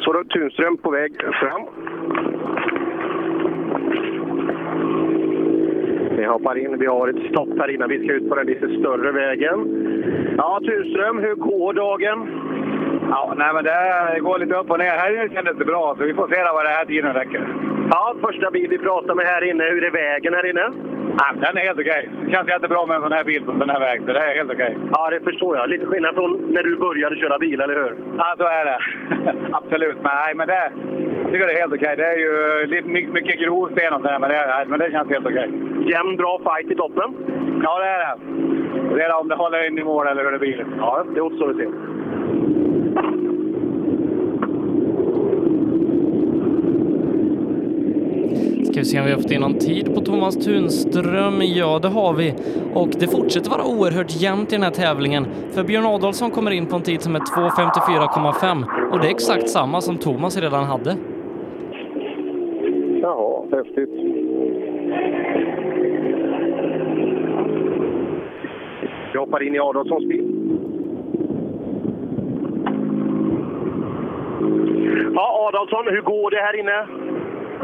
Så Tunström på väg fram. Vi hoppar in. Vi har ett stopp här innan vi ska ut på den lite större vägen. Ja, Tunström, hur går dagen? Ja, nej, men det går lite upp och ner. Här inne kändes det bra, så vi får se vad det här tiden räcker. Ja, första bil vi pratar med här inne. Hur är vägen här inne? Ja, den är helt okej. Det känns jättebra med en sån här bil på en sån här väg, så det är helt okej. Ja, det förstår jag. Lite skillnad från när du började köra bil, eller hur? Ja, så är det. Absolut. Men, nej, men det jag tycker det är helt okej. Det är ju lite my- mycket grovsten och sådär, men, det- nej, men det känns helt okej. Jämn, bra fight i toppen. Ja, det är det. Det är det om det håller in i mål eller hur det blir. Ja, det återstår att se. Ska vi se om vi har fått in någon tid på Thomas Tunström? Ja, det har vi. Och det fortsätter vara oerhört jämnt i den här tävlingen. För Björn Adolfsson kommer in på en tid som är 2.54,5 och det är exakt samma som Thomas redan hade. Jaha, häftigt. Vi hoppar in i Adolfssons bil. Ja, Adolfsson, hur går det här inne?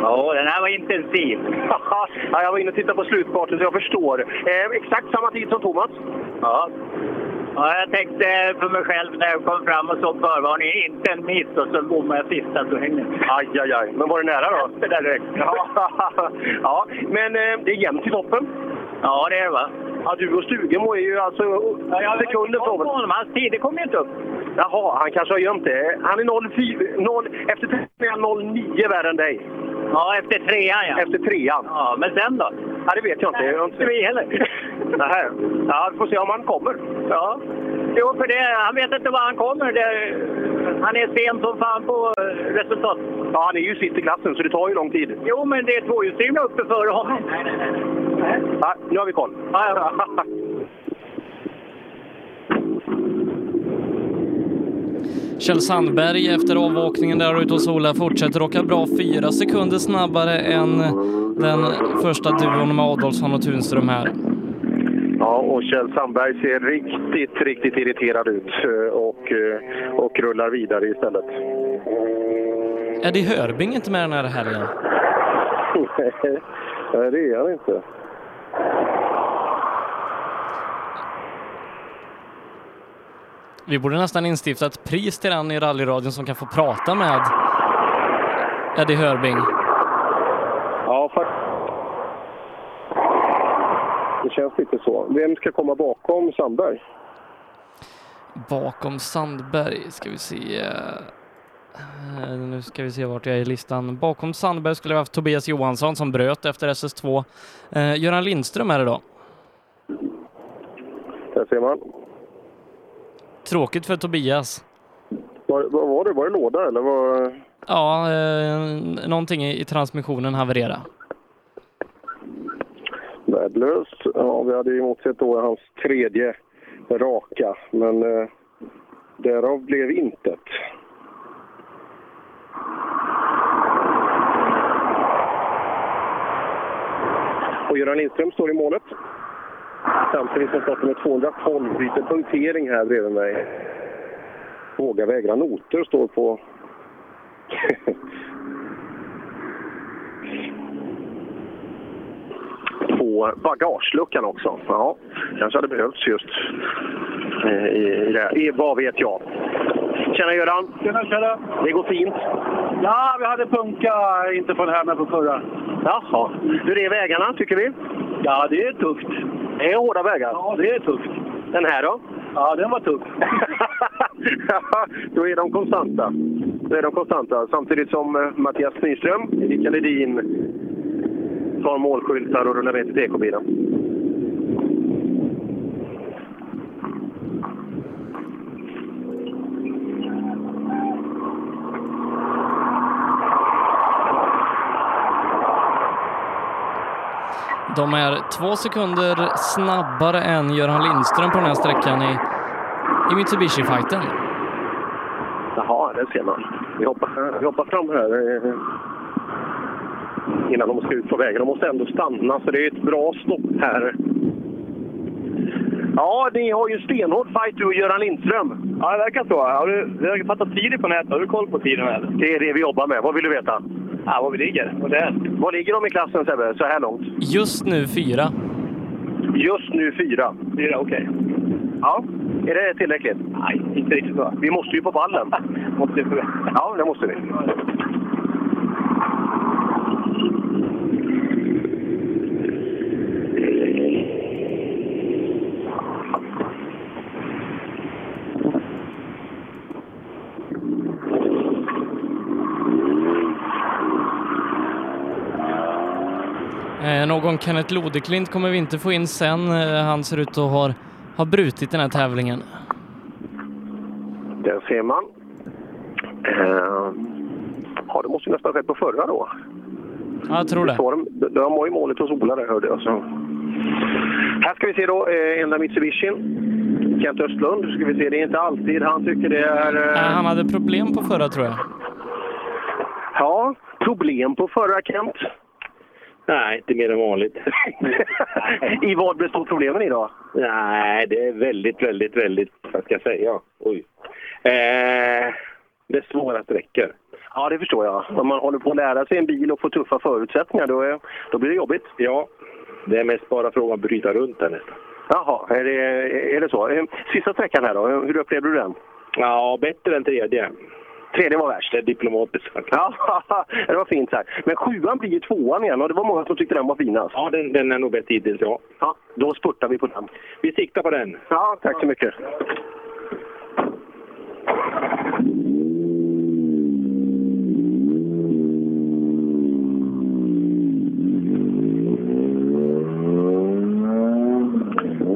Ja, den här var intensiv. ja, jag var inne och tittade på slutparten, så jag förstår. Eh, exakt samma tid som Thomas. Ja. ja. Jag tänkte för mig själv när jag kom fram och såg förvarningen, inte en miss och så bommade jag sista svängen. Aj, aj, aj. Men var det nära då? Det där direkt. Ja, ja men eh, det är jämnt i toppen. Ja, det är det va? Ja, du och Stugemo är ju alltså sekunder Jag från på honom, hans tid, det kom ju inte upp. Jaha, han kanske har gömt det. Han är 04, 0, efter trean är han 09 värre än dig. Ja, efter trean ja. Efter trean. Ja, men sen då? Ja, det vet jag inte. Jag har inte... vi heller. Nähä. Ja, vi får se om han kommer. Ja. Jo, för det, han vet inte var han kommer. Det, han är sen som fan på eh, resultat. Ja, han är ju sist i klassen, så det tar ju lång tid. Jo, men det är tvåhjulsdrivna uppe före honom. Nej, nej, nej. Ja, nu har vi koll. Ja, Kjell Sandberg efter avåkningen där ute hos Ola fortsätter åka bra fyra sekunder snabbare än den första duon med Adolfsson och Tunström här. Ja, och Kjell Sandberg ser riktigt, riktigt irriterad ut eh, och, eh, och rullar vidare istället. Eddie Hörbing inte med den här helgen. Nej, det är han inte. Vi borde nästan instifta ett pris till den i rallyradion som kan få prata med Eddie Hörbing. Ja, faktiskt. Det känns lite så. Vem ska komma bakom Sandberg? Bakom Sandberg ska vi se. Eh, Nu ska vi se vart jag är i listan. Bakom Sandberg skulle jag haft Tobias Johansson som bröt efter SS2. Eh, Göran Lindström är det då. Där ser man. Tråkigt för Tobias. Var, vad var det? Var det låda eller? Var... Ja, eh, någonting i, i transmissionen havererade. Värdelöst. Ja, vi hade ju emotsett då hans tredje raka, men eh, därav blev intet. Och Göran Lindström står i målet. Samtidigt som starten med 212 byter punktering här bredvid mig. Våga vägra noter står på... På bagageluckan också. Ja, kanske hade behövts just eh, i, i det. I, vad vet jag. Tjena Göran! Tjena, tjena! Det går fint. Ja, vi hade punka, inte på den här men på förra. Jaha. Hur är vägarna, tycker vi? Ja, det är tufft. Det är hårda vägar. Ja, det är tufft. Den här då? Ja, den var tuff. Då är de konstanta. Då är de konstanta. Samtidigt som eh, Mattias Nyström, Erika Ledin, tar målskyltar och rullar med till DK-bilen. De är två sekunder snabbare än Göran Lindström på den här sträckan i, i Mitsubishi-fighten. Jaha, det ser man. Vi hoppar, vi hoppar fram här eh, innan de ska ut på vägen. De måste ändå stanna, så det är ett bra stopp här. Ja, ni har ju stenhård fight du och Göran Lindström. Ja, det verkar så. Har du, vi har ju fattat tider på nätet. Har du koll på tiden eller? Det är det vi jobbar med. Vad vill du veta? Ja, var vi ligger. Och det. Var ligger de i klassen Sebbe, så här långt? Just nu fyra. Just nu fyra. Fyra, okej. Ja, är det tillräckligt? Nej, inte riktigt så. Vi måste ju på pallen. Måste ju Ja, det måste vi. Eh, någon Kenneth Lodeklint kommer vi inte få in sen. Eh, han ser ut att ha har brutit den här tävlingen. Den ser man. Eh, ja, det måste ju nästan ha skett på förra då. Ja, jag tror det. Storm, de, de var ju målet hos Ola där hörde jag. Så. Här ska vi se då, eh, enda Mitsubishi. Kent Östlund, ska vi se, det är inte alltid han tycker det är... Eh, Eh, han hade problem på förra tror jag. ja, problem på förra Kent. Nej, inte mer än vanligt. I vad består problemen idag? Nej, det är väldigt, väldigt, väldigt, vad ska jag säga? Oj. Eh, det är svåra sträckor. Ja, det förstår jag. Om man håller på att lära sig en bil och får tuffa förutsättningar, då, är, då blir det jobbigt. Ja, det är mest bara frågan att bryta runt där nästan. Jaha, är det, är det så? Eh, Sista sträckan här då, hur upplevde du den? Ja, bättre än tredje. Tredje var värst. Det är diplomatiskt sagt. Ja, det var fint sagt. Men sjuan blir ju tvåan igen och det var många som tyckte den var finast. Ja, den, den är nog bättre hittills, ja. Ja, då spurtar vi på den. Vi siktar på den. Ja, tack så mycket.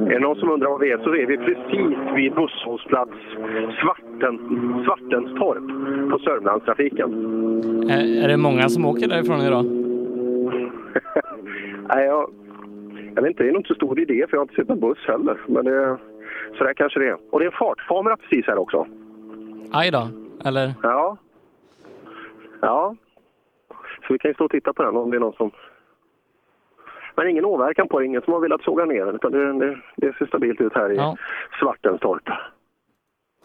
Är det någon som undrar vad vi är så är vi precis vid busshållplats Svarten, Svartenstorp på Sörmlandstrafiken. Eh, är det många som åker därifrån idag? Mm. Nej, jag, jag vet inte, det är nog inte så stor idé för jag har inte sett en buss heller. Men det, så där kanske det är. Och det är en fartkamera precis här också. Aj då. Eller? Ja. Ja. Så vi kan ju stå och titta på den om det är någon som... Men ingen åverkan på det, ingen som har velat såga ner den. Utan det, det, det ser stabilt ut här i Ja. Svartenstorp.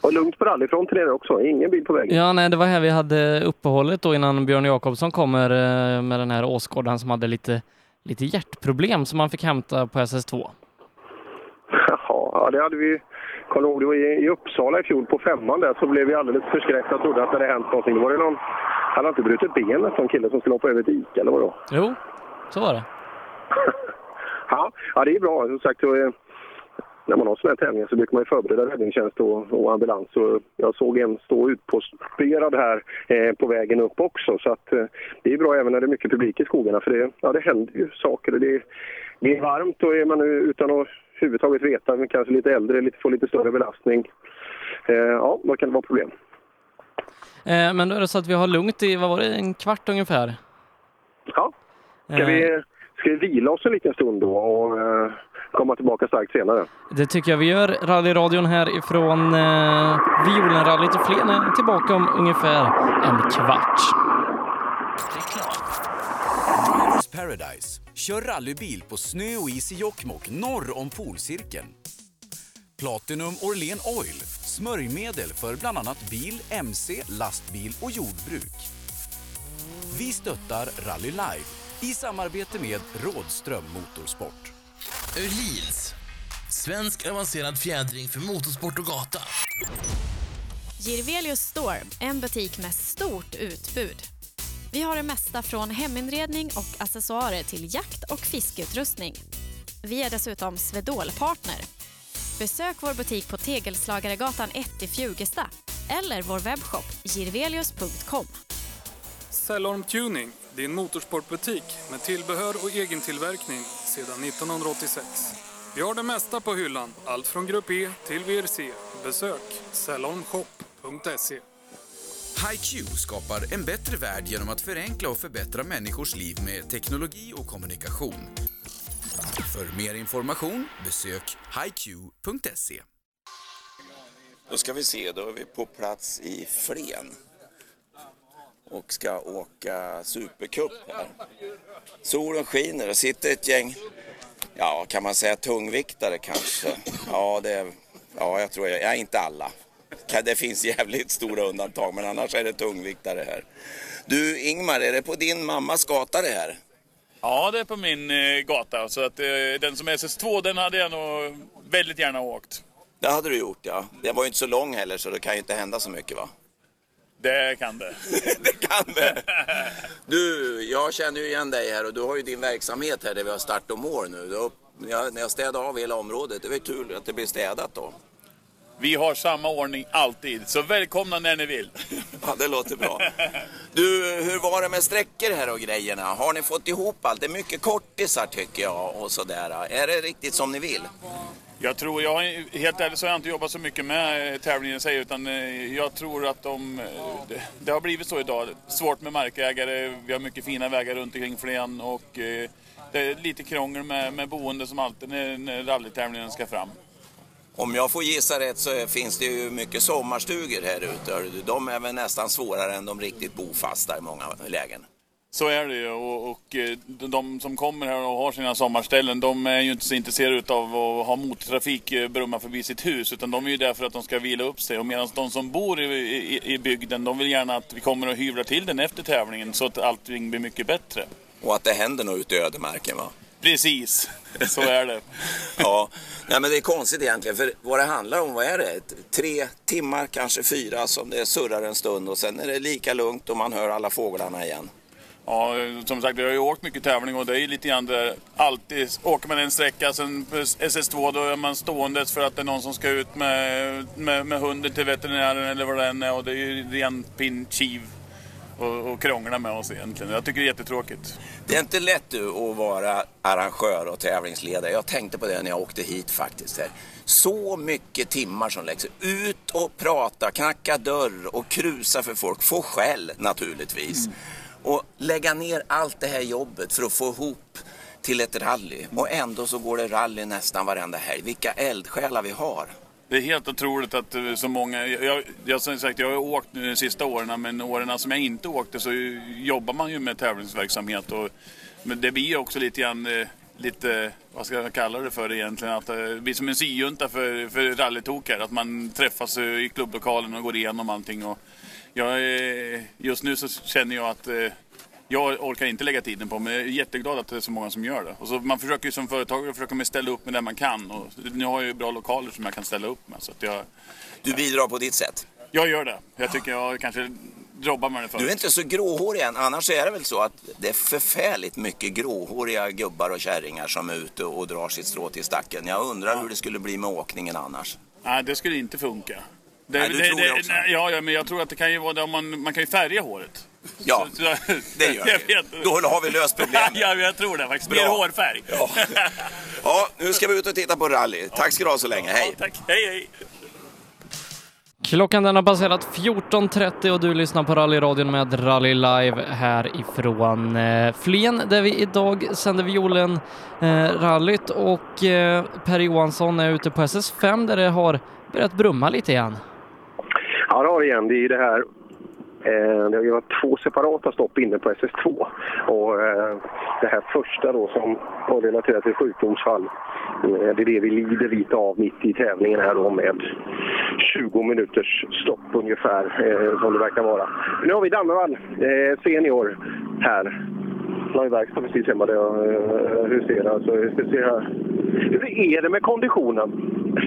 Och lugnt på rallyfronten är det också. Ingen bil på vägen. Ja, nej, det var här vi hade uppehållet då innan Björn Jakobsson kommer eh, med den här åskådaren som hade lite, lite hjärtproblem som han fick hämta på SS2. Jaha, ja, det hade vi... Kommer ihåg, det var i, i Uppsala i fjol på femman där så blev vi alldeles förskräckta och trodde att det hade hänt någonting. Då var det någon... Han hade inte brutit benet, någon kille som skulle hoppa över ett dike eller vadå? Jo, så var det. Ja, ja, det är bra. Som sagt, så, eh, när man har sådana här tävlingar så brukar man ju förbereda räddningstjänst och, och ambulans. Och jag såg en stå utposterad här eh, på vägen upp också. Så att, eh, det är bra även när det är mycket publik i skogarna för det, ja, det händer ju saker. Och det, det är varmt och är man nu utan att överhuvudtaget veta, men kanske lite äldre, lite, får lite större belastning. Eh, ja, då kan det vara problem. Eh, men då är det så att vi har lugnt i, vad var det, en kvart ungefär? Ja, ska, Eh, vi, ska vi vila oss en liten stund då och eh, komma tillbaka starkt senare? Det tycker jag vi gör. Rallyradion här ifrån eh, Violenrallyt i Flen är tillbaka om ungefär en kvart. Drivers Paradise. Kör rallybil på snö och is i Jokkmokk norr om polcirkeln. Platinum Orlen Oil. Smörjmedel för bland annat bil, mc, lastbil och jordbruk. Vi stöttar Rally Live i samarbete med Rådström Motorsport. Öhlins. Svensk avancerad fjädring för motorsport och gata. Girvelius Store, en butik med stort utbud. Vi har det mesta från heminredning och accessoarer till jakt och fiskeutrustning. Vi är dessutom Swedol-partner. Besök vår butik på Tegelslagaregatan 1 i Fjugesta eller vår webbshop girvelius.com. Cellorm Tuning, din motorsportbutik med tillbehör och egen tillverkning sedan 1986. Vi har det mesta på hyllan, allt från Grupp E till VRC. Besök cellormshop.se. HiQ skapar en bättre värld genom att förenkla och förbättra människors liv med teknologi och kommunikation. För mer information besök hiq.se. Då ska vi se, då är vi på plats i Flen. Och ska åka Supercup här. Solen skiner och sitter ett gäng Ja, kan man säga tungviktare kanske? Ja, det, ja jag tror jag, ja, inte alla. Det finns jävligt stora undantag, men annars är det tungviktare här. Du Ingmar, är det på din mammas gata det här? Ja, det är på min eh, gata. Så att, eh, den som är SS2, den hade jag nog väldigt gärna åkt. Det hade du gjort ja. Den var ju inte så lång heller så det kan ju inte hända så mycket va? Det kan det. det kan det! Du, jag känner ju igen dig här och du har ju din verksamhet här där vi har start och mål nu. Du, har upp- när jag- när jag städade av hela området, det var ju tur att det blev städat då. Vi har samma ordning alltid, så välkomna när ni vill. Ja, det låter bra. Du, hur var det med sträckor här och grejerna? Har ni fått ihop allt? Det är mycket kortisar tycker jag och sådär. Är det riktigt som ni vill? Jag tror, jag har, helt ärligt så har jag inte jobbat så mycket med eh, tävlingen i sig utan eh, jag tror att de, eh, det, det har blivit så idag. Svårt med markägare, vi har mycket fina vägar runt omkring Flen och eh, det är lite krångel med, med boende som alltid när, när rallytävlingen ska fram. Om jag får gissa rätt så finns det ju mycket sommarstugor här ute. hör du. De är väl nästan svårare än de riktigt bofasta i många lägen. Så är det ju och, och eh, de som kommer här och har sina sommarställen de är ju inte så intresserade av att ha motortrafik eh, brumma förbi sitt hus utan de är ju där för att de ska vila upp sig och medan de som bor i, i, i bygden de vill gärna att vi kommer och hyvlar till den efter tävlingen så att allting blir mycket bättre. Och att det händer något ute i ödemarken va? Precis, så är det. ja, nej men det är konstigt egentligen för vad det handlar om, vad är det? Ett- Tre timmar, kanske fyra som det surrar en stund och sen är det lika lugnt och man hör alla fåglarna igen. Ja, som sagt, jag har ju åkt mycket tävling och det är ju lite grann där alltid åker man en sträcka sen på SS2 då är man ståendes för att det är någon som ska ut med, med, med hunden till veterinären eller vad det än är och det är ju ren pin kiv och, och krångla med oss egentligen. Jag tycker det är jättetråkigt. Det är inte lätt du att vara arrangör och tävlingsledare. Jag tänkte på det när jag åkte hit faktiskt. Här. Så mycket timmar som läggs ut och prata, knacka dörr och krusa för folk. Få skäll naturligtvis. Och lägga ner allt det här jobbet för att få ihop till ett rally. Och ändå så går det rally nästan varenda helg. Vilka eldsjälar vi har. Det är helt otroligt att eh, så många... Jag, jag, jag, som sagt, jag har ju åkt nu de sista åren, men åren som jag inte åkte så jobbar man ju med tävlingsverksamhet. Och, men det blir ju också lite grann... eh, Lite, vad ska jag kalla det för egentligen? Att eh, det blir som en syjunta för, för rallytokar. Att man träffas eh, i klubblokalen och går igenom allting. Och jag, eh, just nu så känner jag att eh, jag orkar inte lägga tiden på, men jag är jätteglad att det är så många som gör det. Och så man försöker ju som företagare försöka man ställa upp med det man kan. Och nu har jag ju bra lokaler som jag kan ställa upp med. Så att jag, du bidrar på ditt sätt? Jag gör det. Jag tycker jag kanske jobbar med det förut. Du är inte så gråhårig än, annars är det väl så att det är förfärligt mycket gråhåriga gubbar och kärringar som är ute och drar sitt strå till stacken. Jag undrar hur det skulle bli med åkningen annars. Nej, det skulle inte funka. Det, Nej, du tror det också. nej, ja, ja, men jag tror att det kan ju vara det om man, man kan ju färga håret. Ja, Så- så- det gör jag vi. vet. Då har vi löst problemet. ja, jag tror det faktiskt. Mer Bra. hårfärg. Ja. Ja, nu ska vi ut och titta på rally. Tack ska du ha så länge, hej! Tack, hej hej! Klockan den har passerat 14.30 och du lyssnar på rallyradion med Rally Live härifrån eh, Flen där vi idag sänder violen eh, rallyt och eh, Per Johansson är ute på SS5 där det har börjat brumma lite igen. Ja, det har det igen. Det är ju det här. Eh, det har ju varit två separata stopp inne på SS2. Och eh, det här första då som var relaterat till sjukdomsfall. Eh, det är det vi lider lite av mitt i tävlingen här då med 20 minuters stopp ungefär eh, som det verkar vara. Nu har vi Dammervall eh, senior här. Han har ju verkstad precis hemma där jag eh, huserar. Så vi ska se här. Hur är det med konditionen?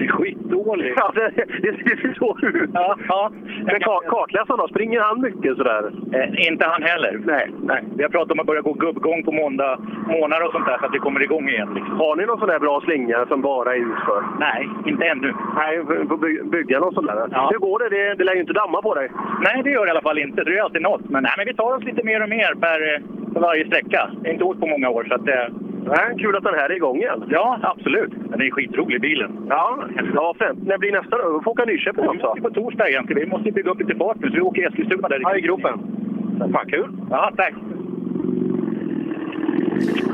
Skitdålig! Ja, det, det ser så ut. Ja, Men Ka- Kartläsaren då, springer han mycket sådär? Eh, inte han heller. Nej, nej. Vi har pratat om att börja gå gubbgång på måndag månader och sånt där så att vi kommer igång igen. Liksom. Har ni någon sån där bra slinga som bara är utför? Nej, inte ännu. Nej, vi får by- bygga någon sån där. Ja. Hur går det? det? Det lär ju inte damma på dig. Nej, det gör det i alla fall inte. Det är ju alltid något. Men, nej, men vi tar oss lite mer och mer per, eh, för varje sträcka. Vi har inte åkt på många år så att... Eh... Nej, kul att den här är igång igen. Ja, absolut. Den är skitrolig bilen. Ja, ja främt. När blir nästa då? Vi får åka Nyköping också. Vi på torsdag igen. så Vi måste bygga upp lite fart nu så vi åker Eskilstuna där. Ja, i gropen. Fan, kul. Ja, tack.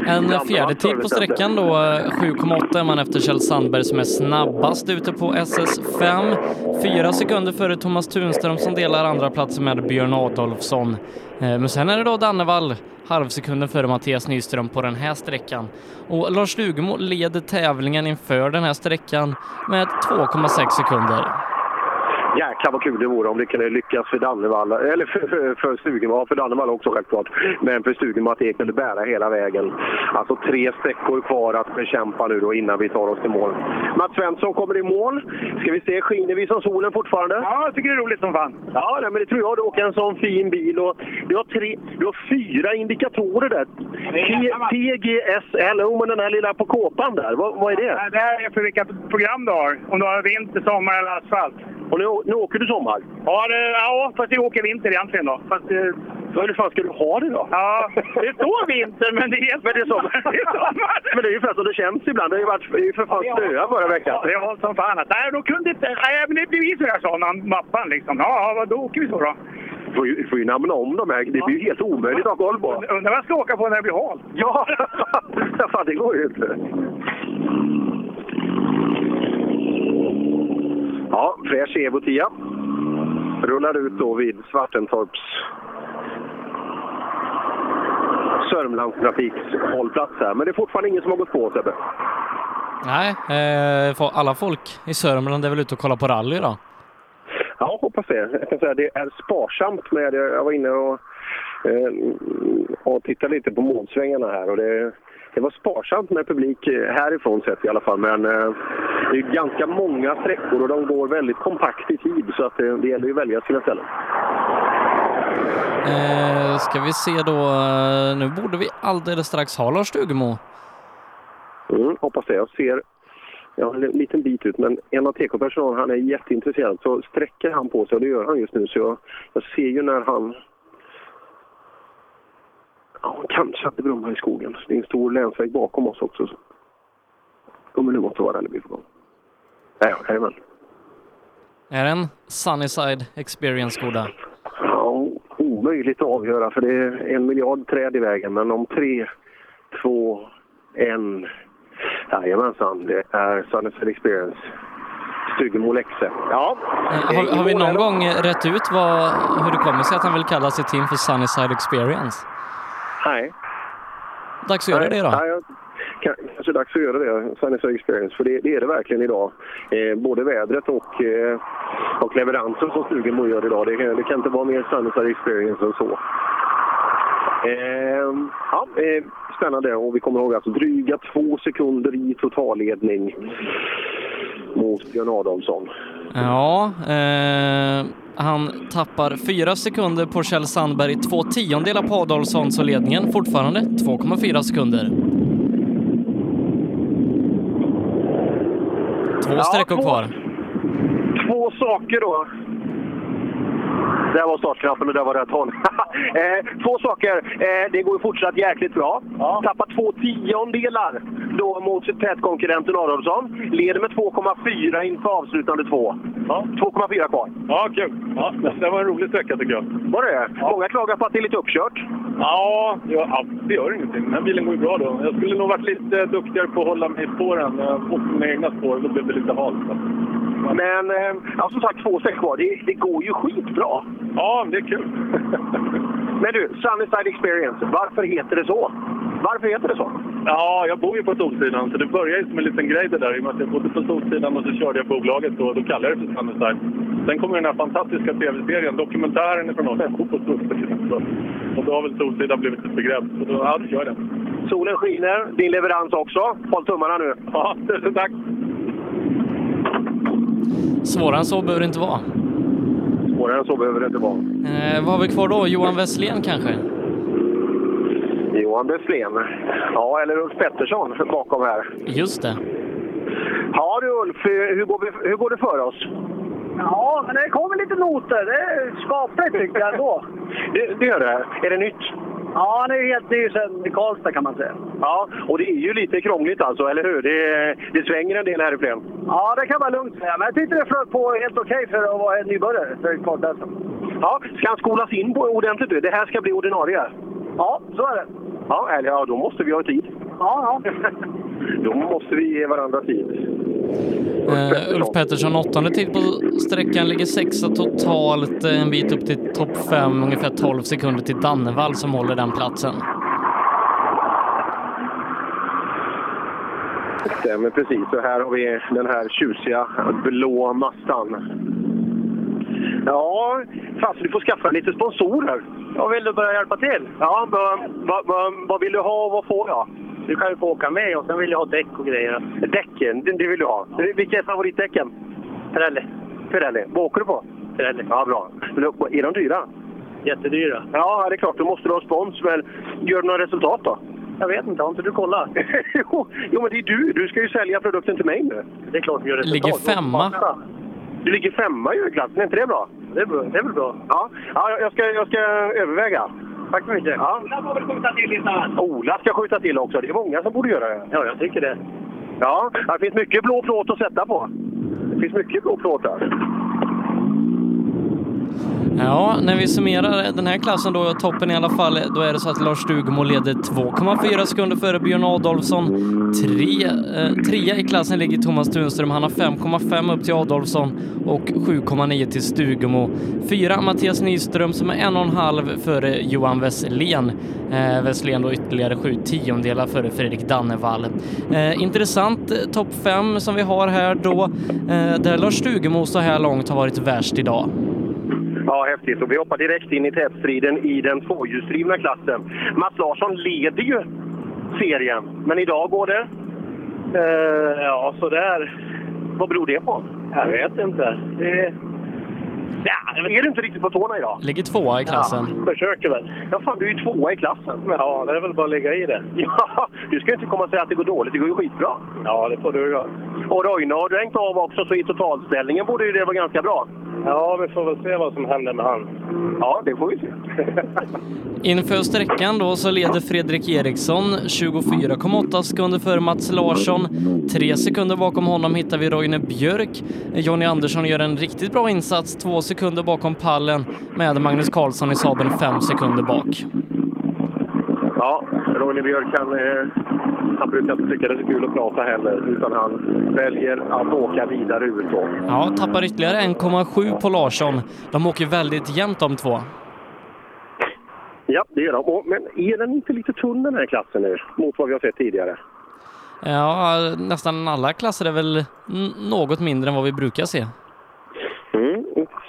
En fjärde tid på sträckan då, 7,8 är man efter Kjell Sandberg som är snabbast ute på SS5. Fyra sekunder före Thomas Tunström som delar andra plats med Björn Adolfsson. Eh, Men sen är det då Dannevall, halvsekunden före Mattias Nyström på den här sträckan. Och Lars Stugemo leder tävlingen inför den här sträckan med 2,6 sekunder. Jäklar vad kul det vore om det kunde lyckas för Dannevall, eller för, för, för Stugemo, ja, för Dannevall också självklart, men för Stugemo att det kunde bära hela vägen. Alltså tre sträckor kvar att bekämpa nu då innan vi tar oss till mål. Mats Svensson kommer i mål. Ska vi se, skiner vi som solen fortfarande? Ja, jag tycker det är roligt som fan. Ja, nej, men det tror jag. Du åker en sån fin bil och du har, tre, du har fyra indikatorer där. T- TGSL, oh, men den här lilla på kåpan där, vad, vad är det? Det här är för vilka program du har. Om du har vinter, sommar eller asfalt. Och nu, nu åker du sommar? Ja, det, ja, fast vi åker vinter egentligen då. Fast, eh, Hur fan ska du ha det då? ja, det står vinter men det är helt... Men det är sommar. Det är sommar. Men det är ungefär som det känns ibland. Det har ju varit det är ju för fan snöa förra veckan. Det var som fan. att- Nej, då kunde inte... Nej, men det blir vi sådär, sa han, mappan liksom. Ja, ja, då åker vi så då. Du får ju, du får ju namna om de här. Det blir ju helt omöjligt att ha koll på. Undrar vad jag ska åka på när det blir halt. Ja, fan det går ju inte. Ja, fräsch Evo 10. Rullar ut då vid Svartentorps Sörmlandstrafiks hållplats här. Men det är fortfarande ingen som har gått på Sebbe. Nej, eh, för alla folk i Sörmland är väl ute och kollar på rally då? Ja, hoppas det. Jag kan säga att det är sparsamt med det. Jag var inne och, eh, och tittade lite på målsvängarna här och det, det var sparsamt med publik eh, härifrån sett i alla fall. Men eh, det är ganska många sträckor och de går väldigt kompakt i tid så att det, det gäller ju att välja sina ställen. Eh, ska vi se då, eh, nu borde vi alldeles strax ha Lars Stugemo. Mm, hoppas det. Jag ser jag har en liten bit ut, men en av TK-personalen han är jätteintresserad. Så sträcker han på sig, och det gör han just nu, så jag, jag ser ju när han... Ja, kanske att det brummar i skogen. Det är en stor länsväg bakom oss också. så- Ja, men det måste vara den det blir på gång. Ja, ja, Jajamän. Är det en Sunnyside Experience, Goda? Eh, Ja, omöjligt att avgöra, för det är en miljard träd i vägen. Men om tre, två, en... Jajamensan, det är Sunnyside Experience. Stugemo Lexe. Ja. Eh, Har, har vi någon gång eh, rätt ut vad, hur det kommer sig att han vill kalla sitt team för Sunnyside Experience? Nej. Dags att göra det då. Nej, jag- ka- kanske dags att göra det, Sunnyside Experience, för det, det är det verkligen idag. Eh, både vädret och, eh, och leveransen som Stugemo gör idag. Det, kan- det kan inte vara mer Sunnyside Experience än så. Ehm, ja, eh, spännande. Och vi kommer ihåg alltså dryga två sekunder i totalledning mot Björn Adolfsson. Ja, eh, han tappar fyra sekunder på Kjell Sandberg, två tiondelar på Adolfsson, så ledningen fortfarande 2,4 sekunder. Två sträckor kvar. Två saker då. Där var startknappen och där var rätt håll. eh, två saker. Eh, det går ju fortsatt jäkligt bra. Tappar två tiondelar då mot tätkonkurrenten Adolfsson. Leder med 2,4 inför avslutande två. 2,4 kvar. Ja, kul. Ja, det var en rolig sträcka tycker jag. Var det ja. Många klagar på att det är lite uppkört. Ja, ja, ja, det gör ingenting. Den här bilen går ju bra då. Jag skulle nog varit lite duktigare på att hålla mig i spåren. Jag har fått mina egna spår, då blev det lite halt. Men eh, ja, som sagt, två streck kvar. Det, det går ju skitbra. Ja, det är kul. Men du, Sunnyside Experience. Varför heter det så? Varför heter det så? Ja, jag bor ju på Solsidan, så det började ju som en liten grej det där. I och med att jag bodde på Solsidan och så körde jag bolaget då, då kallade jag det för Sunnyside. Sen kom ju den här fantastiska tv-serien, dokumentären från oss, jag bor på Solsidan. Så. Och då har väl Solsidan blivit ett begrepp, så då, ja, då kör jag den. Solen skiner, din leverans också. Håll tummarna nu. Ja, tack. Svårare än så behöver det inte vara. Svårare än så behöver det inte vara. Eh, vad har vi kvar då? Johan Wesslén kanske? Johan Wesslén. Ja, eller Ulf Pettersson bakom här. Just det. Ja du Ulf, hur går, vi, hur går det för oss? Ja, men det kommer lite noter. Det är skapligt tycker jag ändå. Det, det gör det. Är det nytt? Ja, det är helt ny sedan Karlstad kan man säga. Ja, och det är ju lite krångligt alltså, eller hur? Det, det svänger en del här i Flen. Ja, det kan man lugnt säga. Men jag tyckte det flög på helt okej för att vara en nybörjare för kartläsaren. Ja, ska han skolas in på ordentligt? du? Det här ska bli ordinarie. Ja, så är det. Ja, eller, ja, då måste vi ha tid. Ja, ja. Då måste vi ge varandra tid. Eh, Ulf Pettersson åttonde tid på sträckan, ligger sexa totalt, eh, en bit upp till topp fem, ungefär 12 sekunder till Dannevall som håller den platsen. Stämmer precis. Och här har vi den här tjusiga blå massan. Ja, fast du får skaffa lite sponsorer. Jag vill du börja hjälpa till? Ja, vad vill du ha och vad får jag? Du kan ju få åka med och sen vill jag ha däck och grejer. Däcken, det det vill du ha. Vilka är favoritdäcken? Pirelli. Pirelli. Vad åker du på? Pirelli. Ja, bra. Men då- Är de dyra? Jättedyra. Ja, det är klart. Då måste du ha spons. Men gör du några resultat då? Jag vet inte, har inte du kollat? jo, jo, men det är du. Du ska ju sälja produkten till mig nu. Det är klart vi gör resultat. Ligger femma. Du ligger femma i julklappen. Är inte det bra? Det är, bra. det är väl bra. Ja, ja jag- jag, ska, jag ska överväga. Tack så mycket. Ja. Ola får väl skjuta till lite. Ola ska skjuta till också. Det är många som borde göra det. Ja, jag tycker det. Ja, det finns mycket blå plåt att sätta på. Det finns mycket blå plåt där. Ja, när vi summerar den här klassen då, toppen i alla fall, då är det så att Lars Stugemo leder 2,4 sekunder före Björn Adolfsson. Tre, eh, trea i klassen ligger Thomas Tunström, han har 5,5 upp till Adolfsson och 7,9 till Stugemo. Fyra Mattias Nyström som är 1,5 före Johan Wesslén. Eh, Wesslén då ytterligare 7 tiondelar före Fredrik Dannevall. Eh, intressant eh, topp 5 som vi har här då, eh, där Lars Stugemo så här långt har varit värst idag. Ja, häftigt. Och vi hoppar direkt in i tätstriden i den tvåhjulsdrivna klassen. Mats Larsson leder ju serien, men idag går det? eh, ja, sådär. Vad beror det på? Jag vet inte. Det... är du inte riktigt på tårna idag? Ligger tvåa i klassen. försöker väl. Ja, fan, du är ju tvåa i klassen. Ja, det är väl bara att lägga i det. Ja, du ska ju inte komma och säga att det går dåligt. Det går ju skitbra. Ja, det får du göra. Och Roine har du hängt av också, så i totalställningen borde ju det vara ganska bra. Ja, vi får väl se vad som händer med han. Ja, det får vi se. Inför sträckan då så leder Fredrik Eriksson 24,8 sekunder före Mats Larsson. Tre sekunder bakom honom hittar vi Roine Björk. Jonny Andersson gör en riktigt bra insats, två sekunder bakom pallen med Magnus Karlsson i Saben fem sekunder bak. Ja, Roine Björk han, eh, han brukar inte tycka det är så kul att prata heller, utan han väljer att åka vidare ut. då. Ja, tappar ytterligare 1,7 på Larsson. De åker väldigt jämnt de två. Ja, det gör han. Och- Men är den inte lite tunn den här klassen nu, mot vad vi har sett tidigare? Ja, nästan alla klasser är väl n- något mindre än vad vi brukar se. Mm,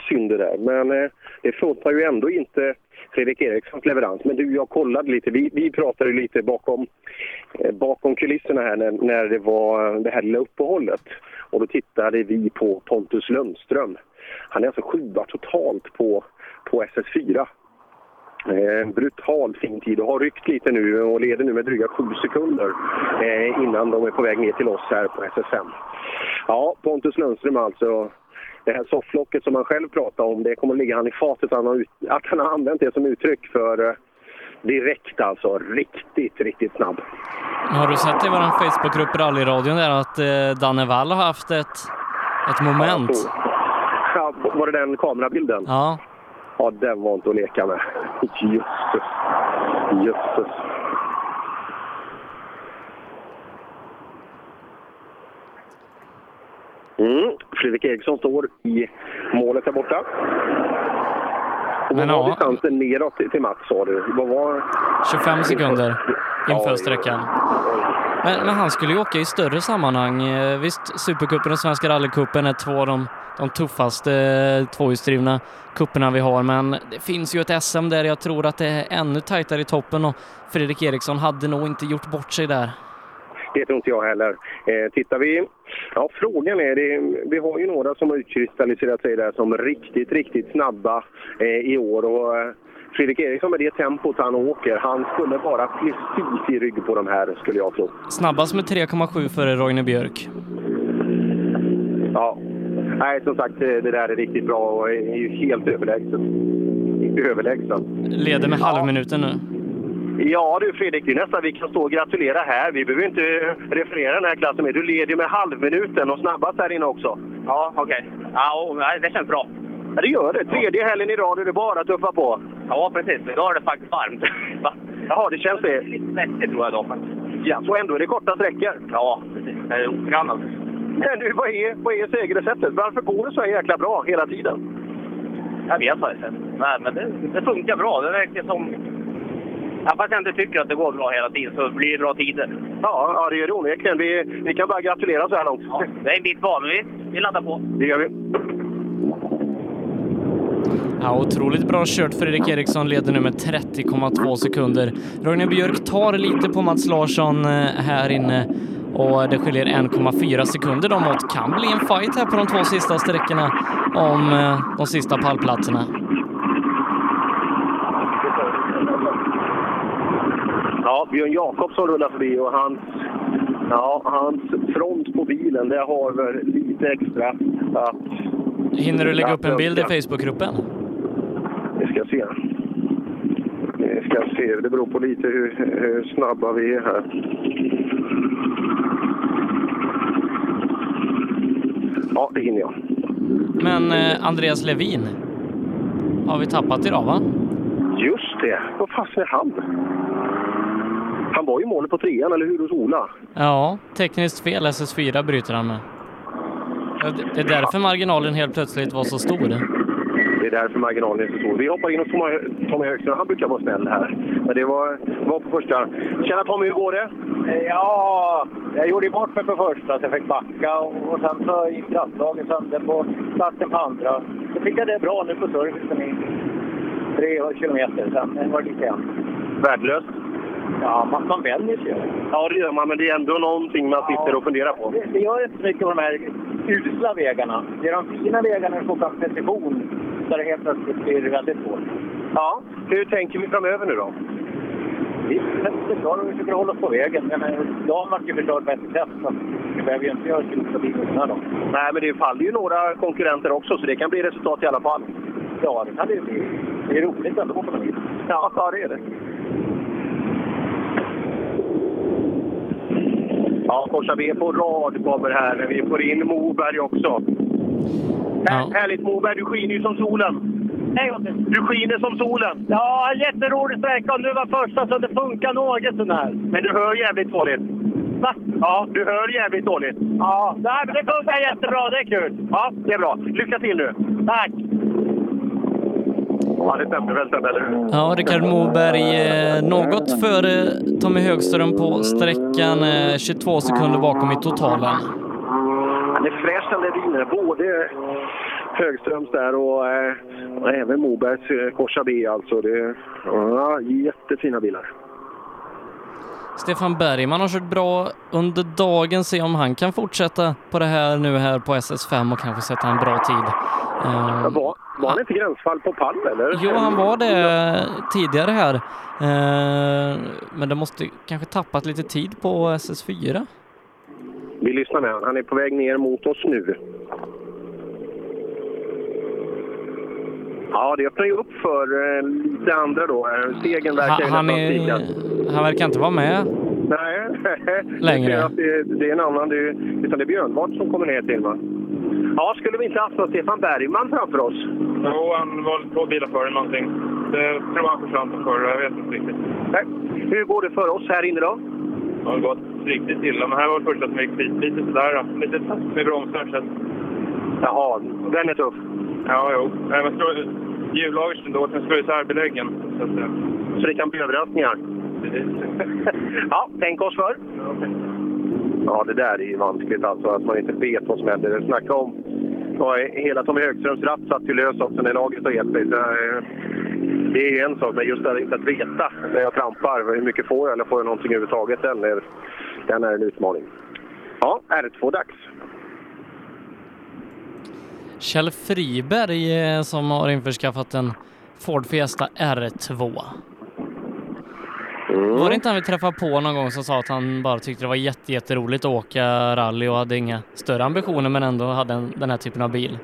synd det där. Men eh, det fråntar ju ändå inte Fredrik Erikssons leverans. Men du, jag kollade lite. Vi, vi pratade ju lite bakom, eh, bakom kulisserna här när, när det var eh, det här lilla uppehållet. Och då tittade vi på Pontus Lundström. Han är alltså sjua totalt på, på SS4. Eh, en brutalt fin tid och har ryckt lite nu och leder nu med dryga sju sekunder eh, innan de är på väg ner till oss här på SS5. Ja, Pontus Lundström alltså. Det här sofflocket som han själv pratar om, det kommer att ligga han i fatet. Han har ut, att han har använt det som uttryck för eh, direkt alltså. Riktigt, riktigt snabb. Har du sett i vår Facebookgrupp Rallyradion där att eh, Danne Wall har haft ett, ett moment? Ja, var det den kamerabilden? Ja. Ja, den var inte att leka med. Jösses. Jösses. Mm. Fredrik Eriksson står i målet där borta. Och vad Men var ja. distansen neråt till- till Mats sa du? Vad var... 25 sekunder inför sträckan. Men, men han skulle ju åka i större sammanhang. Eh, Visst, Supercupen och Svenska rallycupen är två av de, de tuffaste eh, tvåhjulsdrivna cuperna vi har, men det finns ju ett SM där jag tror att det är ännu tajtare i toppen och Fredrik Eriksson hade nog inte gjort bort sig där. Det tror inte jag heller. Eh, tittar vi... Ja, frågan är... Det, vi har ju några som har utkristalliserat sig där som riktigt, riktigt snabba eh, i år. Och, eh, Fredrik Eriksson med det tempot han åker, han skulle vara precis i rygg på de här skulle jag tro. Snabbast med 3,7 före Roine Björk. Ja. Nej, som sagt, eh, det där är riktigt bra och är ju helt överlägset. Överlägset. Leder med halvminuten nu. Ja du Fredrik, det är nästan vi kan stå och gratulera här. Vi behöver inte eh, referera den här klassen mer. Du leder ju med halvminuten och snabbast här inne också. Ja, okej. Ja, och, nej, det känns bra. Ja, det gör det. Tredje helgen i rad är det bara att tuffa på. Ja, precis. Idag är det faktiskt varmt. Jaha, det känns det? Lite svettigt tror jag idag faktiskt. Ja, och ändå är det korta sträckor. Eh, Ja, precis. Det är otränat. Men du, vad är, vad är segerreceptet? Varför går det så här jäkla bra hela tiden? Jag vet faktiskt inte. Nej, men det, det funkar bra. Det verkar som... Ja, fast jag inte tycker att det går bra hela tiden så blir det bra tider. Ja, ja det gör det onekligen. Vi, vi kan bara gratulera så här långt. Ja, det är en bit kvar, men vi, vi laddar på. Det gör vi. Ja, otroligt bra kört. Fredrik Eriksson leder nu med 30,2 sekunder. Roine Björk tar lite på Mats Larsson eh, här inne och det skiljer 1,4 sekunder dem åt. Kan bli en fight här på de två sista sträckorna om eh, de sista pallplatserna. Ja, Björn Jakobsson rullar förbi och hans, ja, hans front på bilen, det har väl lite extra att... Hinner du lägga upp en bild i Facebookgruppen? Vi ska se. Vi ska se. Det beror på lite hur, hur snabba vi är här. Ja, det hinner jag. Men eh, Andreas Levin har vi tappat idag, va? Just det. Vad fasen är han? Han var ju i målet på trean, eller hur, hos Ola? Ja, tekniskt fel. SS4 bryter han med. Ja, det- Det är därför marginalen helt plötsligt var så stor. Det är därför marginalen är så stor. Vi hoppar in hos Tommy- Tommy Högström. Han brukar vara snäll här. Men det var, var på första. Tjena Tommy, hur går det? Ja, jag gjorde ju bort mig på första så jag fick backa och, och sen så gick krafttaget sönder på starten på andra. Så fick jag det bra nu på servicen i tre kilometer, sen var det lite igen. Värdelöst? Ja, fast man vänjer sig ju. Ja, det gör man, men det är ändå någonting man sitter och funderar på. Det, det gör inte så mycket på de här usla vägarna. Det är de fina vägarna som får precision där det helt plötsligt blir väldigt svårt. Ja, hur tänker vi framöver nu då? Vi förstår och vi försöker hålla oss på vägen. Men eh, dagen vart ju förstörd på SSF så vi behöver ju inte göra slut på bilen den här dagen. Nej, men det faller ju några konkurrenter också, så det kan bli resultat i alla fall. Ja, det kan det ju bli. Det är roligt ändå på något vis. Ja, ja, det är det. Ja, Forsa, vi är på rad kommer här. Vi får in Moberg också. Här, härligt Moberg, du skiner ju som solen. Du skiner som solen. Ja, jätterolig sträcka och nu var första så det funkar något sånär. Men du hör jävligt dåligt. Va? Ja, du hör jävligt dåligt. Ja, nej, men det funkar jättebra. Det är kul. Ja, det är bra. Lycka till nu. Tack. Ja, det stämmer väl, eller hur? Ja, Rickard Moberg eh, något före Tommy Högström på sträckan, eh, 22 sekunder bakom i totalen. Han är fräsch han Levin. Både Högströms där och, eh, och även Mobergs eh, Corsa B alltså. Det, ja, jättefina bilar. Stefan Bergman har kört bra under dagen, se om han kan fortsätta på det här nu här på SS5 och kanske sätta en bra tid. Eh, Var, var han inte gränsfall på pall eller? Jo, han var det tidigare här, Eh, men det måste kanske tappat lite tid på SS4. Vi lyssnar med honom. Han är på väg ner mot oss nu. Ja, det öppnar ju upp för eh, lite andra då. Eh, Stegen verkar ju Han, han, nästan är, stigande. han verkar inte vara med. Nej, Längre. Jag ser att Det, det är en annan, det är, utan det är Björnbart som kommer ner till va? Ja, skulle vi inte haft någon Stefan Bergman framför oss? Jo, han var två bilar före någonting. Det tror han försvann på förra, jag vet inte riktigt. Nej. Hur går det för oss här inne då? Det har gått riktigt illa, men här var det första som gick dit. Lite sådär, då. lite tass med bromsar. Så att... Jaha, den är tuff. Ja, jo. Nej, men slå, hjullagret slog åt, sen slog isär beläggen. Så, att, eh, Så det kan bli överraskningar? ja, tänk oss för. Ja, det där är ju vanskligt alltså, att man inte vet vad som händer. Snacka om... Ja, hela Tommy Högströms ratt satt ju lös också när laget har gett sig. Det är- Det är ju en sak, men just det här inte att veta när jag trampar. Hur mycket får jag eller får jag någonting överhuvudtaget? Den är, den är en utmaning. Ja, R2-dags. Kjell Friberg eh, som har införskaffat en Ford Fiesta R2. Var det inte han vi träffade på någon gång som sa att han bara tyckte det var jätte- jätteroligt att åka rally och hade inga större ambitioner men ändå hade en, den här typen av bil?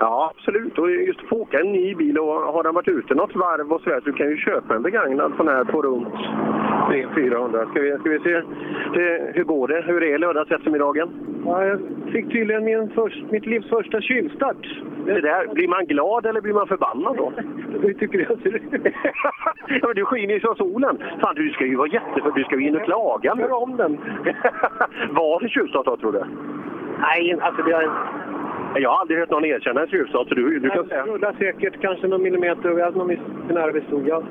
Ja, absolut. Och just få åka en ny bil och har den varit ute något varv och sådär så du kan ju köpa en begagnad sån här på runt 300-400. Ska vi, ska vi se det, hur går det? Hur är lördags eftermiddagen? Ja, jag fick tydligen min först, mitt livs första kylstart. Det där, blir man glad eller blir man förbannad då? Hur tycker du jag ser ut? ja, men du skiner ju som solen. Fan, du ska ju vara jätteför. Du ska ju in och klaga nu. om den. Vad för tjuvstart då, tror du? Nej, alltså det är... Jag har aldrig hört någon erkänna en tjuvstart, så du, du kan säga... rullade säkert kanske någon millimeter och jag hade någon missionär stod jag.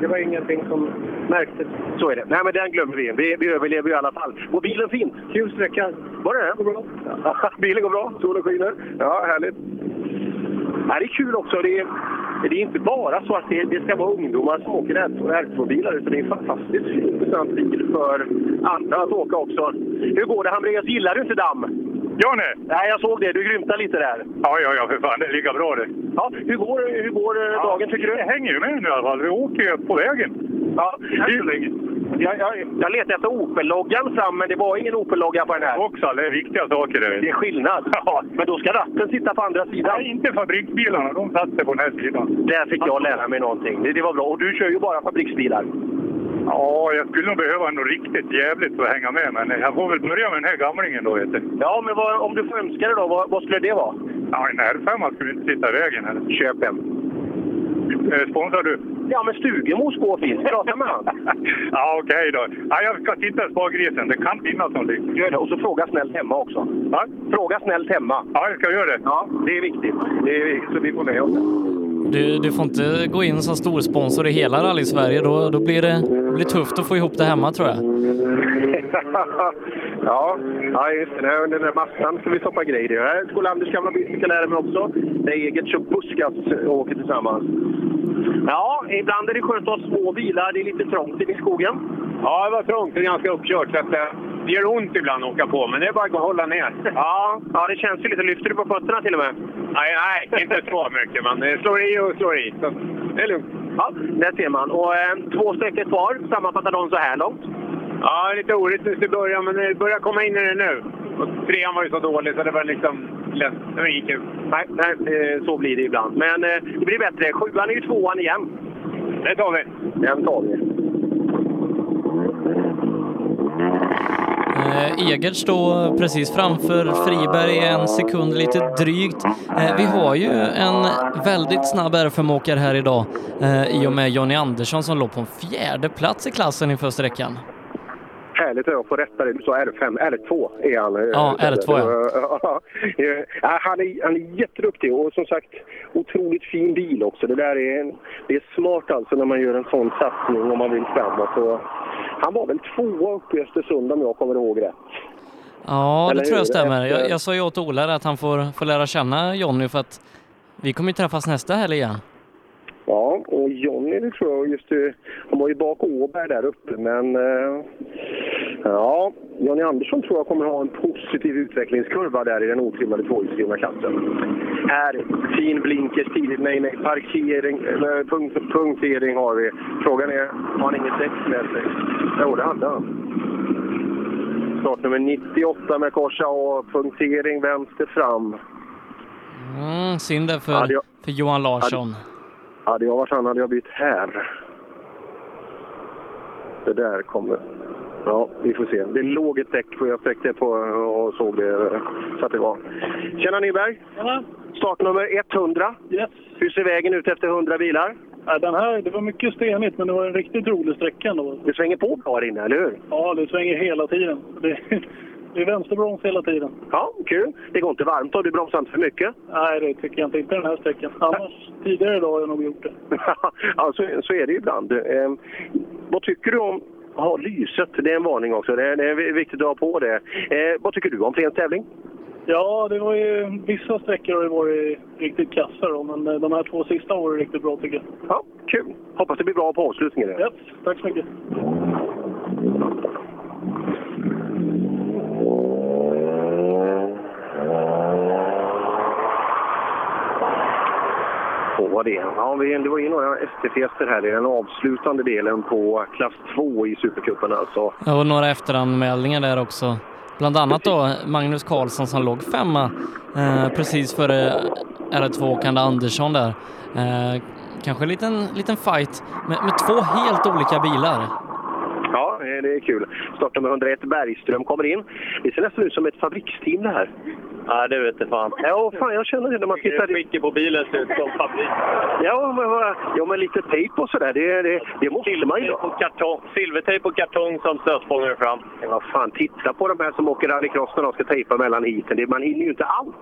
Det var ingenting som märktes. Så är det. Nej, men den glömmer vi. Vi, vi överlever ju i alla fall. Går bilen fint? Kul sträcka. Var det det? Bra. bilen går bra. Solen skiner. Ja, härligt. Ja, det är kul också. Det är, det är inte bara så att det, det ska vara ungdomar som åker R2-bilar, utan det är en fantastiskt intressant bil för andra att åka också. Hur går det, Hamreus? Gillar du inte damm? Ja, nej. Nej, jag såg det. Du grymtade lite där. Ja, ja, ja, för fan. Det är lika bra det. Ja, hur går, hur går eh, dagen, tycker du? Det hänger ju med nu i alla fall. Vi åker ju på vägen. Ja, jag, jag, jag letade efter Opel-loggan fram, men det var ingen Opel-logga på den här. Också, det är viktiga saker. Det, Det är skillnad. Ja. Men då ska ratten sitta på andra sidan. Nej, inte fabriksbilarna. De satte på den här sidan. Där fick jag lära mig någonting. Det, det var bra. Och du kör ju bara fabriksbilar. Ja, jag skulle nog behöva något riktigt jävligt för att hänga med, men jag får väl börja med den här gamlingen då. Vet du. Ja, men vad, om du får önska dig då, vad, vad skulle det vara? Ja, en R5 skulle inte sitta i vägen heller. Köp en. Eh, Sponsrar du? Ja, men Stugemo går fint. Prata med han. Ja, okej då. Ja, jag ska titta i spargrisen. Det kan finnas någonting. Gör det. Och så fråga snällt hemma också. Va? Fråga snällt hemma. Ja, jag ska göra det. Ja, det är viktigt. Det är viktigt så vi får med oss det. Du, du får inte gå in som storsponsor i hela rally-Sverige. Då, då blir det blir tufft att få ihop det hemma tror jag. ja, ja, just det. Den där- Den där massan ska vi stoppa grejer i. Här skulle Anders gamla bicykel lära mig också. Det är eget kör buskas och åker tillsammans. Ja, ibland är det skönt att ha små bilar. Det är lite trångt inne i skogen. Ja, det var trångt och ganska uppkört. Så att, eh, det gör ont ibland att åka på, men det är bara att hålla ner. Ja, ja det känns ju lite. Lyfter du på fötterna till och med? Nej, nej inte så mycket, men det slår i och slår i. Så att det är lugnt. Ja, där ser man. Och eh, två sträckor kvar. Sammanfattar de så här långt. Ja, lite orättvist i början, men det börjar komma in i det nu. Och trean var ju så dålig, så det var liksom lätt. Det var inget kul. Nej, nej eh, så blir det ibland. Men eh, det blir bättre. Sjuan är ju tvåan igen. Det tar vi. Den tar vi. Eh, Egerts då precis framför Friberg en sekund lite drygt. Eh, vi har ju en väldigt snabb R5-åkare här idag eh, i och med Jonny Andersson som låg på en fjärde plats i klassen inför sträckan. Härligt att jag får rätta dig. Du sa R5. R2 är han. eh, Ja, R2, ja. ja. ja. Han är, han är jätteduktig och som sagt otroligt fin bil också. Det där är, en, det är smart alltså när man gör en sån satsning om man vill framåt. Och han var väl tvåa uppe i Östersund om jag kommer ihåg rätt. Ja, det Eller tror hur? jag stämmer. Efter- Jag, jag sa ju åt Ola där att han får, får lära känna Jonny för att vi kommer ju träffas nästa helg igen. Ja, och Johnny det tror jag just eh, Han var ju bak Åberg där uppe, men... Eh, ja, Johnny Andersson tror jag kommer ha en positiv utvecklingskurva där i den otrimmade tvåhjulsdrivna klassen. Här, fin blinkers tidigt. Nej, nej, parkering, eller punkt, punktering har vi. Frågan är, har han inget däck med sig? Jo, det hade han. Startnummer 98 med korsa och punktering vänster fram. Mm, synd där Ja, för, det gör- för Johan Larsson. Hade jag varit han hade jag bytt här. Det där kommer. Ja, vi får se. Det låg ett däck för jag sträckte på och såg det. Satte igång. Tjena Nyberg! Tjena. Startnummer 100. Yes. Hur ser vägen ut efter 100 bilar? Ja, Den här, det var mycket stenigt, men det var en riktigt rolig sträcka ändå. Det svänger på bra här inne, eller hur? Ja, det svänger hela tiden. Det, det är vänsterbroms hela tiden. Ja, kul. Det går inte varmt om du bromsar inte för mycket. Nej, det tycker jag inte. Inte den här sträckan. Annars, tidigare idag har jag nog gjort det. ja, så, så är det ju ibland. Eh, vad tycker du om Ja, lyset, det är en varning också. Det är, det är viktigt att ha på det. Eh, vad tycker du om Flens tävling? Ja, det var ju, vissa sträckor har det varit riktigt kassa då, men eh, de här två sista har varit riktigt bra tycker jag. Ja, kul. Hoppas det blir bra på avslutningen. Yes, tack så mycket. på vad det är. Ja, vi, det var ju några ST-fester här i den avslutande delen på klass 2 i Supercupen alltså. Och några efteranmälningar där också. Bland annat då Magnus Karlsson som låg femma eh, precis före R2-åkande Andersson där. Eh, kanske en liten, liten fight med, med två helt olika bilar. Ja, det är kul. Startnummer 101 Bergström kommer in. Det ser nästan ut som ett fabriksteam det här. Ja, det vet du fan. Ja, fan jag känner det när man tittar... Skicket på bilen ser ut som fabrik. Ja, men, vad- ja, men lite tejp och sådär, det, det, det måste man ju. Och kartong, silvertejp och kartong som stötfångare fram. Ja, vad fan, titta på de här som åker rallycross när de ska tejpa mellan heaten. Det- Man hinner ju inte allt.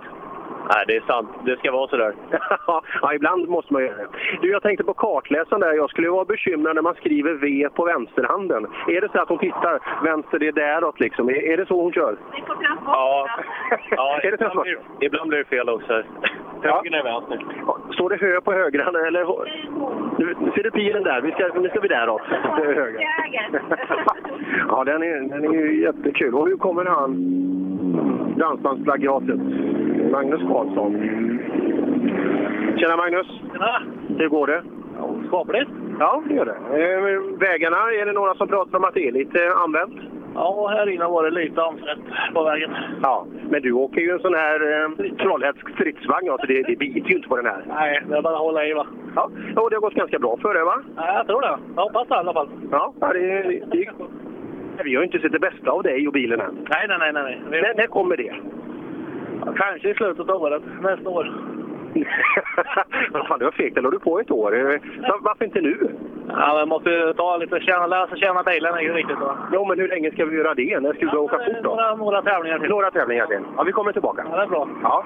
Nej, det är sant. Det ska vara sådär. ja, ibland måste man göra det. Du, jag tänkte på kartläsaren där. Jag skulle vara bekymrad när man skriver V på vänsterhanden. Är det så att hon tittar vänster, det är däråt liksom? Är, är det så hon kör? Ja. ja Är det ibland, blir, ibland blir det fel också. Höger är vänster. Står det hö på högran eller? Nu nu ser du pilen där. Vi ska, nu ska vi däråt. Det är höger. Ja, den är, den är ju jättekul. Och hur kommer han, dansbandsplagiatet, Magnus Karlsson? Tjena Magnus! Tjena! Hur går det? Skapligt. Ja, det gör det. Eh, Vägarna, är det några som pratar om att det är lite använt? Ja, här inne var det lite använt på vägen. Ja, men du åker ju en sån här eh, trollhättsk stridsvagn, alltså det, det biter ju inte på den här. Nej, det är bara att hålla i va. Ja, och det har gått ganska bra för dig va? Ja, jag tror det. Jag hoppas det i alla fall. Ja, ja, det, det, det, vi har ju inte sett det bästa av dig och bilen än. Nej, nej, nej. nej. Vi... När, när kommer det? Kanske i slutet av året, nästa år. Vad fan, det var fegt. Det la du på ett år. Eh, va- Varför inte nu? Ja, men måste ju ta lite, känna, lära sig känna bilen är ju riktigt bra. Jo, men hur länge ska vi göra det? När ska vi åka fort då? Några, några tävlingar till. Några tävlingar till. Ja, vi kommer tillbaka. Ja, det är bra. Ja.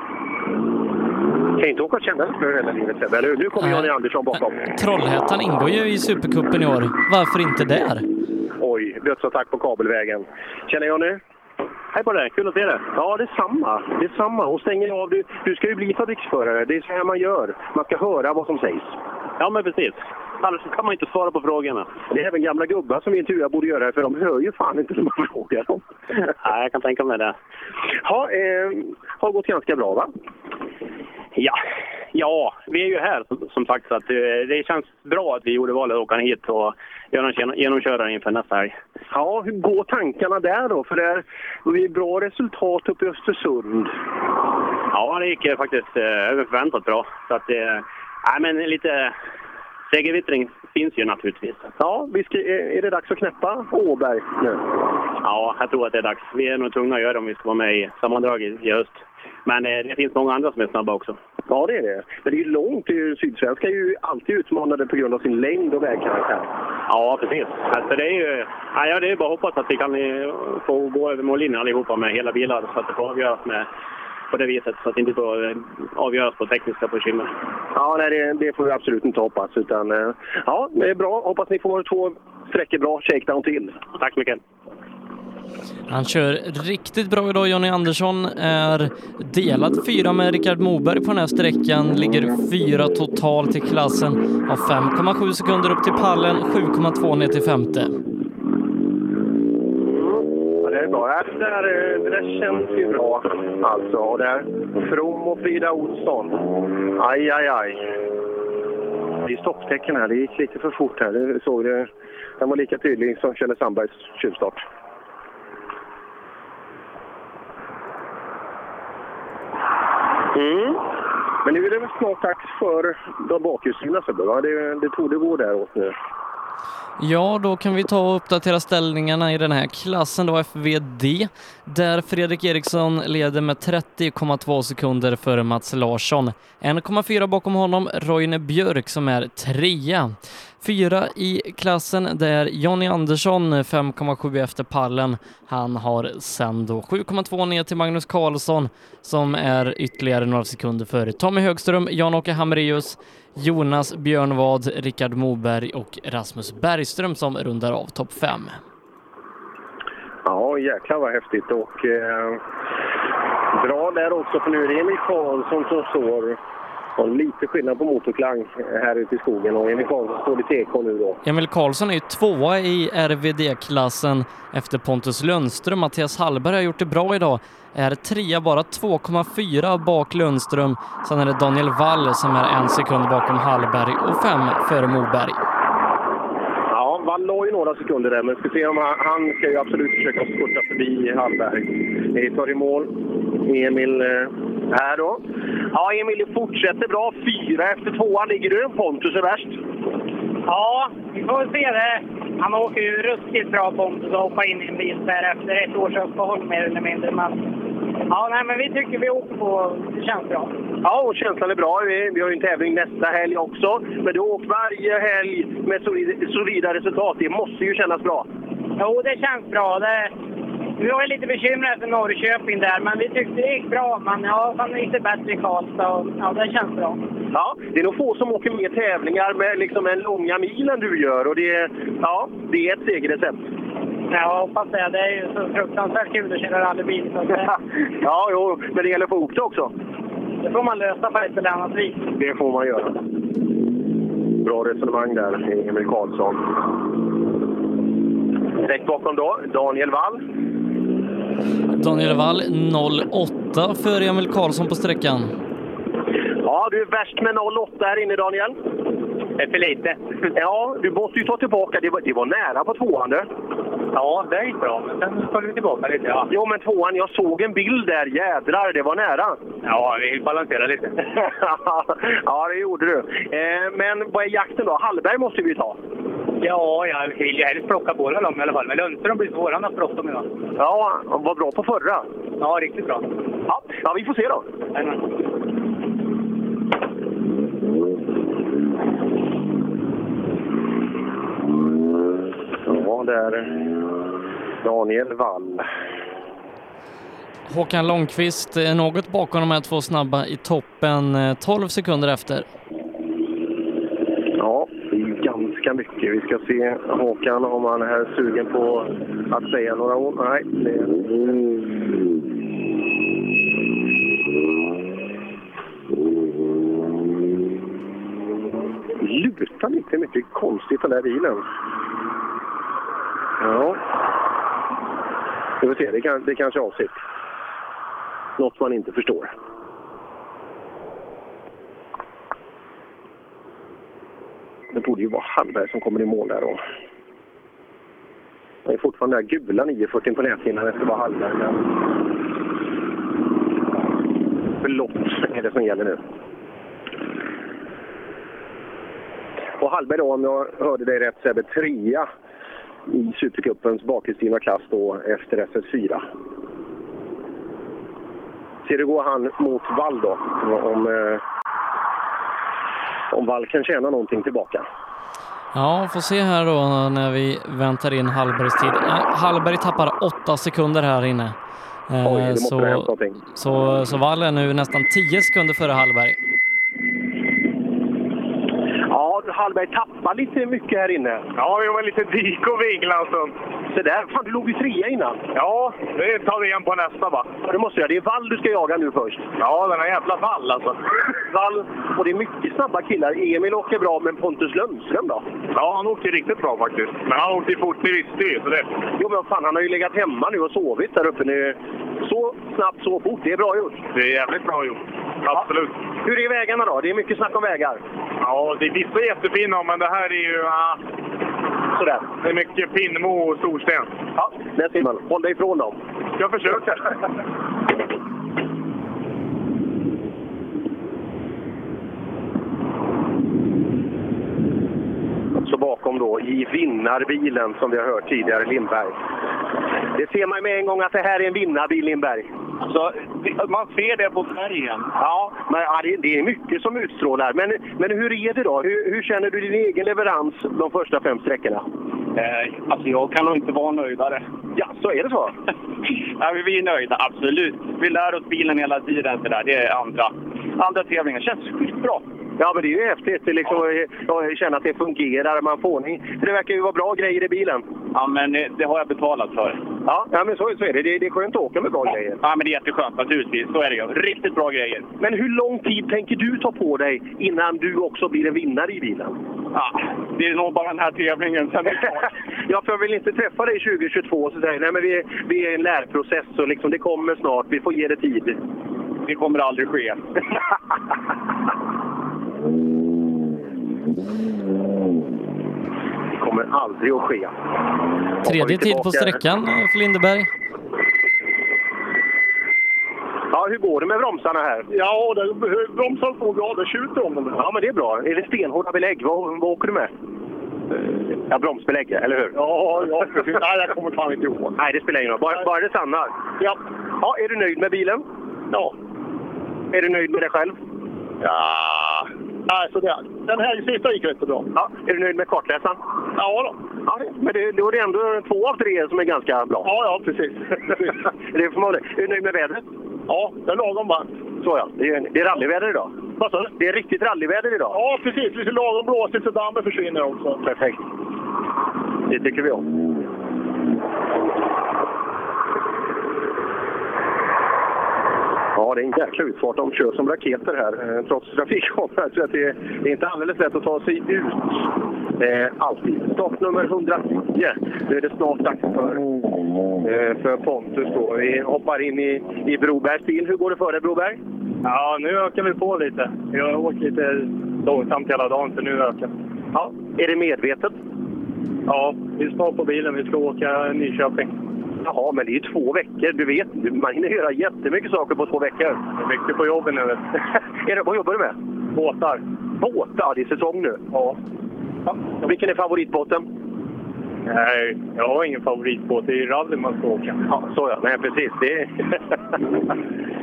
Kan ju inte åka och känna sig för hela livet, Sebbe, eller hur? Nu kommer Johnny Andersson bakom. Eh, Trollhättan ingår ju i Supercupen i år. Varför inte där? Oj, dödsattack på kabelvägen. Känner jag nu? Hej på dig, kul att se dig. Ja, detsamma. Detsamma. Och stänger av. Du, du ska ju bli fabriksförare. Det är så här man gör. Man ska höra vad som sägs. Ja, men precis. Annars kan man inte svara på frågorna. Det är även gamla gubbar som vi intervjuar borde göra det, för de hör ju fan inte när man frågar dem. Ja, jag kan tänka mig det. Ha, eh, har gått ganska bra, va? Ja. ja, vi är ju här som- som sagt. Så att, eh, det känns bra att vi gjorde valet att åka hit och genomkänna- genomköra det inför nästa helg. Ja, hur går tankarna där då? För det är det är bra resultat uppe i Östersund. Ja, det gick eh, faktiskt eh, över förväntat bra. Så att, eh, nej, men lite segervittring finns ju naturligtvis. Ja, vi ska, är är det dags att knäppa Åberg nu? Ja, jag tror att det är dags. Vi är nog tvungna att göra det om vi ska vara med i sammandraget i höst. Men eh, det finns många andra som är snabba också. Ja, det är det. Men det är ju långt. Det är ju- Sydsvenska är ju alltid utmanade på grund av sin längd och vägkaraktär. Ja, precis. Alltså, det är ju ja, ja, det är bara att hoppas att vi kan eh, få gå över mållinjen allihopa med hela bilar så att det får avgöras med, på det viset. Så att det inte får eh, avgöras på tekniska bekymmer. Ja, nej, det, det får vi absolut inte hoppas. Utan, eh, ja, det är bra. Hoppas ni får två sträckor bra shakedown till. Tack så mycket. Han kör riktigt bra idag. Jonny Andersson är delad fyra med Rickard Moberg på den här sträckan. Ligger fyra totalt i klassen. Har 5,7 sekunder upp till pallen, 7,2 ner till femte. Ja, det är bra. Ja, Det där, eh, det där känns ju bra. Alltså, och där. From och Frida Olsson. Aj, aj, aj. Det är stopptecken här. Det gick lite för fort här. Du såg det. Den var lika tydlig som Kjelle Sandbergs tjuvstart. Mm. Men nu är det väl snart dags för de bakhjulsdrivna Sebbe, va? Det, det tog det gå däråt nu. Ja, då kan vi ta och uppdatera ställningarna i den här klassen då, FVD, där Fredrik Eriksson leder med 30,2 sekunder före Mats Larsson. 1,4 bakom honom Roine Björk som är trea. Fyra i klassen där Jonny Andersson 5,7 efter pallen. Han har sen då 7,2 ner till Magnus Karlsson som är ytterligare några sekunder före Tommy Högström, Jan-Åke Hamreus, Jonas Björnvad, Rickard Moberg och Rasmus Bergström som rundar av topp fem. Ja, jäklar vad häftigt. Och eh, bra där också, för nu är det Emil Karlsson som står och lite skillnad på motorklang här ute i skogen. Och Emil Karlsson står i TK nu då. Emil Karlsson är ju tvåa i RVD-klassen efter Pontus Lundström. Mattias Hallberg har gjort det bra idag. Är trea, bara 2,4 bak Lundström. Sen är det Daniel Wall som är en sekund bakom Hallberg och fem före Moberg. Ja, Wall la ju några sekunder där, men ska se om han, han ska ju absolut försöka spurta förbi Hallberg. Vi tar i mål Emil eh, här då. Ja, Emil, det fortsätter bra. Fyra efter tvåan. Ligger du en Pontus är värst? Ja, vi får väl se det. han åker ju ruskigt bra Pontus och hoppa in i en bil där efter ett års uppehåll mer eller mindre. Men, ja, nej, men vi tycker vi åker på. Det känns bra. Ja, och känslan är bra. Vi, vi har ju en tävling nästa helg också. Men du har åkt varje helg med solida, solida resultat. Det måste ju kännas bra. Jo, det känns bra. Det, vi var ju lite bekymrade för Norrköping där, men vi tyckte det gick bra. Men ja, fan lite bättre i Karlstad. och- Ja, det känns bra. Ja, det är nog få som åker mer tävlingar med liksom en långa milen du gör. Och det, ja, det är ett segerrecept. Ja, jag hoppas det. Det är ju så fruktansvärt kul att köra rallybil. Så att det, Ja, jo, men det gäller att få ihop det också. det får man lösa på ett eller annat vis. Det får man göra. Bra resonemang där, Emil Karlsson. Direkt bakom då, Daniel Wall. Daniel Wall 08 för Emil Karlsson på sträckan. Ja, du är värst med 08 här inne, Daniel. Det är för lite. Ja, du måste ju ta tillbaka. Det var, det var nära på tvåan, du. Ja, det gick bra, men sen föll vi tillbaka lite. Ja. Jo, men tvåan, jag såg en bild där. Jädrar, det var nära. Ja, vi balanserar lite. ja, det gjorde du. Eh, men vad är jakten då? Hallberg måste vi ju ta. Ja, jag vill ju helst plocka båda dem i alla fall. Men Lundström blir svår. Han har bråttom idag. Ja, han var bra på förra. Ja, riktigt bra. Ja, ja vi får se då. Ja, där. Daniel Wall. Håkan Långqvist är något bakom de här två snabba i toppen, eh, 12 sekunder efter. Ja, det är ju ganska mycket. Vi ska se Håkan om han är sugen på att säga några ord. Nej, det... Lutar lite mycket konstigt den där bilen. Ja. Vi får se, det, kan, det kanske är avsikt. Något man inte förstår. Det borde ju vara Hallberg som kommer i mål där då. Det är fortfarande den där gula 940 på näthinnan efter vad Hallberg där. Blått är det som gäller nu. Och Hallberg då, om jag hörde dig rätt Sebbe, trea i Supercupens bakhjulsdrivna klass då efter SS4. Ser du går han mot Wall då? Om, eh, om Wall kan tjäna någonting tillbaka. Ja, får se här då när vi väntar in Hallbergs tid. Eh, Hallberg tappar 8 sekunder här inne. Eh, Oj, det måste ha hänt så, någonting. så, så Wall är nu nästan 10 sekunder före Hallberg. Ja, Hallberg tappar lite mycket här inne. Ja, jag var lite dik och vigla en stund. Se där, fan du låg ju trea innan. Ja, det tar vi igen på nästa va. Ja, det måste jag. Det är Wall du ska jaga nu först. Ja, den här jävla Wall alltså. Wall, och det är mycket snabba killar. Emil åker bra, men Pontus Lundström då? Ja, han åkte riktigt bra faktiskt. Men han åkte fort, det visste vi så det... Jo, men fan han har ju legat hemma nu och sovit där uppe nu. Så snabbt, så fort. Det är bra gjort. Det är jävligt bra gjort. Absolut. Hur är vägarna då? Det är mycket snack om vägar. Ja, det är vissa jättefina, men det här är ju... ah, sådär. Det är mycket pinnmo och storsten. Ja, där ser man. Håll dig ifrån dem. Jag försöker. Så bakom då, i vinnarbilen som vi har hört tidigare, Lindberg. Det ser man med en gång att det här är en vinnarbil, Lindberg. Så, man ser det på färgen. Ja, men, ja det, det är mycket som utstrålar. Men, men hur är det då? Hur, hur känner du din egen leverans de första fem sträckorna? Eh, alltså jag kan nog inte vara nöjdare. Ja, så är det så? Nej, vi är nöjda, absolut. Vi lär oss bilen hela tiden. Så där. Det är andra, andra tävlingar. känns skitbra. Ja, men det är ju häftigt det är liksom, att- att känna att det fungerar. Man får ordning. Det verkar ju vara bra grejer i bilen. Ja, men eh, det har jag betalat för. Ja, ja men så, så är det. det. Det är skönt att åka med bra grejer. Ja, men det är jätteskönt naturligtvis. Så är det ju. Riktigt bra grejer. Men hur lång tid tänker du ta på dig innan du också blir en vinnare i bilen? Ja, det är nog bara den här tävlingen. Sen är det klart. Ja, för jag vill inte träffa dig 2022 och så säger nej men vi, vi är i en lärprocess och liksom, det kommer snart, vi får ge det tid. Det kommer aldrig ske. Det kommer aldrig att ske. Tredje tid på sträckan eh, för Lindeberg. Ja, hur går det med bromsarna här? Ja, det, bromsarna går bra. Det tjuter om dem. Ja, men det är bra. Är det stenhårda belägg? Vad, vad åker du med? Ja, bromsbelägg, eller hur? Eh. Ja, ja precis. Nej, jag kommer fan inte ihåg. Nej, det spelar ingen roll. Bara, bara det stannar. Ja. ja. Är du nöjd med bilen? Ja. Är du nöjd med dig själv? Ja. Nej, så det, den här sista gick rätt så bra. Ja. Är du nöjd med kartläsaren? Ja, då. ja det, men det, då är det ändå två av tre som är ganska bra. Ja, ja, precis. det får man väl- Är du nöjd med vädret? Ja, det är lagom varmt. Så ja. Det är, det är rallyväder idag. Vad sa du? Det är riktigt rallyväder idag. Ja, precis. Lite lagom blåsigt så dammen försvinner också. Perfekt. Det tycker vi om. Ja, det är en jäkla utfart. De kör som raketer här, eh, trots trafikkameror. Så att det, är, det är inte alldeles lätt att ta sig ut eh, alltid. Stopp nummer 110. Nu är det snart dags för, eh, för Pontus. Då. Vi hoppar in i, i Brobergs bil. Hur går det för dig, Broberg? Ja, nu ökar vi på lite. Jag har åkt lite långsamt hela dagen, så nu ökar Ja, Är det medvetet? Ja, vi är snart på bilen. Vi ska åka Nyköping. Jaha, men det är ju två veckor. Du vet, man hinner göra jättemycket saker på två veckor. Det är mycket på jobbet nu. är det, vad jobbar du med? Båtar. Båtar? Det är säsong nu? Ja. ja. Vilken är favoritbåten? Nej, jag har ingen favoritbåt. Det är ju rally man ska åka. Ja, så ja. Nej, precis. Det är...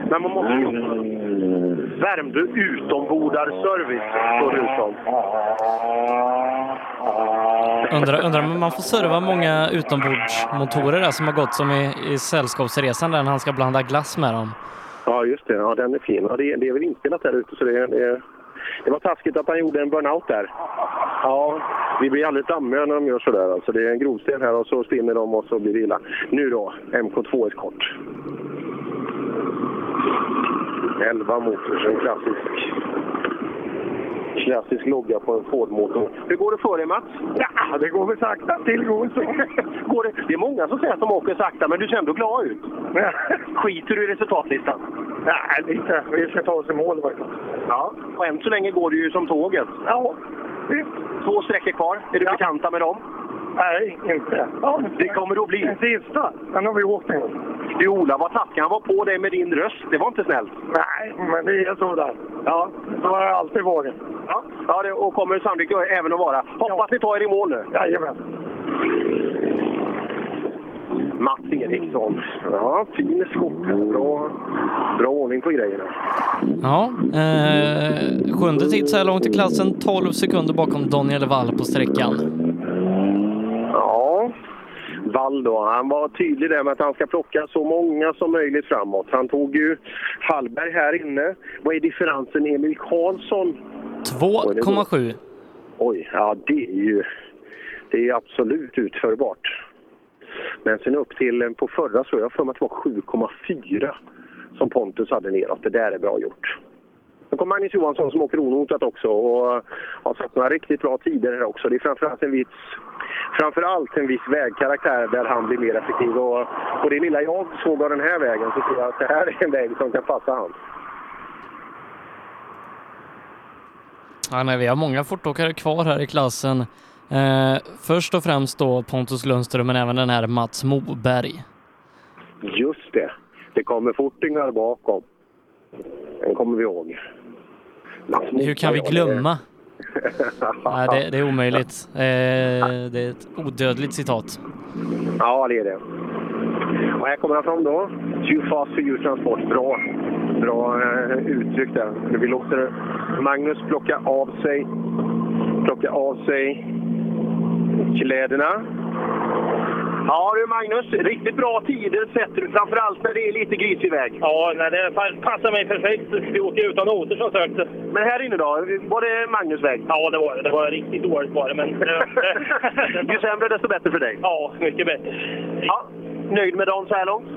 Men man måste ju... Mm. Värmdö utombordarservice, står det ut som. Undrar, undrar om man får serva många utombordsmotorer där som har gått som i, i sällskapsresan där när han ska blanda glass med dem. Ja, just det. Ja, den är fin. Ja, det, det är väl inspelat där ute, så det, det, det var taskigt att han gjorde en burnout där. Ja, vi blir alldeles dammiga när de gör sådär. Alltså, det är en grovsten här och så spinner de och så blir det illa. Nu då, MK2 Escort. 11 motor, så en klassisk, klassisk logga på en Ford-motor. Hur går det för dig, Mats? Ja, det går väl sakta till går så. Går det, det är många som säger att de åker sakta, men du ser ändå glad ut. Skiter du i resultatlistan? Nej, lite. Vi ska ta oss i mål faktiskt. Ja, och än så länge går det ju som tåget. Ja. Två sträckor kvar. Är du bekanta med dem? Nej, inte. Ja, det kommer du att bli. Den sista, den har vi åkt en gång. Du, Ola, vad taskig han var på dig med din röst. Det var inte snällt. Nej, men det är så där. Ja, så har jag alltid varit. Ja, ja det, och kommer sannolikt även att vara. Hoppas ni tar er i mål nu. Jajamän. Mats Eriksson. Ja, fin skjorta. Bra, bra ordning på grejerna. Ja, eh, sjunde tid så här långt i klassen, 12 sekunder bakom Daniel Wall på sträckan. Ja, Wall då. Han var tydlig där med att han ska plocka så många som möjligt framåt. Han tog ju Hallberg här inne. Vad är differensen Emil Karlsson? 2,7. Oj, ja det är ju det är ju absolut utförbart. Men sen upp till eh, på förra så har jag för mig att det var 7,4 som Pontus hade neråt. Det där är bra gjort. Nu kommer Magnus Johansson som åker onotat också och eh, har satt några riktigt bra tider här också. Det är framförallt en viss, framförallt en viss vägkaraktär där han blir mer effektiv. Och på det lilla jag såg av den här vägen så tror jag att det här är en väg som kan passa han. Ja, nej, vi har många fortåkare kvar här i klassen. Eh, först och främst då Pontus Lundström, men även den här Mats Moberg. Just det. Det kommer fortingar bakom. Den kommer vi ihåg. Hur kan vi glömma? Nej, det, det är omöjligt. Eh, det är ett odödligt citat. Ja, det är det. Och här kommer han fram då. Too fast for your transport. Bra, bra eh, uttryck där. Nu Vi låter Magnus plocka av sig, plocka av sig kläderna. Ja du Magnus, riktigt bra tider sätter du, framförallt när det är lite grisig väg. Ja, nej, det passar mig perfekt. Vi åker utan noter som sökte. Men här inne då, var det Magnus väg? Ja, det var det. Det var riktigt dåligt var det, men... Ju sämre desto bättre för dig. Ja, mycket bättre. Ja, nöjd med dem så här långt?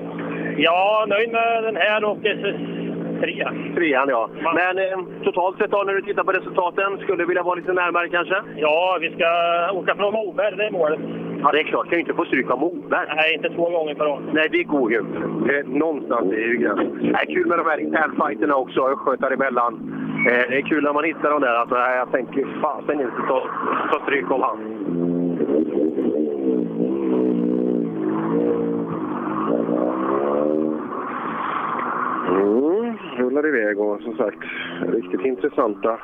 Ja, nöjd med den här och SS3. Trean ja. Men eh, totalt sett då, när du tittar på resultaten, skulle du vilja vara lite närmare kanske? Ja, vi ska åka från Moberg, det är målet. Ja, det är klart. Kan ju inte få stryk av Moberg. Nej, inte två gånger per år. Nej, det går ju inte. Det- Någonstans är ju gränsen. Det är kul med de här internfighterna också, östgötar emellan. Eh, det är kul när man hittar de där. Alltså, nej, jag tänker fasen inte ta, ta stryk av han. Mm, rullar iväg och som sagt, riktigt intressanta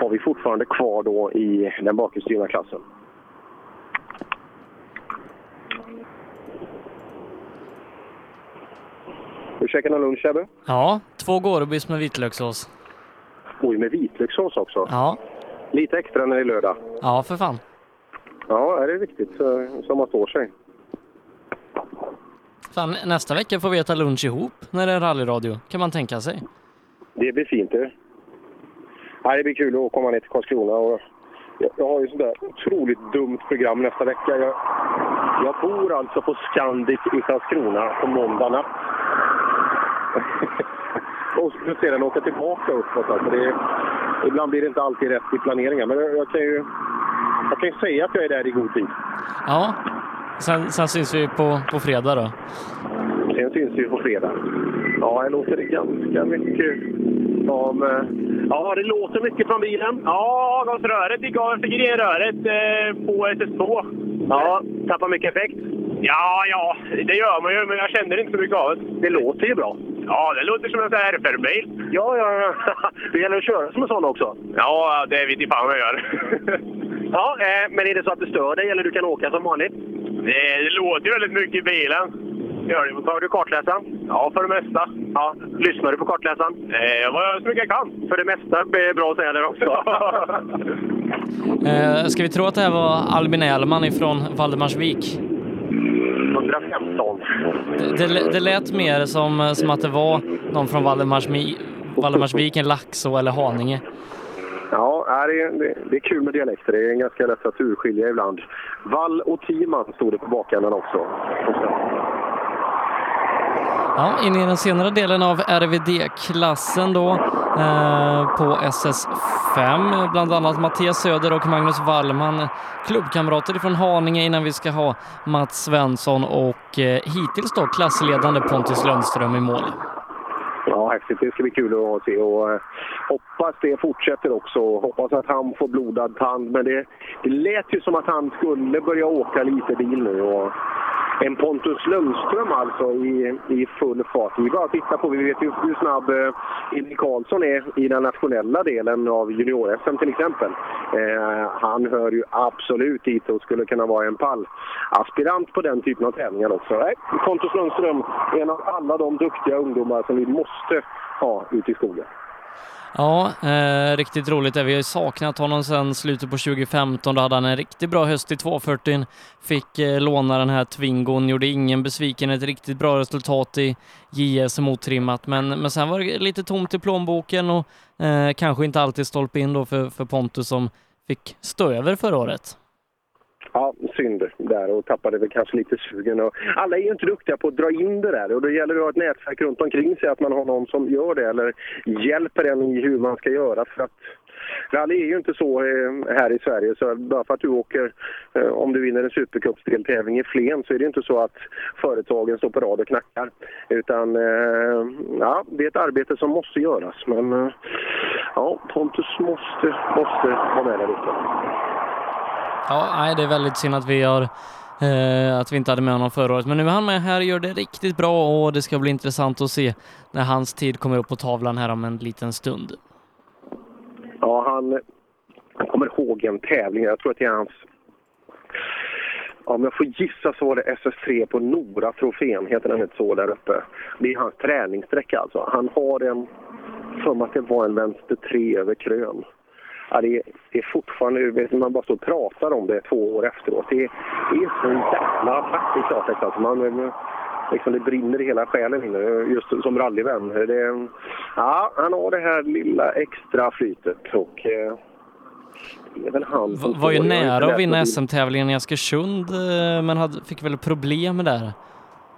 har vi fortfarande kvar då i den bakhjulsdrivna klassen. Du käkar någon lunch, Ebbe? Ja, två Gårebys med vitlökssås. Oj, med vitlökssås också? Ja. Lite extra när det är lördag. Ja, för fan. Ja, det är viktigt så, så man står sig. fan. Nästa vecka får vi äta lunch ihop när det är rallyradio, kan man tänka sig. Det blir fint det. Ja, det blir kul att komma ner till Karlskrona. Och jag, jag har ju sånt där otroligt dumt program nästa vecka. Jag, jag bor alltså på Scandic i Karlskrona på måndag natt. och så sedan åka tillbaka uppåt. Alltså det, ibland blir det inte alltid rätt i planeringen. Men jag, jag, kan ju, jag kan ju säga att jag är där i god tid. Ja, sen, sen syns vi på, på fredag då. Sen syns vi på fredag. Ja, det låter ganska mycket som... eh, Ja, det låter mycket från bilen. Ja, avgasröret gick av efter grenröret eh, på SS2. Ja, tappar mycket effekt? Ja, ja, det gör man ju, men jag känner inte så mycket av det. Det låter ju bra. Ja, det låter som en sån här RFR-bil. Ja, ja, ja. Det gäller att köra som en sån också. Ja, det vet inte fan vad jag gör. Ja, eh, men är det så att det stör dig eller du kan åka som vanligt? Det, det låter ju väldigt mycket i bilen. Gör det. Tar du kartläsaren? Ja, för det mesta. Ja, lyssnar du på kartläsaren? Eh, vad jag så mycket jag kan. För det mesta är bra att säga det också. Eh, ska vi tro att det här var Albin Elman ifrån Valdemarsvik? 115. Det, det, lä- det lät mer som, eh, som att det var någon från Valdemarsmi, Valdemarsviken, Laxå eller Haninge. Ja, nej, det är, det, det är kul med dialekter. Det är en ganska lätt att urskilja ibland. Wall och Timan stod det på bakänden också. Ja, in i den senare delen av RVD-klassen då eh, på SS5. Bland annat Mattias Söder och Magnus Wallman, klubbkamrater från Haninge innan vi ska ha Mats Svensson och eh, hittills då klassledande Pontus Lundström i mål. Ja, häftigt. Det ska bli kul att se. Och, eh, hoppas det fortsätter också. Hoppas att han får blodad tand. Men det, det lät ju som att han skulle börja åka lite bil nu. Och en Pontus Lundström alltså i, i full fart. Vi bara att titta på. Vi vet ju hur snabb eh, Emil Karlsson är i den nationella delen av junior-SM till exempel. Eh, han hör ju absolut dit och skulle kunna vara en pall. Aspirant på den typen av tävlingar också. Nej, Pontus Lundström, en av alla de duktiga ungdomar som vi måste ha ute i skogen. Ja, eh, riktigt roligt är. Vi har ju saknat honom sedan slutet på 2015. Då hade han en riktigt bra höst i 240. Fick eh, låna den här Twingon, gjorde ingen besviken. Ett riktigt bra resultat i JSM otrimmat. Men, men sen var det lite tomt i plånboken och eh, kanske inte alltid stolpe in då för, för Pontus som fick stå över förra året. Ja, synd där och tappade väl kanske lite sugen. Och alla är ju inte duktiga på att dra in det där och då gäller det att ha ett nätverk runt omkring sig, att man har någon som gör det eller hjälper en i hur man ska göra. För att rally är ju inte så eh, här i Sverige, så bara för att du åker, eh, om du vinner en supercupsdeltävling i Flen så är det ju inte så att företagen står på rad och knackar. Utan eh, ja, det är ett arbete som måste göras. Men eh, ja, Pontus måste, måste vara med där ute. Ja, nej, det är väldigt synd att vi har eh, att vi inte hade med honom förra året, men nu är han med här och gör det riktigt bra och det ska bli intressant att se när hans tid kommer upp på tavlan här om en liten stund. Ja, han jag kommer ihåg en tävling. Jag tror att det är hans... Ja, Om jag får gissa så var det SS3 på Nora-trofén, heter den inte så, där uppe. Det är hans träningssträcka alltså. Han har en... För mig att det var en vänster 3 över krön. Ja, det, är, det är fortfarande... vet du, Man bara står och pratar om det två år efteråt. Det, är- det är så jävla vackert i klartext alltså. Man, liksom, det brinner i hela själen inne, just som rallyvän. Det, ja, han har det här lilla extra flytet och... Eh, det är väl han V- som var ju står. Jag har inte nära att läst vinna något SM-tävlingen i Askersund, eh, men hade, fick väl problem där.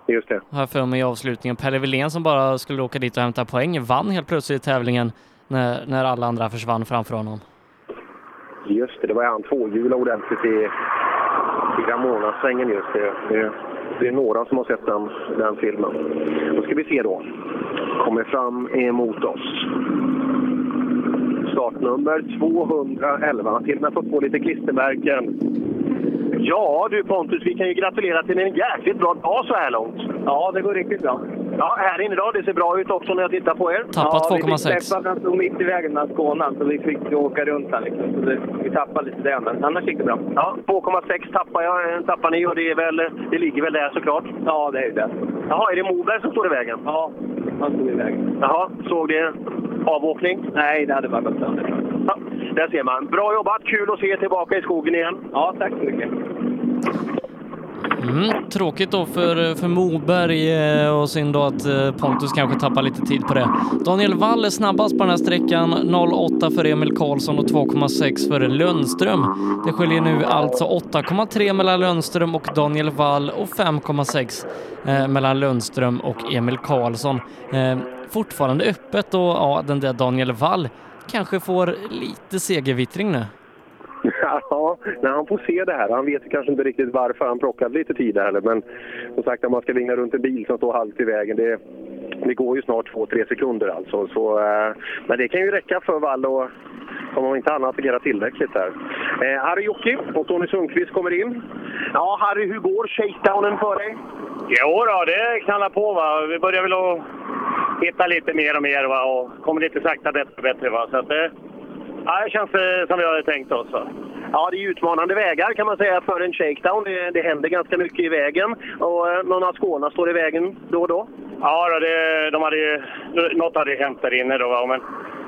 Just det. Har jag för mig i avslutningen. Pelle Wilén som bara skulle åka dit och hämta poäng vann helt plötsligt tävlingen när, när alla andra försvann framför honom. Just det, det var ju han tvåhjulade ordentligt i, i Ramona-svängen just det. det. Det är några som har sett den, den filmen. Då ska vi se då. Kommer fram emot oss. Startnummer 211. Till och med fått på lite klistermärken. Ja du Pontus, vi kan ju gratulera till en jäkligt bra dag så här långt. Ja, det går riktigt bra. Ja, här inne idag. Det ser bra ut också när jag tittar på er. Tappat ja, 2,6. Vi fick släppa, för han stod mitt i vägen mellan skånan, så vi fick åka runt här liksom. Så det, vi tappade lite där, men annars gick det bra. Ja, 2,6 tappar, jag, tappar ni och det, är väl, det ligger väl där såklart? Ja, det är ju det. Jaha, är det Moberg som står i vägen? Ja, han stod i vägen. Jaha, såg det avåkning? Nej, det hade bara gått sönder. Ja, där ser man. Bra jobbat! Kul att se er tillbaka i skogen igen. Ja, tack så mycket. Mm, tråkigt då för, för Moberg eh, och synd då att eh, Pontus kanske tappar lite tid på det. Daniel Wall är snabbast på den här sträckan, 0,8 för Emil Karlsson och 2,6 för Lönström. Det skiljer nu alltså 8,3 mellan Lönström och Daniel Wall och 5,6 eh, mellan Lönström och Emil Karlsson. Eh, fortfarande öppet och ja, den där Daniel Wall kanske får lite segervittring nu. Ja, när han får se det här. Han vet ju kanske inte riktigt varför han plockade lite tid där heller. Men som sagt, när man ska vinga runt en bil som står halvt i vägen, det, det går ju snart två, tre sekunder alltså. Så, eh, men det kan ju räcka för Wall och om man inte annat agerar tillräckligt där. Eh, Harry Jocke och Tony Sundqvist kommer in. Ja, Harry, hur går shakedownen för dig? Jo då, det knallar på. Va? Vi börjar väl att hitta lite mer och mer va? och kommer lite sakta bättre och bättre. Va? Så att, eh, ja, det känns eh, som vi hade tänkt oss. Va? Ja, det är ju utmanande vägar kan man säga för en shakedown. Det, det händer ganska mycket i vägen och eh, några skåna står i vägen då och då. Ja, då, det, de hade ju, något hade ju hänt där inne då, va? men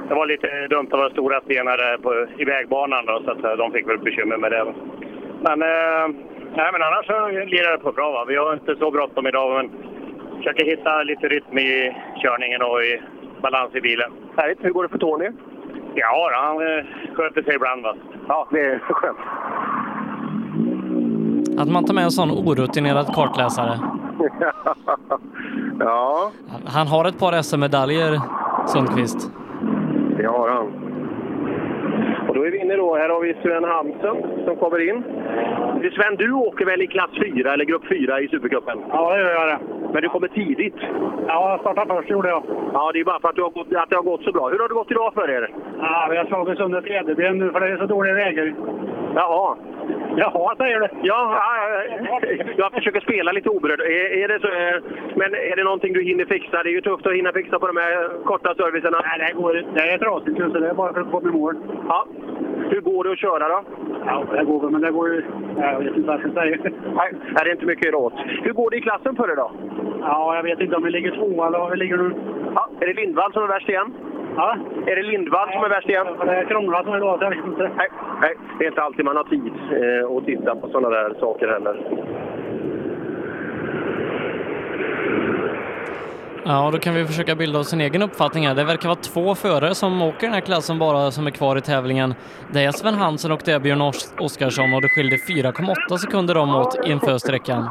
det var lite dumt att vara stora stenar där på, i vägbanan då, så att eh, de fick väl bekymmer med det. va. Men, eh, nej, men annars så lirar det på bra. Va? Vi har inte så bråttom idag, men försöker hitta lite rytm i körningen och i balans i bilen. Härligt. Hur går det för Tony? Ja, då, han eh, sköter sig ibland. Va? Ja, det är skönt. Att man tar med en sån orutinerad kartläsare. ja. Han har ett par SM-medaljer, Sundqvist. Det har han. Och då är vi inne då. Här har vi Sven Hamsen som kommer in. Sven, du åker väl i klass 4 eller grupp 4 i Supercupen? Ja, det gör jag. Men du kommer tidigt? Ja, jag startade först gjorde jag. Ja, det är bara för att, du har gått, att det har gått så bra. Hur har det gått idag för er? Ja, vi har slagit sönder tredjeben nu för det är så dåliga vägar. Jaha. Jaha, säger du. Ja, ja, ja, jag försöker spela lite oberörd. Är, är det så, eh, men är det någonting du hinner fixa? Det är ju tufft att hinna fixa på de här korta servicerna. Nej, det går Det är trasigt så det är bara för att komma i mål. Ja. Hur går det att köra då? Ja, det går väl, men det går ju... Jag vet inte vad jag ska säga. Nej, det är inte mycket råd. Hur går det i klassen för idag? Ja, jag vet inte om vi ligger tvåa eller vad vi ligger nu. Ja, är det Lindvall som är värst igen? Ja. Är det Lindvall som är värst igen? Det är krånglat som idag, så jag vet inte. Nej, nej, det är inte alltid man har tid eh, att titta på sådana där saker heller. Ja, då kan vi försöka bilda oss en egen uppfattning här. Det verkar vara två förare som åker den här klassen bara som är kvar i tävlingen. Det är Sven Hansen och det är Björn Os- Oskarsson och det skilde 4,8 sekunder dem åt inför sträckan.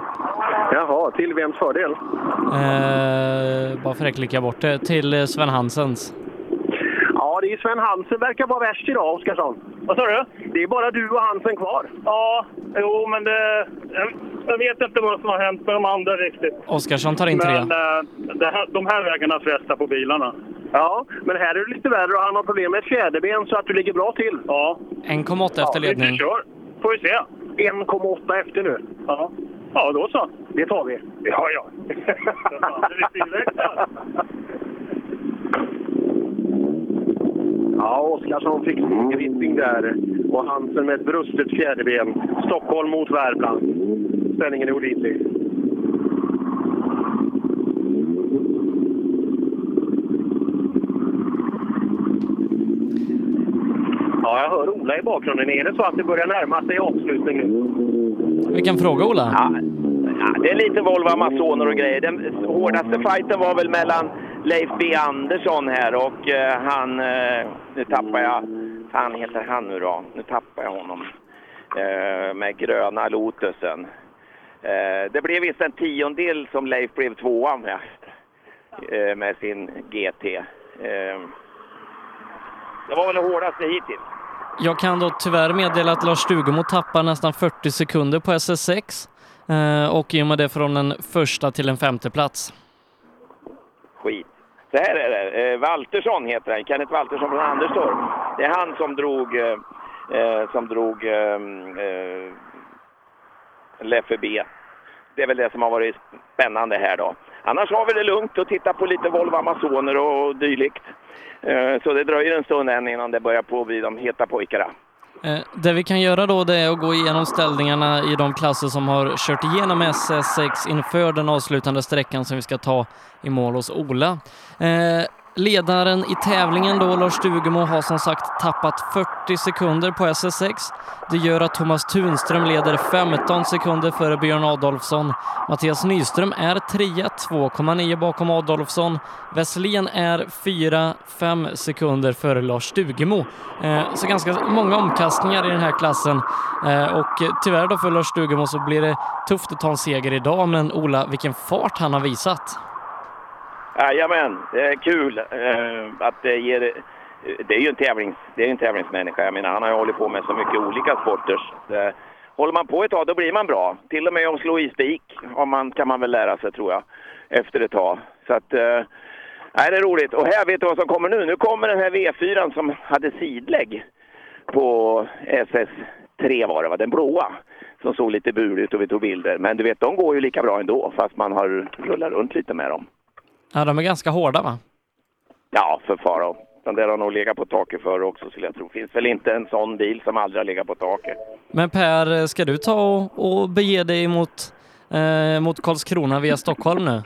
Jaha, till vems fördel? Eh, bara för att klicka bort det. Till eh, Sven Hansens. Ja, det är Sven Hansen verkar vara värst idag, Oskarsson. Vad sa du? Det är bara du och Hansen kvar. Ja, jo, men det, jag- jag vet inte vad som har hänt med de andra riktigt. Oskarsson tar in tre. Men eh, det här, de här vägarna frestar på bilarna. Ja, men här är det lite värre och han har problem med ett fjäderben så att du ligger bra till. Ja. 1,8 efter ledning. kör. Får vi se. 1,8 efter nu. Ja. ja, då så. Det tar vi. Ja, ja. Ja, Oskarsson fick segervittring där. Och Hansen med ett brustet fjäderben. Stockholm mot Värmland. Ställningen är olidlig. Ja, jag hör Ola i bakgrunden. Är det så att det börjar närma sig avslutning nu? Vi kan fråga Ola. Ja, det är lite Volvo Amazoner och grejer. Den hårdaste fighten var väl mellan Leif B Andersson här och eh, han... Eh, nu tappar jag... Han heter han nu då. Nu tappar jag honom. Eh, med gröna Lotusen. Eh, det blev visst en tiondel som Leif blev tvåa med. Eh, med sin GT. Eh, det var väl det hårdaste hittills. Jag kan då tyvärr meddela att Lars Stugemo tappar nästan 40 sekunder på SS6 eh, och i och med det från en första till en femte plats. skit. Så här är det. Eh, Waltersson heter han. Kenneth Waltersson från Anderstorp. Det är han som drog, eh, eh, som drog eh, eh, Leffe B. Det är väl det som har varit spännande här då. Annars har vi det lugnt och tittar på lite Volvo Amazoner och dylikt. Eh, Så det dröjer en stund än innan det börjar på bli de heta pojkarna. Eh, Det vi kan göra då det är att gå igenom ställningarna i de klasser som har kört igenom SS6 inför den avslutande sträckan som vi ska ta i mål hos Ola. Eh, Ledaren i tävlingen då, Lars Stugemo, har som sagt tappat 40 sekunder på SS6. Det gör att Thomas Tunström leder 15 sekunder före Björn Adolfsson. Mattias Nyström är trea, 2,9 bakom Adolfsson. Wesselin är 4-5 sekunder före Lars Stugemo. Eh, Så ganska många omkastningar i den här klassen. Eh, Och eh, tyvärr då för Lars Stugemo så blir det tufft att ta en seger idag, men Ola, vilken fart han har visat. Jajamän, det är kul eh, att det ger... eh, Det är ju en, tävlings, det är ju en tävlingsmänniska. Jag menar, han har ju hållit på med så mycket olika sporter. Så, eh, Håller man på ett tag, då blir man bra. Till och med om slå i spik om man, kan man väl lära sig, tror jag, efter ett tag. Så att, eh, nej, det är roligt. Och här, vet du vad som kommer nu? Nu kommer den här V4 som hade sidlägg på SS3 var det, va? den blåa. Som såg lite bulig ut och vi tog bilder. Men du vet, de går ju lika bra ändå, fast man har rullat runt lite med dem. Ja, de är ganska hårda va? Ja, för faro. Den där har nog legat på taket förr också skulle jag tro. Finns väl inte en sån bil som aldrig har legat på taket. Men Per, eh, ska du ta och, och bege dig mot, eh, mot Karlskrona via Stockholm nu?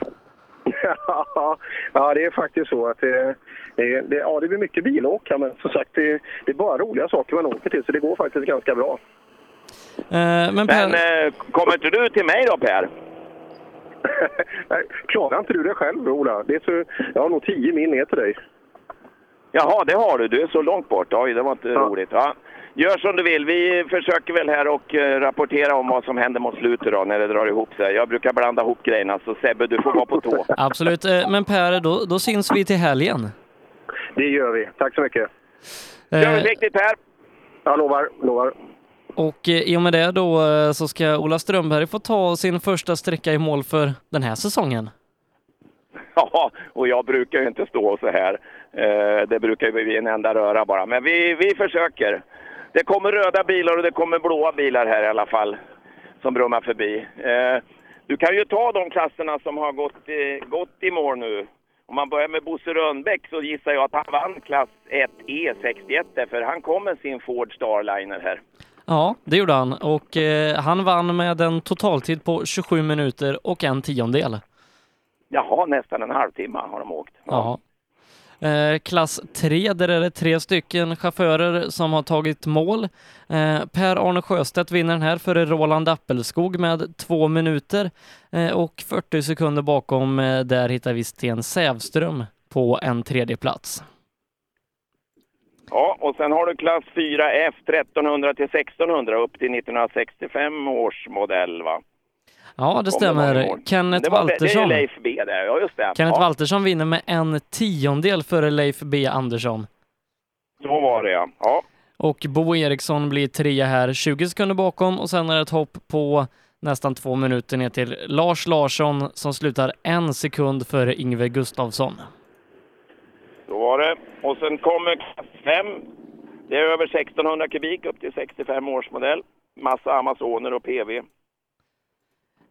Ja, ja, det är faktiskt så att det, det, det, ja, det blir mycket bilåka, men som sagt, det, det är bara roliga saker man åker till, så det går faktiskt ganska bra. Men, eh, kommer inte du till mig då Per? Nej, Klarar inte du det själv, Ola? Det är så, jag har nog tio mil ner till dig. Jaha, det har du. Du är så långt bort. Oj, det var inte roligt. Ja. Gör som du vill. Vi försöker väl här och eh, rapportera om vad som händer mot slutet då, när det drar ihop sig. Jag brukar blanda ihop grejerna, så Sebbe, du får vara på tå. Absolut. Eh, Men Per, då, då syns vi till helgen. Det gör vi. Tack så mycket. Gör det riktigt Per! Jag lovar, lovar. Eh, Och eh, i och med det då eh, så ska Ola Strömberg få ta sin första sträcka i mål för den här säsongen. Ja, och jag brukar ju inte stå så här. Eh, det brukar ju bli en enda röra bara. Men vi, vi försöker. Det kommer röda bilar och det kommer blåa bilar här i alla fall, som brummar förbi. Eh, du kan ju ta de klasserna som har gått, eh, gått i mål nu. Om man börjar med Bosse Rönnbäck så gissar jag att han vann klass 1E61 där, för han kom med sin Ford Starliner här. Ja, det gjorde han och eh, han vann med en totaltid på 27 minuter och en tiondel. Jaha, nästan en halvtimme har de åkt. Ja. Eh, Klass 3, där är det tre stycken chaufförer som har tagit mål. Eh, Per-Arne Sjöstedt vinner den här före Roland Appelskog med två minuter eh, och 40 sekunder bakom eh, där hittar vi Sten Sävström på en tredje plats. Ja, och sen har du klass 4F 1300 till 1600 upp till 1965 års modell va? Ja, det stämmer. Kenneth det, var, det är Waltersson. Leif B där, ja just det. Kenneth ja, Waltersson vinner med en tiondel före Leif B Andersson. Så var det ja. ja. Och Bo Eriksson blir trea här, 20 sekunder bakom och sen är det ett hopp på nästan två minuter ner till Lars Larsson som slutar en sekund före Yngve Gustafsson. Så var det. Och sen kommer klass 5. Det är över 1600 kubik upp till 65 års modell. Massa Amazoner och PV.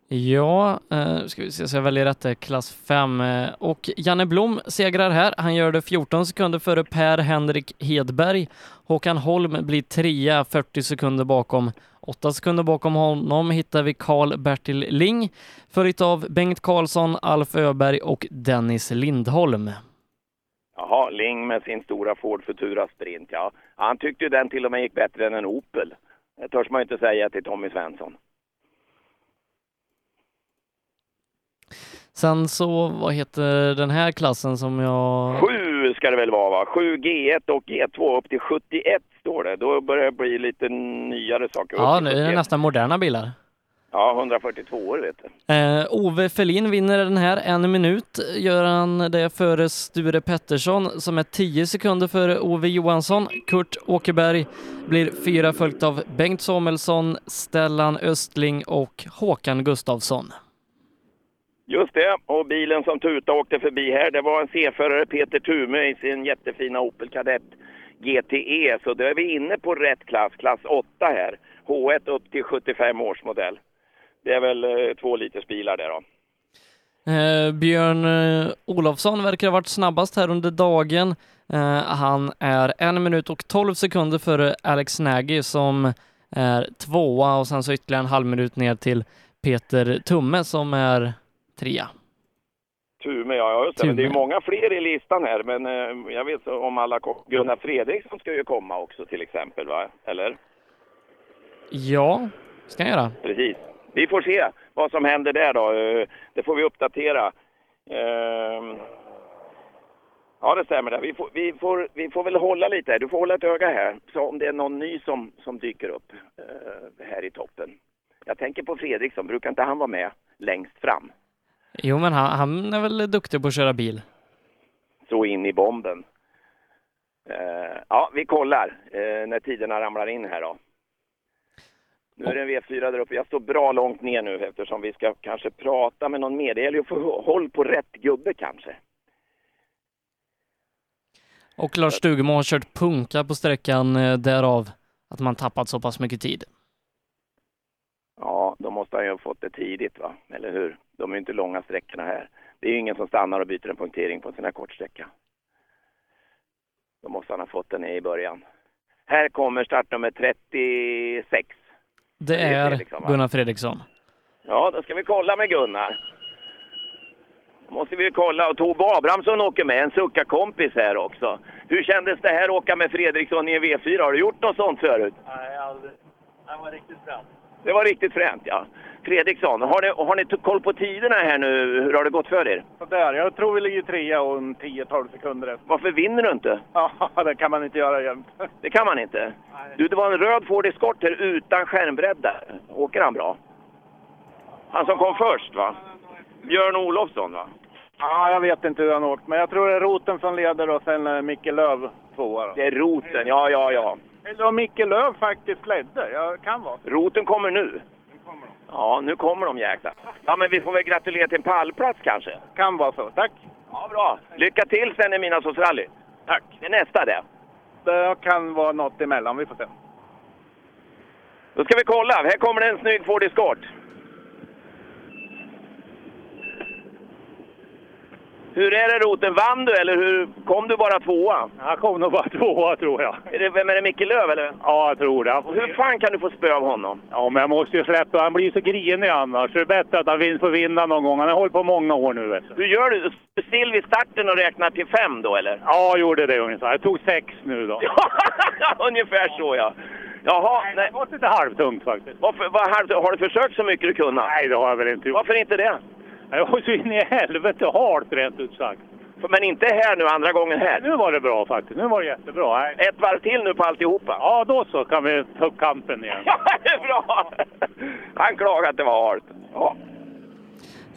Ja, eh, nu ska vi se så jag väljer rätt, det är klass 5. Eh, och Janne Blom segrar här. Han gör det 14 sekunder före Per-Henrik Hedberg. Håkan Holm blir trea, 40 sekunder bakom. 8 sekunder bakom honom hittar vi Karl-Bertil Ling, följt av Bengt Karlsson, Alf Öberg och Dennis Lindholm. Jaha, Ling med sin stora Ford Futura Sprint ja. Han tyckte ju den till och med gick bättre än en Opel. Det törs man ju inte säga till Tommy Svensson. Sen så, vad heter den här klassen som jag... Sju ska det väl vara va? Sju G1 och G2 upp till 71 står det. Då börjar det bli lite nyare saker. Ja, Upp nu till är det 71. nästan moderna bilar. Ja, 142 år vet du. Eh, Ove Felin vinner den här. En minut gör han det före Sture Pettersson som är 10 sekunder före Ove Johansson. Kurt Åkerberg blir fyra följt av Bengt Samuelsson, Stellan Östling och Håkan Gustafsson. Just det, och bilen som tuta åkte förbi här, det var en C-förare, Peter Tume, i sin jättefina Opel Kadett GTE. Så då är vi inne på rätt klass, klass 8 här. H1 upp till 75 års modell. Det är väl eh, två liters bilar där då. Eh, Björn eh, Olofsson verkar ha varit snabbast här under dagen. Eh, han är en minut och 12 sekunder före Alex Nagy som är tvåa och sen så ytterligare en halv minut ner till Peter Tumme som är trea. Tume, ja, ja just det. Men det är ju Tume. många fler i listan här, men eh, jag vet om alla kom. Gunnar Fredriksson ska ju komma också till exempel, va? Eller? Ja, ska jag göra. Precis. Vi får se vad som händer där då. Eh, Det får vi uppdatera. Ehm, Ja, det stämmer. Där. Vi, får, vi, får, vi får väl hålla lite här. Du får hålla ett öga här. Så om det är någon ny som, som dyker upp eh, här i toppen. Jag tänker på Fredriksson. Brukar inte han vara med längst fram? Jo, men han, han är väl duktig på att köra bil. så in i bomben. Eh, ja, vi kollar eh, när tiderna ramlar in här då. Nu är det en V4 där uppe. Jag står bra långt ner nu eftersom vi ska kanske prata med någon mer. Det gäller ju att få håll på rätt gubbe kanske. Och Lars Stugemo har kört punka på sträckan eh, därav att man tappat så pass mycket tid. Ja, då måste han ju ha fått det tidigt va, eller hur? De är ju inte långa sträckorna här. Det är ju ingen som stannar och byter en punktering på en sån här kort sträcka. Då måste han ha fått den i början. Här kommer startnummer 36. Det är är Fredriksson, va? Gunnar Fredriksson. Ja, då ska vi kolla med Gunnar. Då måste vi ju kolla. Och Tobbe Abrahamsson åker med, en suckarkompis här också. Hur kändes det här att åka med Fredriksson i en V4? Har du gjort något sånt förut? Nej, aldrig. Det var riktigt bra. Det var riktigt fränt, ja. Fredriksson, har ni, har ni t- koll på tiderna här nu? Hur har det gått för er? Sådär, jag tror vi ligger trea och en 10-12 sekunder efter. Varför vinner du inte? Ja, det kan man inte göra jämt. Det kan man inte. Du, det var en röd Ford Escort här utan skärmbredd där. Åker han bra? Han som kom först, va? Björn Olofsson, va? Ja, jag vet inte hur han åkt, men jag tror det är roten som leder och sen eh, Micke Löv tvåa. Det är roten, ja, ja, ja. Eller om Micke Löv faktiskt ledde. Jag kan vara. Roten kommer nu. Ja, nu kommer de jäklar. Ja, men vi får väl gratulera till en pallplats kanske. Kan vara så. Tack. Ja, bra. Lycka till sen i Midnattsås rally. Tack. Det är nästa det. Det kan vara något emellan. Vi får se. Då ska vi kolla. Här kommer det en snygg Ford Escort. Hur är det roten? Vann du eller hur kom du bara tvåa? Jag kom nog bara tvåa tror jag. Är det, vem är det, Micke Lööf eller? Ja, jag tror det. Hur fan kan du få spö av honom? Ja, men jag måste ju släppa. Han blir så grinig annars. Det är bättre att han vin- får vinna någon gång. Han har hållit på många år nu. Vet du. Hur gör du? Står du still vid starten och räknar till fem då eller? Ja, jag gjorde det ungefär. Jag tog sex nu då. Ungefär så ja. Jaha, nej. Det var lite halvtungt faktiskt. Varför, var, har, har du försökt så mycket du kunnat? Nej, det har jag väl inte gjort. Varför inte det? Jag var så in i helvete halt rent ut sagt. Men inte här nu, andra gången här? Nu var det bra faktiskt. Nu var det jättebra. Nej. Ett varv till nu på alltihopa? Ja, då så kan vi ta upp kampen igen. det är bra! Han klagade att det var halt. Ja.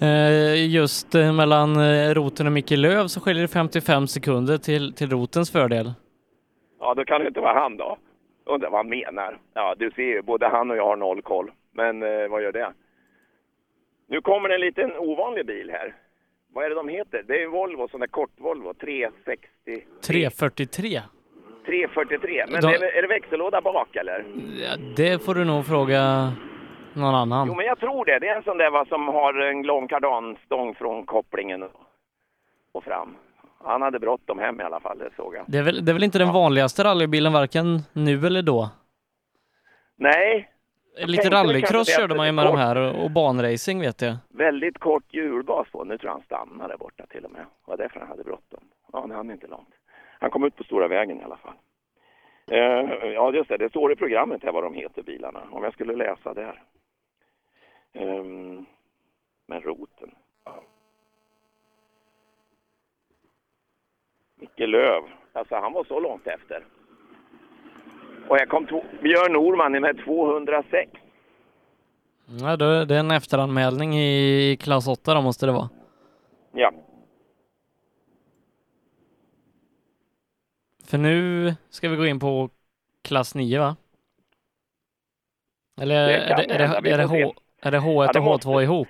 Eh, Just eh, mellan eh, roten och Micke Löv så skiljer det 55 sekunder till, till rotens fördel. ja, då kan det inte vara han då. Undrar vad han menar. Ja, du ser ju, både han och jag har noll koll. Men eh, vad gör det? Nu kommer en liten ovanlig bil här. Vad är det de heter? Det är en Volvo, sån där kort-Volvo. 360... 3.43. 343. Men De- är, det, är det växellåda bak eller? Ja, Det får du nog fråga någon Jo, annan. men jag tror det. Det är en sån där va, som har en lång kardanstång från kopplingen och fram. Han hade bråttom hem i alla fall, det såg jag. Det är väl, det är väl inte den vanligaste rallybilen varken nu eller då? Nej. Jag Lite tänkte väl rallycross kanske det körde att man ju det med de kort- här och och banracing vet jag. Väldigt kort hjulbas på. Nu tror jag han stannade där borta till och med. Det var därför han hade bråttom. Ja, han hann inte långt. Han kom ut på stora vägen i alla fall. Eh, ja, just det. Det står i programmet här vad de heter, bilarna. Om jag skulle läsa där. Ehm, men roten. Micke Löv. Alltså, han var så långt efter. Och här kom två, Björn Norman med 206. Ja, det det är en efteranmälning i klass 8 då måste det vara. Ja. För nu ska vi gå in på klass 9 va? Eller Det är kan det, är det, hända, vi är det, får H, är det Ja, H1 det och H2 ihop?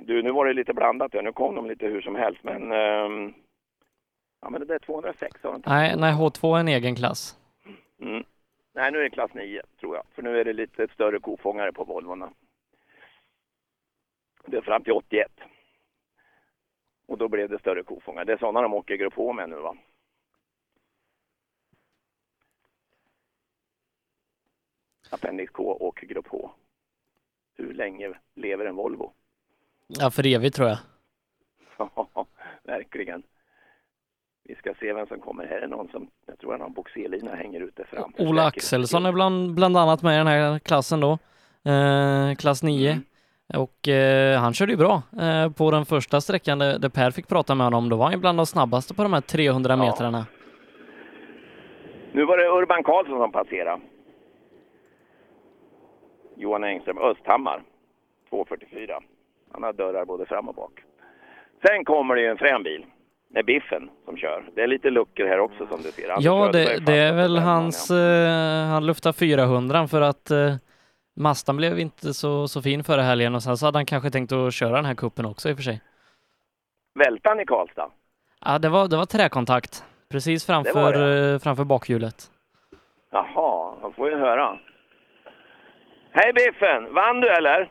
Du, nu var det lite blandat. där. Nu kom de lite hur som helst, men... ehm, ja, men det där 206 har de inte. Nej, nej, H2 är en egen klass. Mm. Nej, nu är det klass 9, tror jag. För nu är det lite större kofångare på Volvorna. Det är fram till 81. Och då blev det större kofångar. Det är sådana de åker i grupp H med nu va. Appendix K och grupp H. Hur länge lever en Volvo? Ja, för evigt tror jag. Ja, verkligen. Vi ska se vem som kommer. Här är någon som, jag tror han har en boxerlina hänger ute fram. Ola Axelsson är bland, bland annat med i den här klassen då, eh, klass 9. Och eh, han körde ju bra eh, på den första sträckan där, där Per fick prata med honom. Då var han ju bland de snabbaste på de här 300 metrarna. Nu var det Urban Karlsson som passerade. Johan Engström, Östhammar, 2.44. Han har dörrar både fram och bak. Sen kommer det ju en frän bil. Det är Biffen som kör. Det är lite luckor här också som du ser. Anders Ja, Ödberg det, det är väl hans... Eh, han luftade 400 för att eh, Mastan blev inte så, så fin förra helgen och sen så hade han kanske tänkt att köra den här kuppen också i och för sig. Välte han i Karlstad? Ja, det var, det var träkontakt precis framför, eh, framför bakhjulet. Jaha, han får ju höra. Hej Biffen! Vann du eller?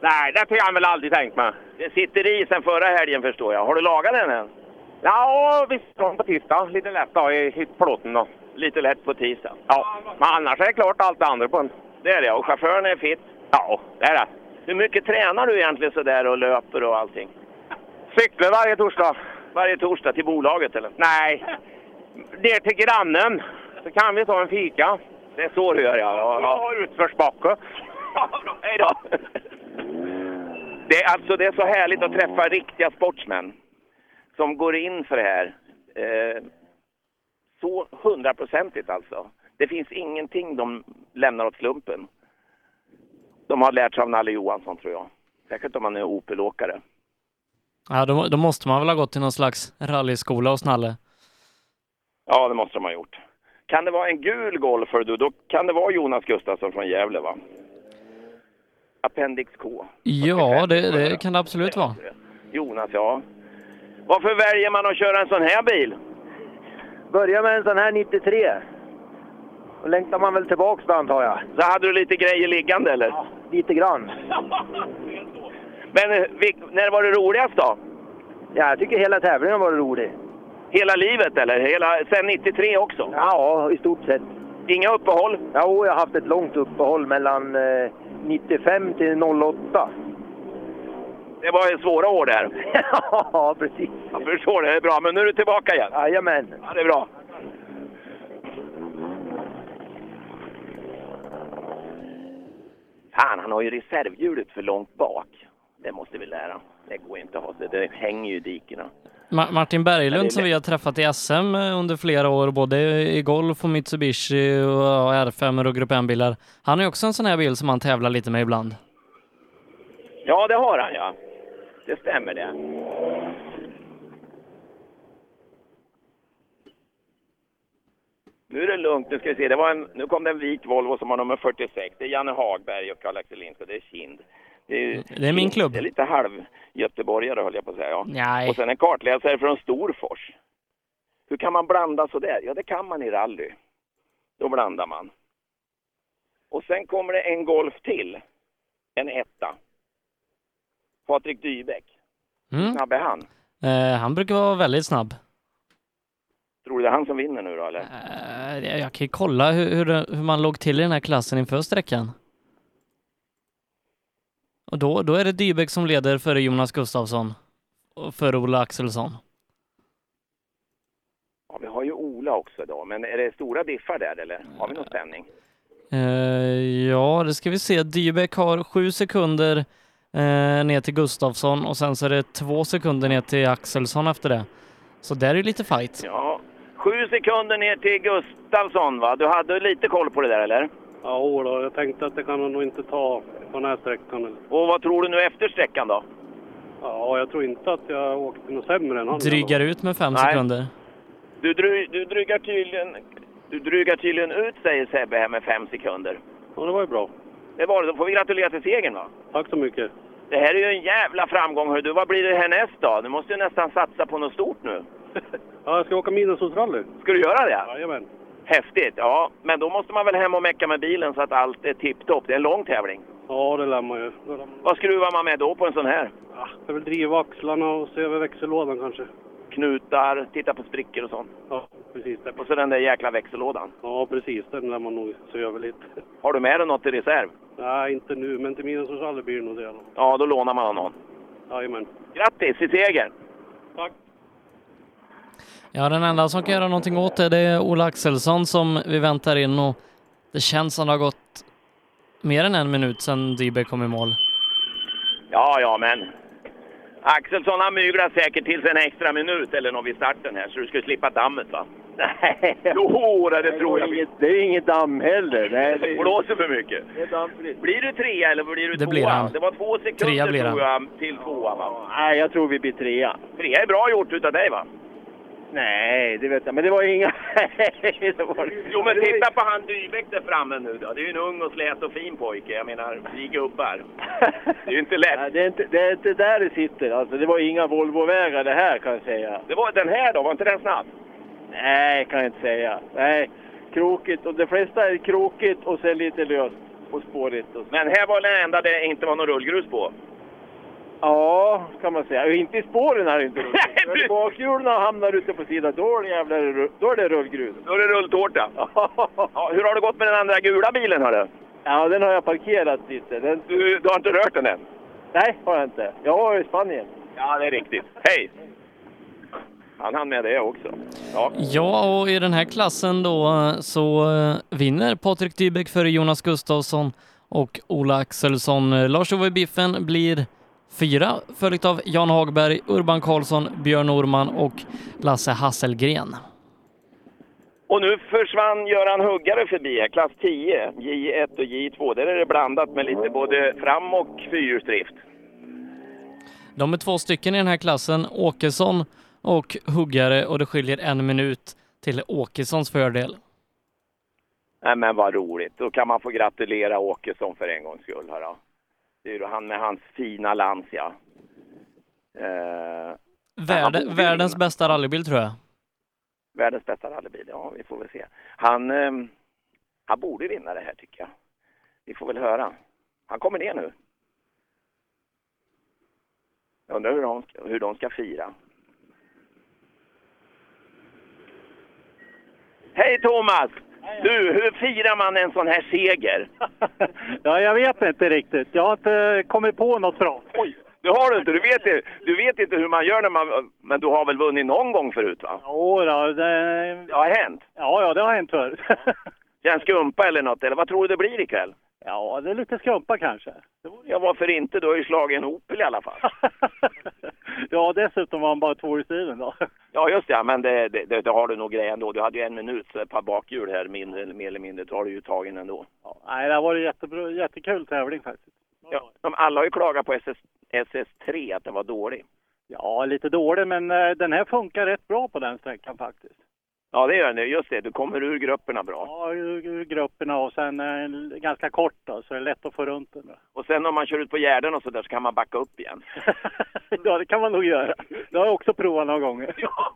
Nej, det har jag väl aldrig tänkt mig. Det sitter i sen förra helgen förstår jag. Har du lagat den än? Ja, vi står på tisdag. Lite lätt då i plåten då. Lite lätt på tisdag? Ja, men annars är det klart allt det andra på en. Det är det, och chauffören är fit? Ja, det är det. Hur mycket tränar du egentligen sådär och löper och allting? Cyklar varje torsdag. Varje torsdag? Till bolaget eller? Nej, ner till grannen. Så kan vi ta en fika. Det är så du gör ja. ja, ja. utförsbacke. Hej då! Det är, alltså, det är så härligt att träffa riktiga sportsmän som går in för det här. Eh, så hundraprocentigt alltså. Det finns ingenting de lämnar åt slumpen. De har lärt sig av Nalle Johansson tror jag. Särskilt om man är Opelåkare. Ja, då, då måste man väl ha gått till någon slags rallyskola hos Nalle. Ja, det måste de ha gjort. Kan det vara en gul golfer du, då kan det vara Jonas Gustafsson från Gävle va? Appendix K. Ja, det, det kan det absolut vara. Jonas, ja. Varför väljer man att köra en sån här bil? Börja med en sån här 93. Då längtar man väl tillbaks då antar jag. Så hade du lite grejer liggande eller? Lite grann. Men eh, vil- när var det roligast då? Ja, jag tycker hela tävlingen var rolig. Hela livet eller? Hela, sen 93 också? Ja, i stort sett. Inga uppehåll? Jo, jag har haft ett långt uppehåll mellan eh, 95 till 08. Det var ju svåra år där. ja, precis. Jag förstår det, det är bra. Men nu är du tillbaka igen? Jajamän. Ja, det är bra. Fan, han har ju reservhjulet för långt bak. Det måste vi lära. Det går inte att ha. Det, det hänger ju i dikena. Ma- Martin Berglund som vi har träffat i SM under flera år, både i golf och Mitsubishi och ja, R5 och Grupp M-bilar. Han är också en sån här bil som han tävlar lite med ibland. Ja, det har han ja. Det stämmer det. Nu är det lugnt. Nu ska vi se. Det var en, nu kom det en vit Volvo som har nummer 46. Det är Janne Hagberg och Karl-Axel Lind, så det är Kind. Det är, Det är min klubb. Det är lite halv-göteborgare höll jag på att säga. Ja. Nej. Och sen en kartläsare från Storfors. Hur kan man blanda så där? Ja, det kan man i rally. Då blandar man. Och sen kommer det en Golf till. En etta. Patrik Dybeck. Mm. Snabb är han. Eh, han brukar vara väldigt snabb. Tror du det är han som vinner nu då eller? Eh, Jag kan ju kolla hur, hur, det- hur man låg till i den här klassen inför sträckan. Och då, då är det Dybeck som leder före Jonas Gustafsson och före Ola Axelsson. Ja, vi har ju Ola också idag. Men är det stora diffar där eller? Har vi någon spänning? Eh, ja, det ska vi se. Dybeck har sju sekunder eh, ner till Gustafsson och sen så är det två sekunder ner till Axelsson efter det. Så där är det lite fight. Ja. Sju sekunder ner till Gustafsson va? Du hade lite koll på det där eller? Ja, jo då, jag tänkte att det kan han nog inte ta på den här sträckan. Och vad tror du nu efter sträckan då? Ja, jag tror inte att jag åkte något sämre än han. Drygar ut med fem Nej. sekunder. Du, dry, du drygar tydligen... Du drygar tydligen ut säger Sebbe här med fem sekunder. Ja, det var ju bra. Det var det. Då får vi gratulera till segern va? Tack så mycket. Det här är ju en jävla framgång hör du. Vad blir det härnäst då? Du måste ju nästan satsa på något stort nu. Ja, jag ska åka Midnattssolsrally. Ska du göra det? Jajamän. Häftigt, ja. Men då måste man väl hem och mecka med bilen så att allt är tipptopp. Det är en lång tävling. Ja, det lär man ju. Vad skruvar man med då på en sån här? Jag vill driva axlarna och se över växellådan kanske. Knutar, titta på sprickor och sånt. Ja, precis det. Och så den där jäkla växellådan. Ja, precis. Den lär man nog se över lite. Har du med dig något i reserv? Nej, inte nu, men till midsommarsallet blir det nog det. Ja, då lånar man någon. Jajamän. Grattis i segern! Ja, den enda som kan göra någonting åt det, det är Ola Axelsson som vi väntar in och det känns som det har gått mer än en minut sedan Dybe kom i mål. Ja, ja, men... Axelsson han myglar säkert till sig en extra minut eller något vid starten här, så du skulle slippa dammet va? Nej! Jo, det, det tror jag. Inget, det är inget damm heller. Nej, Det blåser för mycket. Det är dammfritt. Blir du trea eller blir du Det tvåa? blir han. Det var två Trea sekunder blir tror jag till tvåa va? Nej, jag tror vi blir trea. Trea är bra gjort utav dig va? Nej, det vet jag. Men det var ju inga... det var... Jo men titta på han Dybeck där framme nu då. Det är ju en ung och slät och fin pojke. Jag menar, vi gubbar. Det är ju inte lätt. Nej, det, är inte, det är inte där det sitter. Alltså, det var inga Volvo-vägar det här kan jag säga. Det var den här då, var inte den snabb? Nej, kan jag inte säga. Nej, krokigt. Och de flesta är krokigt och sen lite löst och spårigt. Och så. Men här var den enda det inte var någon rullgrus på. Ja, kan man säga. Och Inte i spåren här inte. Men Bakhjulen hamnar ute på sidan, då är det jävla rull- då är det rullgrus. Då är det rulltårta. Ja, hur har det gått med den andra gula bilen hörru? Ja, den har jag parkerat lite. Den... Du, du har inte rört den än? Nej, har jag inte. Jag har i Spanien. Ja, det är riktigt. Hej! Han hann med det också. Ja. Ja, och i den här klassen då eh, så eh, vinner Patrik Dybeck före Jonas Gustafsson och Ola Axelsson. Eh, Lars-Ove Biffen blir fyra, följt av Jan Hagberg, Urban Karlsson, Björn Norman och Lasse Hasselgren. Och nu försvann Göran Huggare förbi här, klass 10, J1 och J2. Där är det blandat med lite både fram och fyrhjulsdrift. De är två stycken i den här klassen, Åkesson och Huggare, och det skiljer en minut till Åkessons fördel. Nej men vad roligt. Då kan man få gratulera Åkesson för en gångs skull. Här, då. Det är ju han med hans fina Lancia. Eh, Värde, världens bästa rallybil tror jag. världens bästa rallybil, ja vi får väl se. Han, ehm, han borde vinna det här tycker jag. Vi får väl höra. Han kommer ner nu. Jag undrar hur de, ska- hur de ska fira. Hej Thomas! Du, hur firar man en sån här seger? Ja, jag vet inte riktigt. Jag har inte kommit på något bra. Oj, det har du inte. Du vet, det- du vet inte hur man gör när man... Men du har väl vunnit någon gång förut va? Jo, då, det... Det har hänt. Ja, ja, det har hänt förr. Känns skumpa eller något? Eller vad tror du det blir ikväll? Ja, det är lite skumpa kanske. Ja, varför inte? Du har ju slagit en Opel i alla fall. Ja, dessutom var han bara tvåhjulsdriven då. Ja, just det. Men det, det, det, det har du nog grejen ändå. Du hade ju en minut, så ett par bakhjul här, mindre, mer eller mindre. Då har du ju tagit den ändå. Nej, det här var en jättebra, jättekul tävling faktiskt. Ja, de, alla har ju klagat på SS, SS3, att den var dålig. Ja, lite dålig, men eh, den här funkar rätt bra på den sträckan faktiskt. Ja, det gör den. Just det, du kommer ur grupperna bra. Ja, ur ur grupperna och sen eh, ganska kort då, så det är lätt att få runt den. då. Och sen om man kör ut på gärden och så där så kan man backa upp igen. Ja, det kan man nog göra. Det har jag också provat några gånger. Ja,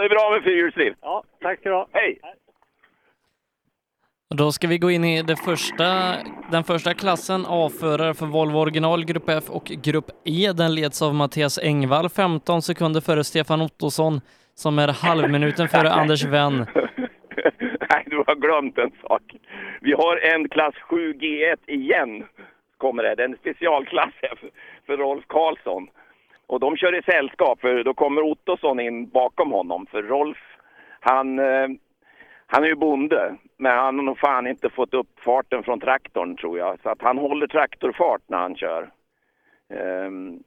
det är bra med fyrhjulsdrift. Ja, tack ska du ha. Hej! Och Då ska vi gå in i det första, den första klassen A-förare för Volvo original Grupp F och Grupp E. Den leds av Mattias Engvall 15 sekunder före Stefan Ottosson som är halvminuten före Anders Wenn. Nej, du har glömt en sak. Vi har en klass 7G1 igen, kommer det. Det är en specialklass här för, för Rolf Karlsson. Och de kör i sällskap, för då kommer Ottosson in bakom honom. För Rolf, han, eh, han är ju bonde, men han har nog fan inte fått upp farten från traktorn, tror jag. Så att han håller traktorfart när han kör. Ehm,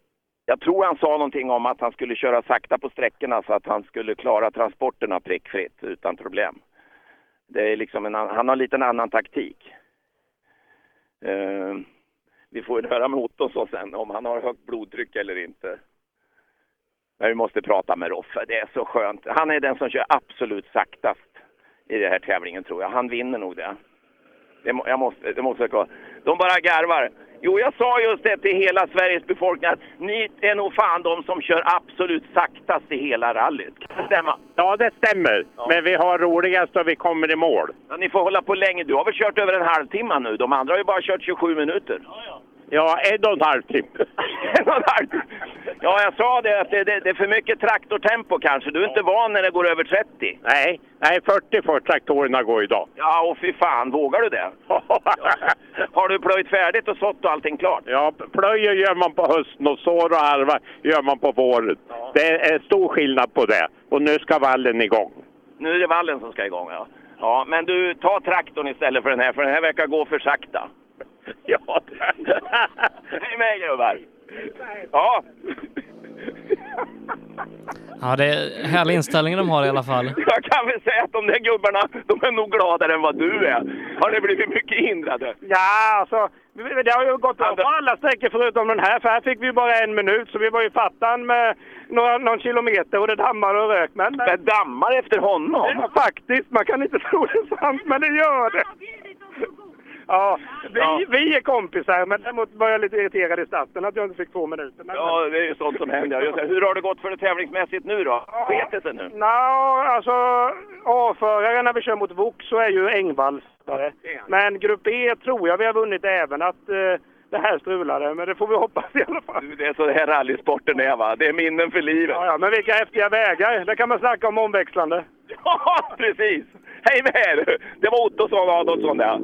jag tror han sa någonting om att han skulle köra sakta på sträckorna så att han skulle klara transporterna prickfritt utan problem. Det är liksom en, ann- han har lite en annan taktik. Eh, vi får väl höra med Ottosson sen om han har högt blodtryck eller inte. Men vi måste prata med Roffe, det är så skönt. Han är den som kör absolut saktast i den här tävlingen tror jag. Han vinner nog det. Det, må- jag måste, det måste jag kolla. De bara garvar. Jo, jag sa just det till hela Sveriges befolkning att ni är nog fan de som kör absolut saktast i hela rallyt. Kan det stämma? Ja, det stämmer. Men vi har roligast och vi kommer i mål. Ja, ni får hålla på länge. Du har väl kört över en halvtimme nu? De andra har ju bara kört 27 minuter. Ja, en och en halv timme. En och en halv. Ja, jag sa det att det, det, det är för mycket traktortempo kanske. Du är inte van när det går över 30. Nej, nej 40 får traktorerna gå idag. Ja, och fy fan, vågar du det? Har du plöjt färdigt och sått och allting klart? Ja, plöjer gör man på hösten och sår och harva gör man på våren. Det är stor skillnad på det. Och nu ska vallen igång. Nu är det vallen som ska igång, ja. Ja, men du, ta traktorn istället för den här, för den här verkar gå för sakta. Ja. Hej med er, gubbar! Ja. Ja, det är härlig inställning de har i alla fall. Jag kan väl säga att de där gubbarna, de är nog gladare än vad du är. Har ni blivit mycket hindrade? Alltså- Ja, alltså. Det har ju gått bra på alla sträckor förutom den här, för här fick vi bara en minut, så vi var ju fattan med några, någon kilometer och det dammade och rök. Men, det dammar efter honom? Ja, faktiskt. Man kan inte tro det är sant, men det gör det. Ja, vi, Ja. vi är kompisar, men däremot var jag lite irriterad i starten att jag inte fick två minuter. Men, Ja, det är ju sånt som händer. Just det. Hur har det gått för det tävlingsmässigt nu då? Sket det sig nu? Nja, alltså A-förare när vi kör mot VOK så är ju Engvall förare. Men Grupp E tror jag vi har vunnit även att eh, det här strulade, men det får vi hoppas i alla fall. Du, Det är så det här rallysporten är va? Det är minnen för livet. Ja, ja, men vilka häftiga vägar! Det kan man snacka om omväxlande. Ja, precis! Hej med er! Det var Ottosson och Adolfsson där.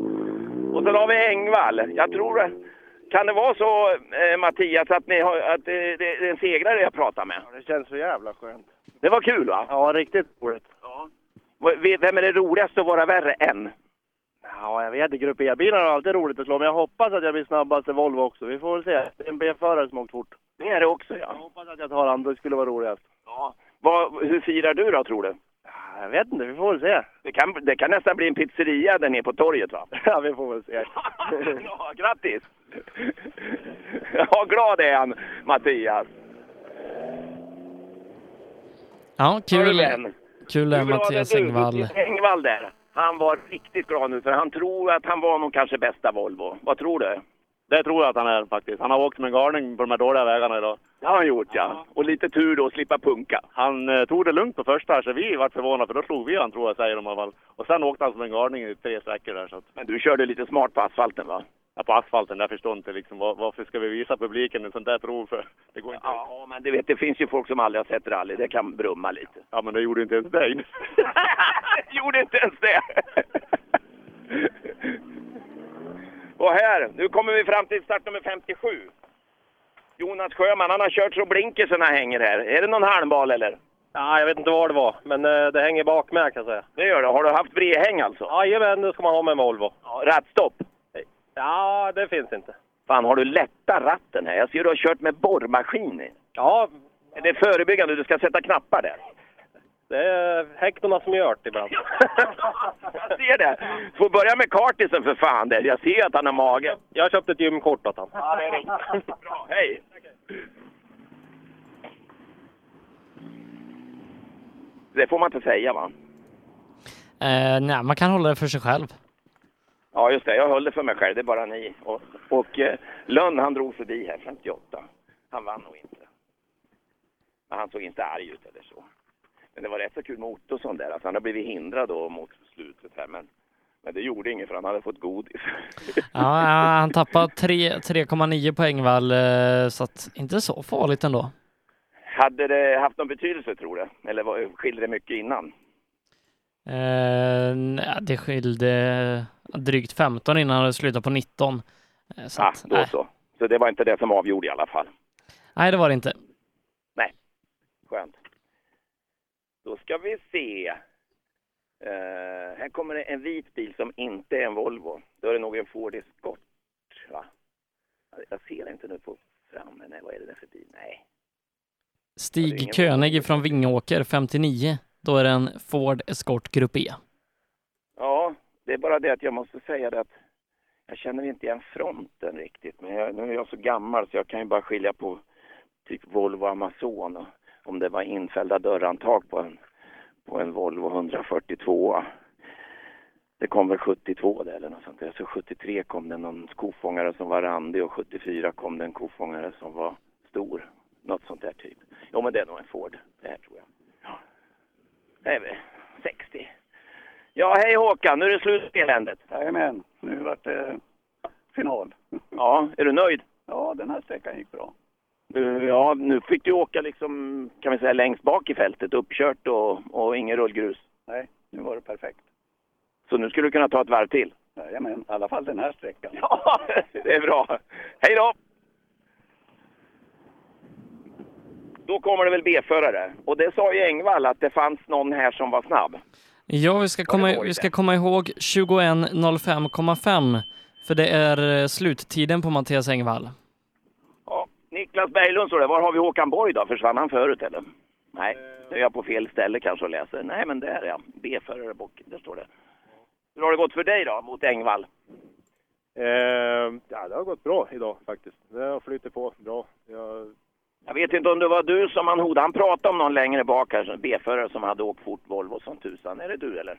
Och sen har vi Engvall. Jag tror det. Kan det vara så, eh, Mattias, att, ni har, att eh, det, det är en segrare jag pratar med? Det känns så jävla skönt. Det var kul va? Ja, riktigt roligt. V- v- Vem är det roligaste att vara värre än? Ja, jag vet inte. Grupp E-bilar är alltid roligt att slå, men jag hoppas att jag blir snabbast i Volvo också. Vi får väl se. Det är en B-förare som åkt fort. Det är det också ja. Jag hoppas att jag tar han. Det skulle vara roligast. ja. Vad, hur firar du då, tror du? Jag vet inte. Vi får väl se. Det kan, det kan nästan bli en pizzeria där nere på torget va? Ja, vi får väl se. ja, grattis! Ja, glad är han, Mattias. Ja, kul. Jajamän. Kul är Mattias är du? Engvall. Mattias Engvall där. Han var riktigt glad nu, för han tror att han var nog kanske bästa Volvo. Vad tror du? Det tror jag att han är faktiskt. Han har åkt som en galning på de här dåliga vägarna idag. Det har han gjort ja. Och lite tur då att slippa punka. Han eh, tog det lugnt på första här, så vi vart förvånade för då slog vi han tror jag, säger de i alla fall. Och sen åkte han som en galning i tre sträckor där så att... Men du körde lite smart på asfalten va? Ja, på asfalten, där förstår inte liksom var, varför ska vi visa publiken en sån där tro för? Det går inte. Ja, men du vet, det finns ju folk som aldrig har sett rally. Det kan brumma lite. Ja, men det gjorde inte ens dig. gjorde inte ens det. Och här, nu kommer vi fram till start nummer 57. Jonas Sjöman, han har kört så blinkersen hänger här. Är det någon halmbal eller? Ja, jag vet inte vad det var, men eh, det hänger bak med kan jag säga. Det gör det. Har du haft bredhäng alltså? Jajamän, det ska man ha med en Volvo. Rattstopp? Ja, det finns inte. Fan, har du lätta ratten här? Jag ser du har kört med borrmaskin i. Ja, Är det förebyggande? Du ska sätta knappar där. det är häktena som gör det ibland. Jag ser det. Du får börja med kartisen för fan där. Jag ser att han har mage. Jag köpte ett gymkort åt han. Ja, det är riktigt. Bra, hej! Det får man inte säga va? Eh, nej, man kan hålla det för sig själv. Ja, just det. Jag höll det för mig själv. Det är bara ni. Och, och eh, Lönn, han drog förbi här 58. Han vann nog inte. Men han såg inte arg ut eller så. Men det var rätt så kul med Ottosson där. Alltså, han har blivit hindrad då mot slutet här. Men, men det gjorde inget för han hade fått godis. Ja, ja, han tappar tre- 3,9 på Engvall, eh, så att inte så farligt ändå. Hade det haft någon betydelse tror du? Eller var, skilde det mycket innan? Eh, nej, det skilde drygt 15 innan det slutade på 19. Eh, Så ah, att, då nej. så. Så det var inte det som avgjorde i alla fall. nej, det var det inte. Skönt. Då ska vi se. Eh, här kommer det en vit bil som inte är en Volvo. Då är det nog en Ford Escort, va? Jag ser inte nu på framme. Nej, vad är det där för bil? Nej. Stig König från Vingåker, 59. Då är det en Ford Escort Grupp E. Ja, det är bara det att jag måste säga det att jag känner inte igen fronten riktigt. Men jag, nu är jag så gammal så jag kan ju bara skilja på typ Volvo Amazon och om det var infällda dörrhandtag på en, på en Volvo 142. Det kom väl 72 där eller något sånt där. Så 73 kom det någon kofångare som var randig och 74 kom det en kofångare som var stor. Något sånt där typ. Jo men det är nog en Ford, det här tror jag. Ja. Det är väl 60. Ja, hej Håkan, nu är det slut på eländet. Jajamän, nu vart det eh, final. Ja, är du nöjd? Ja, den här sträckan gick bra. Du, Ja, nu fick du åka liksom, kan vi säga, längst bak i fältet, uppkört och, och ingen rullgrus. Nej, nu var det perfekt. Så nu skulle du kunna ta ett varv till. Jajamän, i alla fall den här sträckan. Ja, det är bra. Hej då! Då kommer det väl B-förare. Och det sa ju Engvall att det fanns någon här som var snabb. Ja, vi ska komma, vi ska komma ihåg 21.05,5 för det är eh, sluttiden på Mattias Engvall. Niklas Berglund står det. Var har vi Håkan Borg då? Försvann han förut eller? Nej, Eh. nu är jag på fel ställe kanske och läser. Nej, men där ja. B-förare bok, där står det. Hur har det gått för dig då mot Engvall? Ehm, Eh, ja, det har gått bra idag faktiskt. Det har flutit på bra. Jag, Jag vet inte om det var du som han hotade. Han pratade om någon längre bak här, som B-förare som hade åkt fort Volvo som tusan. Är det du eller?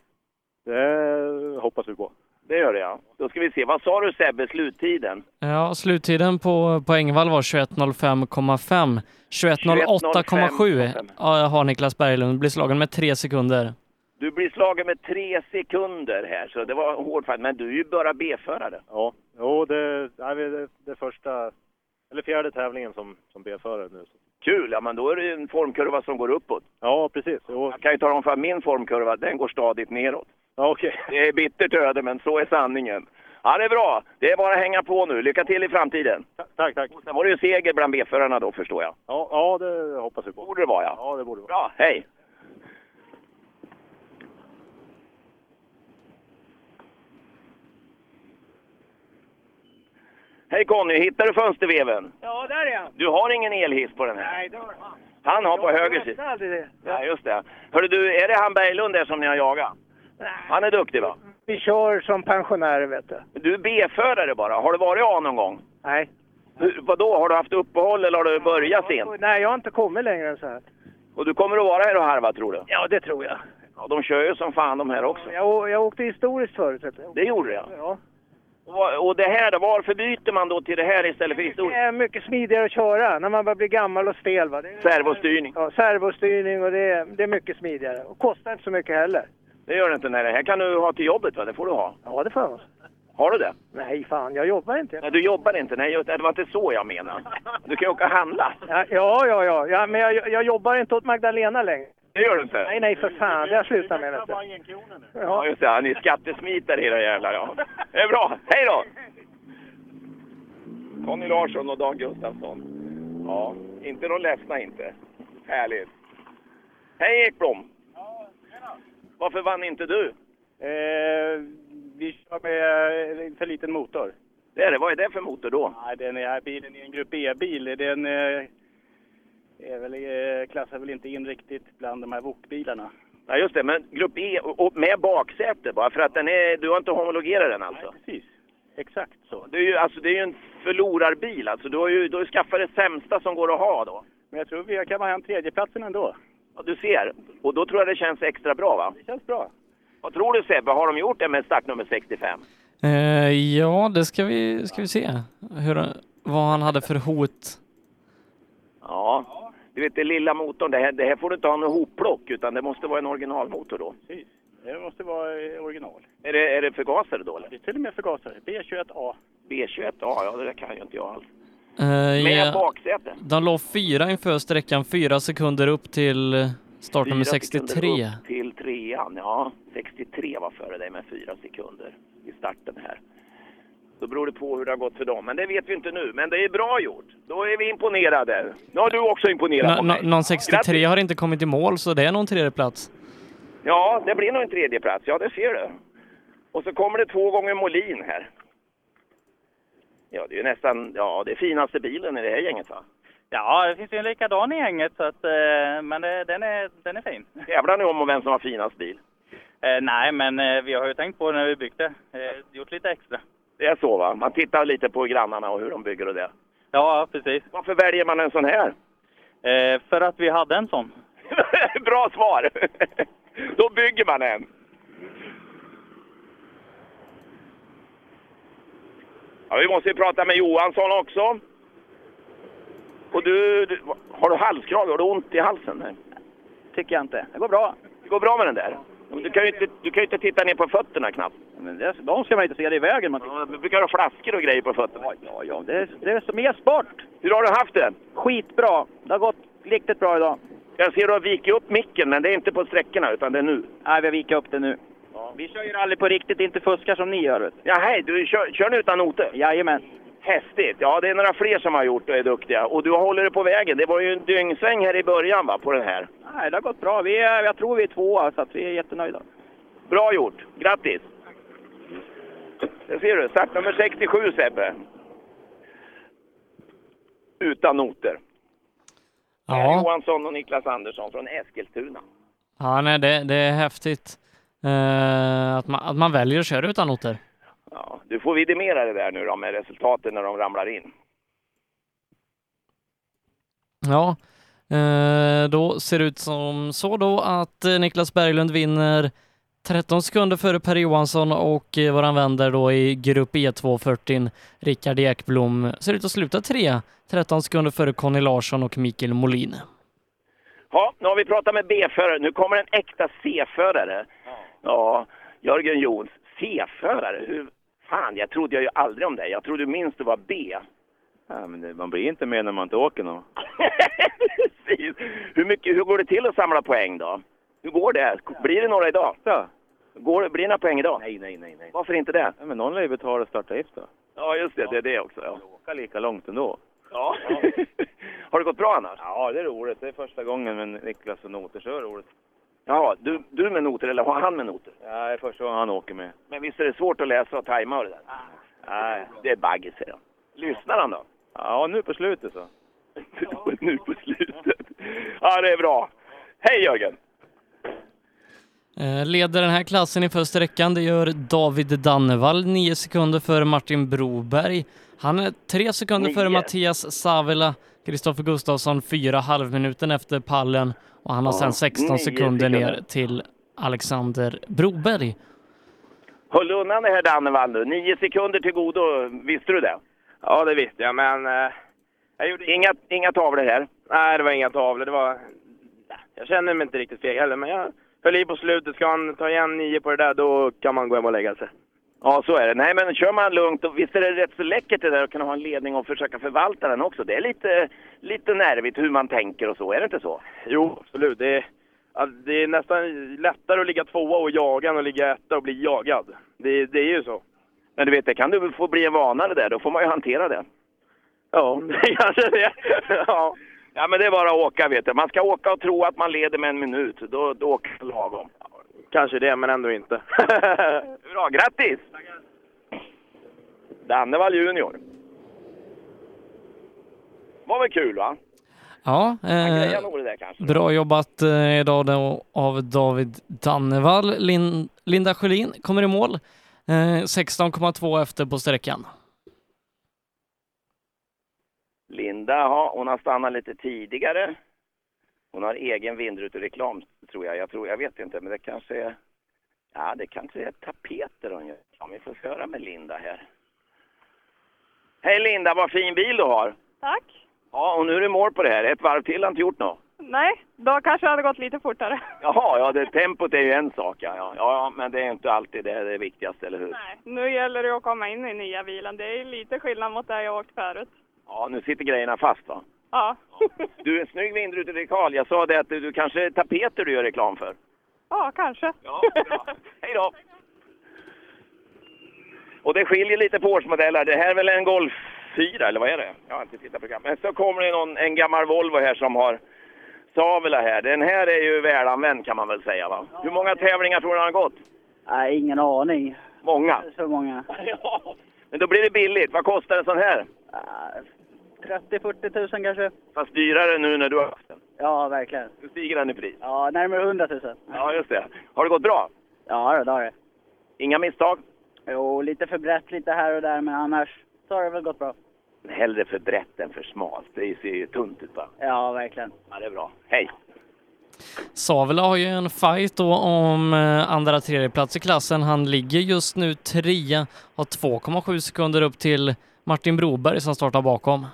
det hoppas vi på. Det gör det ja. Då ska vi se. Vad sa du Sebbe, sluttiden? Ja, sluttiden på, på Engvall var 21.05,5. 21.08,7 ja, har Niklas Berglund, blir slagen med tre sekunder. Du blir slagen med tre sekunder här, så det var en hård fight. Men du är ju bara B-förare. Ja, jo, det, nej, vi- det, det är första, eller fjärde tävlingen som, som B-förare nu. Så. Kul! Ja, men då är det ju en formkurva som går uppåt. Ja, precis. Jo, Jag kan ju tala om för min formkurva, den går stadigt neråt. ja, okej. Det är bittert öde, men så är sanningen. Ja, det är bra. Det är bara att hänga på nu. Lycka till i framtiden. Tack, tack. Och Sen var det ju seger bland B-förarna då, förstår jag. Ja, ja, det hoppas vi på. Borde det vara, ja. Ja, det borde det vara. Bra, hej! Hej Conny, hittar du fönsterveven? Ja, där är jag. Du har ingen elhiss på den här? Nej, det har han. Han har på Jag höger läste sida. aldrig det. Ja, just det. Hörru du, är det han Berglund där som ni har jagat? Han är duktig va? Vi kör som pensionärer, vet du. Du är B-förare bara. Har du varit A någon gång? Nej. Hur- Vadå, har du haft uppehåll eller har du börjat sent? Nej, jag har inte kommit längre än så här. Och du kommer att vara här och harva tror du? Ja, det tror jag. Ja, de kör ju som fan de här också. Jag, å- jag åkte historiskt förut, vet du. Det gjorde jag. Ja. Och, och det här då, varför byter man då till det här istället för Det historiskt? Eh. är mycket smidigare att köra när man börjar bli gammal och stel. Va? Det är, Servostyrning. ja, servostyrning och det är, det är mycket smidigare. Och kostar inte så mycket heller. Det gör det inte. Nej, det här kan du ha till jobbet va? Det får du ha. Ja, det får jag. Har du det? Nej, fan, jag jobbar inte. Nej, du jobbar inte. Nej, just det. Det var inte så jag menade. Du kan ju åka och handla. Ja, ja, ja. ja. ja men jag, jag jobbar inte åt Magdalena längre. Det gör du inte. Nej, nej, för fan. Det har jag slutat med, vet du. Ja, just det. Han är skattesmitare hela jävla ja. Det är bra. Hej då! Conny Larsson och Dan Gustafsson. Ja, inte de ledsna inte. Härligt. Hej Ekblom! Varför vann inte du? Eh, vi kör med eh, för liten motor. Det är det. Vad är det för motor då? Nej, den här bilen är en Grupp E-bil. Den eh, är väl, eh, klassar väl inte in riktigt bland de här VOK-bilarna. Ja, just det. Men Grupp E och och med baksäte bara för att den är... Du har inte homologerat den alltså? Nej, precis. Exakt så. Det är ju, alltså, det är ju en förlorarbil alltså. Du har ju, du har ju skaffat det sämsta som går att ha då. Men jag tror vi kan vara hem tredjeplatsen ändå. Ja, du ser. Och då tror jag det känns extra bra va? Det känns bra. Vad tror du Sebbe, har de gjort det med startnummer 65? Eh, ja, det ska vi, ska vi se Hur, vad han hade för hot. Ja. Du vet det lilla motorn, det här, det här får du inte ha något hopplock utan det måste vara en originalmotor då. Precis. Det måste vara eh, original. Är det, är det förgasare då eller? Det är till och med förgasare. B21A. B21, ja, ja det där kan ju inte jag alls. Eh, Med ja, baksäte. De låg fyra inför sträckan, fyra sekunder upp till eh, startnummer Fyra 63. sekunder upp Till trean, ja. 63 var före dig med fyra sekunder i starten här. Då beror det på hur det har gått för dem, men det vet vi inte nu. Men det är bra gjort. Då är vi imponerade. Nu har du också imponerat på Nå- nå- mig. Någon 63 Grattis. har inte kommit i mål, så det är nog en tredjeplats. Ja, det blir nog en tredje plats. Ja, det ser du. Och så kommer det två gånger Molin här. Ja, det är ju nästan, ja, det är finaste bilen i det här gänget va? Ja, det finns ju en likadan i gänget, så att, eh, men det, den, är, den är fin. Tävlar ni om och vem som har finast bil? Eh, nej, men eh, vi har ju tänkt på det när vi byggt det. Eh, gjort lite extra. Det är så va? Man tittar lite på grannarna och hur de bygger och det. Ja, precis. Varför väljer man en sån här? Eh, för att vi hade en sån. Bra svar! Då bygger man en. Ja, vi måste ju prata med Johansson också. Och du, du har du halskrage? Har du ont i halsen? Nej. Tycker jag inte. Det går bra. Det går bra med den där? Men Du kan ju inte, du kan ju inte titta ner på fötterna knappt. Men det, de ska man inte se, det i vägen. Man ja, men brukar ha flaskor och grejer på fötterna. Ja, ja, det, är- det är som mer sport. Hur har du haft det? Skitbra. Det har gått riktigt bra idag. Jag ser du har vikit upp micken, men det är inte på sträckorna utan det är nu. Nej, vi har vikit upp det nu. Vi kör ju rally på riktigt, inte fuskar som ni gör. Vet. Ja, hej, du kör, kör ni utan noter? Jajamän. Häftigt! Ja, det är några fler som har gjort och är duktiga. Och du håller det på vägen. Det var ju en dyngsväng här i början va, på den här. Nej, det har gått bra. Vi är, jag tror vi är tvåa, så att vi är jättenöjda. Bra gjort! Grattis! Det ser du, start nummer 67 Sebbe. Utan noter. Per Ja, Johansson och Niklas Andersson från Eskilstuna. ja nej, det, det är häftigt eh, att, man, att man väljer att köra utan noter. Ja, du får vidimera det där nu då med resultaten när de ramlar in. Ja, eh, då ser det ut som så då att eh, Niklas Berglund vinner 13 sekunder före Per Johansson och eh, våran vän där då i grupp E240, Rickard Ekblom, ser ut att sluta trea, 13 sekunder före Conny Larsson och Mikael Molin. Ja, nu har vi pratat med B-förare. Nu kommer en äkta C-förare. Ja, Jörgen Jons. C-förare? Hur... Fan, jag trodde jag ju aldrig om dig. Jag trodde minst du var B. Ja, men det, man blir inte med när man inte åker någon. Precis. Hur, mycket, hur går det till att samla poäng då? Hur går det? Blir det några idag? Går, det- blir det några poäng idag? Nej, nej, nej. nej. Varför inte det? Ja, men någon lär ju betala startavgift då. Ja, just det. Det är det också. Ja. Åka lika långt ändå. Ja. Har det gått bra annars? Ja, det är roligt. Det är första gången med Niklas och noter, så är det roligt. Ja, du, du med noter eller har han med noter? Ja, det är första gången han åker med. Ah. Men visst är det svårt att läsa och tajma och det där? Nej. Det är baggis, säger jag. Lyssnar han då? Ja, nu på slutet så. nu på slutet. Ja, det är bra. Hej Jörgen! Eh, Leder den här klassen inför sträckan, det gör David Dannevall, 9 sekunder före Martin Broberg. Han är 3 sekunder före Mattias Savela, Kristoffer Gustafsson 4 halvminuten efter pallen och han har Ja, sedan 16 nio sekunder ner sekunder. till Alexander Broberg. Håll undan det här Dannevall nu. Nio sekunder till godo, visste du det? Ja, det visste jag, men... eh, Jag gjorde... inga, inga tavlor här? Nej, det var inga tavlor. Det var... Jag känner mig inte riktigt feg heller, men jag höll i på slutet. Ska han ta igen nio på det där, då kan man gå hem och lägga sig. Ja, så är det. Nej, men kör man lugnt, och visst är det rätt så läckert det där att kunna ha en ledning och försöka förvalta den också. Det är lite, lite nervigt hur man tänker och så, är det inte så? Jo, absolut. Det är, ja, det är nästan lättare att ligga tvåa och jaga än att ligga etta och bli jagad. Det, det är ju så. Men du vet, det kan du väl få bli en vana det där. Då får man ju hantera det. Ja, kanske det. ja. ja, men det är bara att åka vet du. Man ska åka och tro att man leder med en minut. Då, då åker man lagom. Kanske det, men ändå inte. Bra, grattis! Dannevall junior. Var väl kul va? Ja, Han eh, grejar nog det där kanske. bra jobbat eh, idag då av David Dannevall. Lin, Linda Sjölin kommer i mål, eh, 16,2 efter på sträckan. Linda, ja, hon har stannat lite tidigare. Hon har egen vindrutereklam tror jag. Jag, tror, jag vet inte, men det kanske är... Ja, det kanske är tapeter hon gör. Ja, vi får höra med Linda här. Hej Linda, vad fin bil du har! Tack. Ja, och nu är det mål på det här. Ett varv till har inte gjort något. Nej, då kanske det hade gått lite fortare. Jaha, ja, det, tempot är ju en sak. Ja, ja, ja, men det är inte alltid det, det viktigaste, eller hur? Nej, nu gäller det att komma in i nya bilen. Det är lite skillnad mot det jag åkt förut. Ja, nu sitter grejerna fast va? Ja, Du, en snygg vindruterekal. Jag sa det att du, du kanske är tapeter du gör reklam för. ja kanske. Ja, bra. Hej då! Och det skiljer lite på årsmodeller. Det här är väl en Golf 4, eller vad är det? Jag har inte tittat på programmet. Men så kommer det någon, en gammal Volvo här som har Savela här. Den här är ju välanvänd kan man väl säga va? Hur många tävlingar tror du han har gått? Nej, ingen aning. Många? Så många. Ja. Men då blir det billigt. Vad kostar en sån här? 30-40 tusen kanske. Fast dyrare nu när du har haft den. Ja, verkligen. Nu stiger den i pris. Ja, närmare 100 000. Ja, just det. Har det gått bra? Ja, det har det. Inga misstag? Jo, lite för brett lite här och där, men annars så har det väl gått bra. Hellre för brett än för smalt. Det ser ju tunt ut va? Ja, verkligen. Ja, det är bra. Hej! Savela har ju en fight då om eh, andra tredjeplats i klassen. Han ligger just nu trea, har 2,7 sekunder upp till Martin Broberg som startar bakom.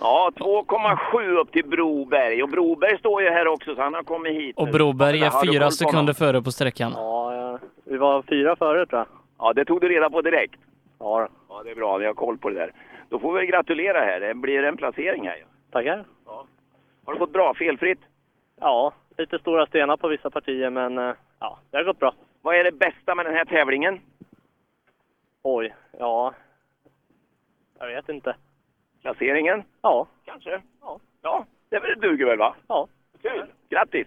Ja, 2,7 upp till Broberg. Och Broberg står ju här också, så han har kommit hit. Och nu. Broberg Har du är koll på fyra sekunder honom? före på sträckan. Ja, ja. Vi var fyra före, tror jag. ja, det tog du reda på direkt. Ja, ja det är bra. Vi har koll på det där. Då får vi gratulera här. Det blir en placering här. ju. Tackar. Har det gått bra? Felfritt? Ja, lite stora stenar på vissa partier, men eh, ja, det har gått bra. Vad är det bästa med den här tävlingen? Oj, ja. Jag vet inte. Placeringen? Ja. Kanske. Ja. ja. Det är väl- det duger väl, va? Ja. Kul! Grattis!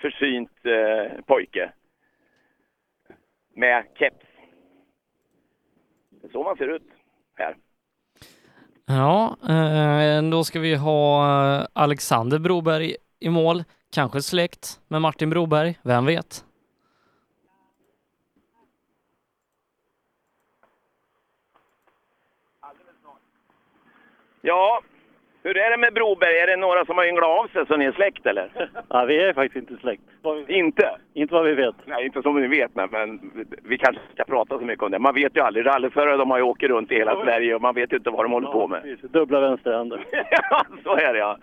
Försynt eh, pojke. Med keps. Det är så man ser ut här. Ja, eh, då ska vi ha eh, Alexander Broberg i mål. Kanske släkt med Martin Broberg, vem vet? Ja, hur är det med Broberg? Är det några som har ynglat av sig så ni är släkt eller? ja, vi är faktiskt inte släkt. Inte? Inte vad vi vet. Nej, inte som ni vet, nej, men vi- vi kanske inte ska prata så mycket om det. Man vet ju aldrig. Rallyförare de har ju åker runt i hela Sverige och man vet ju inte vad de håller på med. Dubbla vänsterhänder. Så är det ja.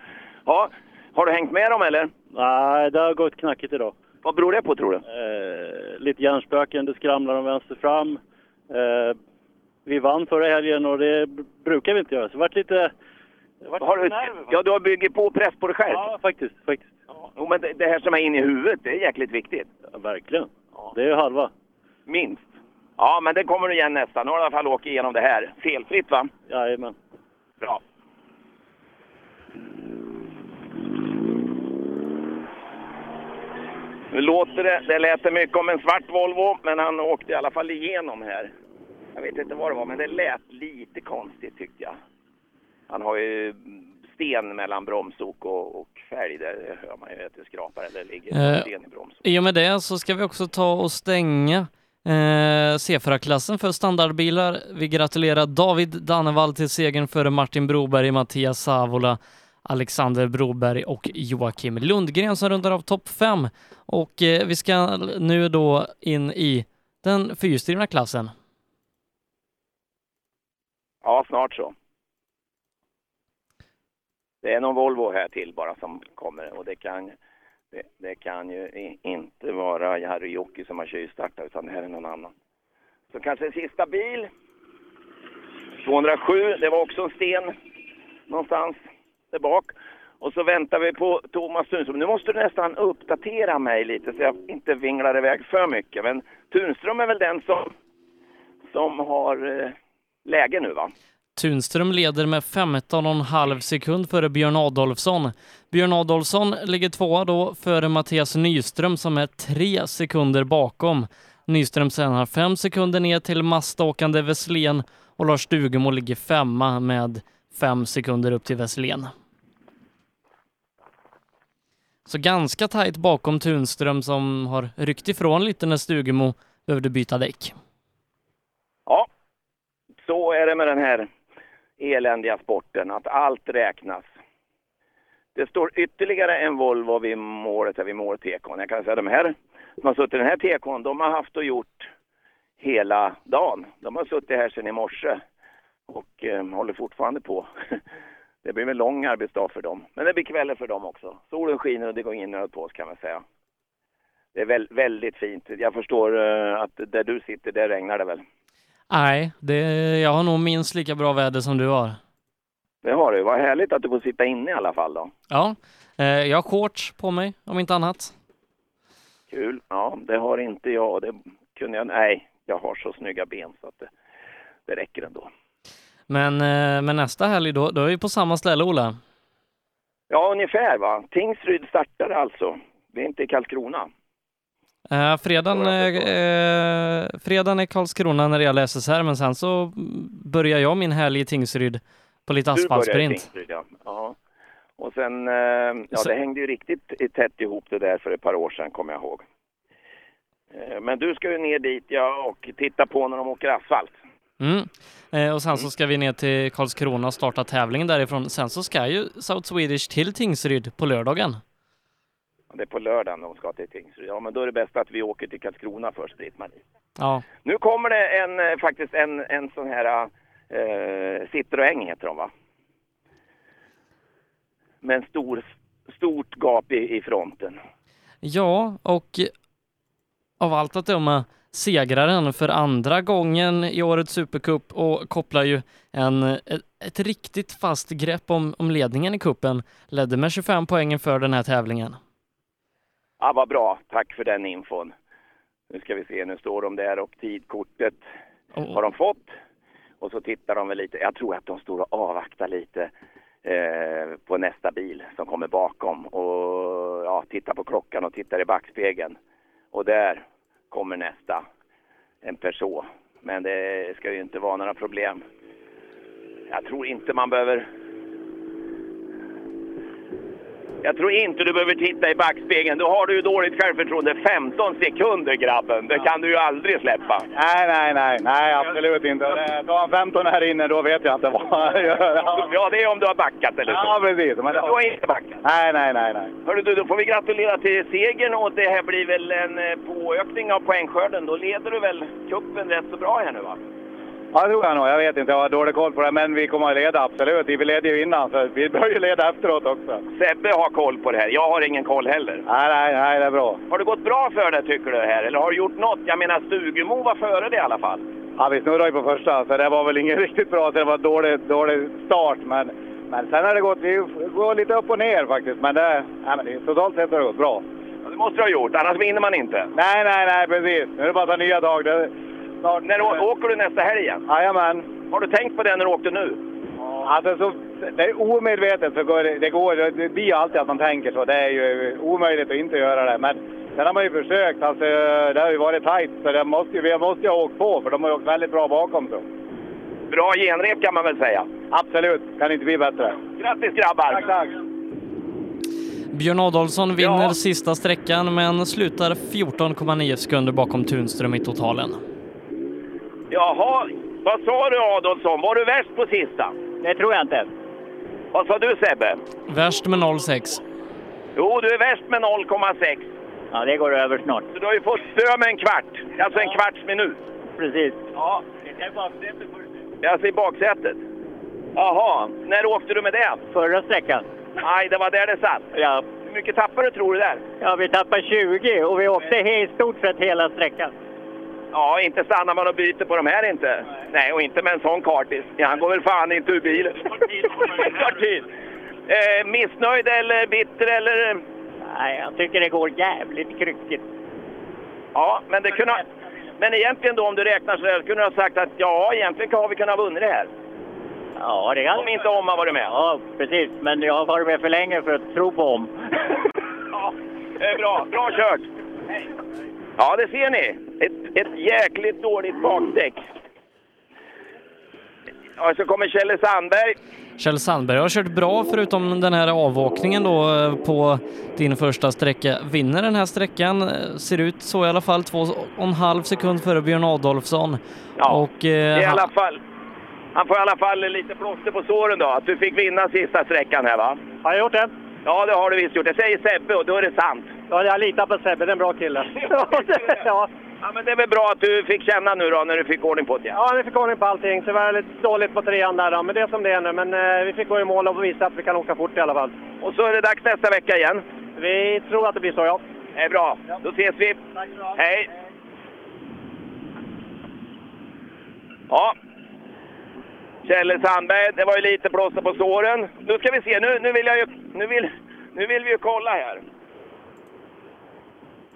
ja. Har du hängt med dem eller? Nej, det har gått knackigt idag. Vad beror det på tror du? Eh, lite hjärnspöken, det skramlar om vänster fram. Eh, vi vann förra helgen och det b- brukar vi inte göra, så det vart lite... Har du, ja, du har bygger på press på dig själv? Ja, faktiskt. faktiskt. Jo, men det, det här som är inne i huvudet, det är jäkligt viktigt. verkligen. Det är ju halva. Minst. Ja, men det kommer du igen nästa. Nu har du i alla fall åkt igenom det här. Felfritt va? Jajamän. Bra. Nu låter det, det lät det mycket om en svart Volvo, men han åkte i alla fall igenom här. Jag vet inte vad det var, men det lät lite konstigt tyckte jag. Han har ju sten mellan bromsok och, och fälg där, det hör man ju att det skrapar eller ligger Eh, sten i broms. I och med det så ska vi också ta och stänga eh, C4-klassen för standardbilar. Vi gratulerar David Dannevall till segern före Martin Broberg, Mattias Savola, Alexander Broberg och Joakim Lundgren som rundar av topp fem. Och eh, vi ska nu då in i den fyrhjulsdrivna klassen. Ja, snart så. Det är någon Volvo här till bara som kommer och det kan, det, det kan ju i- inte vara Jari Jocke som har tjuvstartat utan det här är någon annan. Så kanske sista bil. 207, det var också en sten någonstans där bak. Och så väntar vi på Thomas Tunström. Nu måste du nästan uppdatera mig lite så jag inte vinglar iväg för mycket. Men Tunström är väl den som, som har eh, läge nu va? Tunström leder med 15,5 sekund före Björn Adolfsson. Björn Adolfsson ligger tvåa då före Mattias Nyström som är tre sekunder bakom. Nyström sen har fem sekunder ner till Mazda-åkande Wesslén och Lars Stugemo ligger femma med fem sekunder upp till Wesslén. Så ganska tajt bakom Tunström som har ryckt ifrån lite när Stugemo behövde byta däck. Ja, så är det med den här eländiga sporten, att allt räknas. Det står ytterligare en Volvo vid målet, här vid måltekon. Jag kan säga de här som har suttit i den här tekon, de har haft och gjort hela dagen. De har suttit här sedan i morse och eh, håller fortfarande på. Det blir en lång arbetsdag för dem, men det blir kvällen för dem också. Solen skiner och det går in på oss kan man säga. Det är väl, väldigt fint. Jag förstår eh, att där du sitter, där regnar det väl? Nej, det, jag har nog minst lika bra väder som du har. Det har du. Vad härligt att du får sitta inne i alla fall då. Ja, eh, jag har shorts på mig om inte annat. Kul. Ja, det har inte jag. Det kunde jag... Nej, jag har så snygga ben så att det, det räcker ändå. Men, eh, men nästa helg då, då är vi på samma ställe Ola. Ja, ungefär va. Tingsryd startar alltså. Vi är inte i Karlskrona. Eh, fredagen, eh, eh, fredagen är Karlskrona när det gäller SSR men sen så mm, börjar jag min helg i Tingsryd på lite Du börjar i asfaltsprint. Tingsryd, Ja. ja. Och sen, eh, ja det hängde ju riktigt i- tätt ihop det där för ett par år sedan kommer jag ihåg. Eh, Men du ska ju ner dit ja, och titta på när de åker asfalt. Mm. Eh, och sen Mm. så ska vi ner till Karlskrona och starta tävlingen därifrån. Sen så ska ju South Swedish till Tingsryd på lördagen. Det är på lördagen de ska till Tingsryd. Ja, men då är det bäst att vi åker till Karlskrona först, Britt-Marie. Ja. Nu kommer det en, eh, faktiskt en, en sån här eh, Citroën heter de va? Med en stor, stort gap i, i fronten. Ja, och av allt att döma segraren för andra gången i årets Supercup och kopplar ju en, ett, ett riktigt fast grepp om, om ledningen i kuppen. Ledde med 25 poäng för den här tävlingen. Ja, vad bra. Tack för den infon. Nu ska vi se, nu står de där och tidkortet har de fått. Och så tittar de väl lite. Jag tror att de står och avvaktar lite eh, på nästa bil som kommer bakom och ja, tittar på klockan och tittar i backspegeln. Och där kommer nästa, en person. Men det ska ju inte vara några problem. Jag tror inte man behöver... Jag tror inte du behöver titta i backspegeln. Då har du ju dåligt självförtroende. 15 sekunder grabben, det kan du ju aldrig släppa. Nej, nej, nej, nej, absolut inte. Eh, Då har han 15 här inne, då vet jag inte vad han gör. Ja, det är om du har backat eller så. Ja, precis. Men Men du har inte backat. Nej, nej, nej, nej. Hörru du, då får vi gratulera till segern och det här blir väl en eh, påökning av poängskörden. Då leder du väl kuppen rätt så bra här nu va? Ja, det tror jag nog. Jag vet inte, jag har dålig koll på det, men vi kommer att leda, absolut. Vi ledde ju innan, så vi bör ju leda efteråt också. Sebbe har koll på det här. Jag har ingen koll heller. Nej, nej, nej, det är bra. Har det gått bra för dig tycker du här? Eller har du gjort något? Jag menar Stugemo var före det i alla fall. Ja, vi snurrade ju på första, så det var väl ingen riktigt bra, så det var dålig, dålig start. Men, men sen har det gått, vi går lite upp och ner faktiskt, men, det, nej, men det, totalt sett har det gått bra. Det måste du ha gjort, annars vinner man inte. Nej, nej, nej, precis. Nu är det bara att ta nya tag. Det, snart, när åker du nästa helg igen? Jajamän. Har du tänkt på det när du åkte nu? Alltså, så, det är omedvetet så går det, det går, det blir alltid att man tänker så. Det är ju omöjligt att inte göra det. Men sen har man ju försökt. Alltså, det har ju varit tajt, så det måste, ju- vi måste ju ha åkt på, för de har ju åkt väldigt bra bakom. Så. Bra genrep kan man väl säga. Absolut, kan inte bli bättre. Grattis grabbar! Tack, tack. Björn Adolfsson vinner sista sträckan men slutar 14,9 sekunder bakom Tunström i totalen. Jaha, vad sa du Adolfsson? Var du värst på sista? Det tror jag inte. Vad sa du Sebbe? Värst med 0,6. Jo, du är värst med 0,6. Ja, det går över snart. Så du har ju fått stö med en kvart, alltså en kvarts minut. Precis. Ja. Alltså i baksätet? Jaha, när åkte du med det? Förra sträckan. Nej, det var där det satt. Ja. Hur mycket tappade du tror du där? Ja, vi tappade 20 och vi åkte i stort sett hela sträckan. Ja, inte stannar man och byter på de här inte. Nej, och inte med en sån kartis. Ja, han går väl fan inte ur bilen. Det tar tid. Eh, missnöjd eller bitter eller? Nej, jag tycker det går jävligt kryckigt. Ja, men det kunde... ha- Men egentligen då om du räknar så där, kunde du ha sagt att ja, egentligen har vi kunnat ha vunnit det här. Ja, det kan... Om inte Omma varit med. Ja, precis. Men jag har varit med för länge för att tro på om. Ja, det är bra. Bra kört! Ja, det ser ni. Ett, ett jäkligt dåligt bakdäck. Ja, så kommer Kjelle Sandberg. Kjell Sandberg har kört bra förutom den här avåkningen då eh, på din första sträcka. Vinner den här sträckan, eh, ser ut så i alla fall, två och en halv sekund före Björn Adolfsson. och, eh, I alla han, fall. Han får i alla fall lite plåster på såren då, att du fick vinna sista sträckan här va? Har jag gjort det? Ja, det har du visst gjort. Det säger Sebbe och då är det sant. Ja, jag litar på Sebbe. Det är en bra kille. ja. Ja, men det är väl bra att du fick känna nu då när du fick ordning på det. Ja, vi fick ordning på allting. Så det var lite dåligt på trean där då, men det är som det är nu. Men eh, vi fick gå i mål och visa att vi kan åka fort i alla fall. Och så är det dags nästa vecka igen. Vi tror att det blir så, ja. Det är bra. Då ses vi. Hej! Ja. Kjelle Sandberg, det var ju lite plåster på såren. Nu ska vi se, nu, nu vill jag ju... Nu vill, nu vill vi ju kolla här.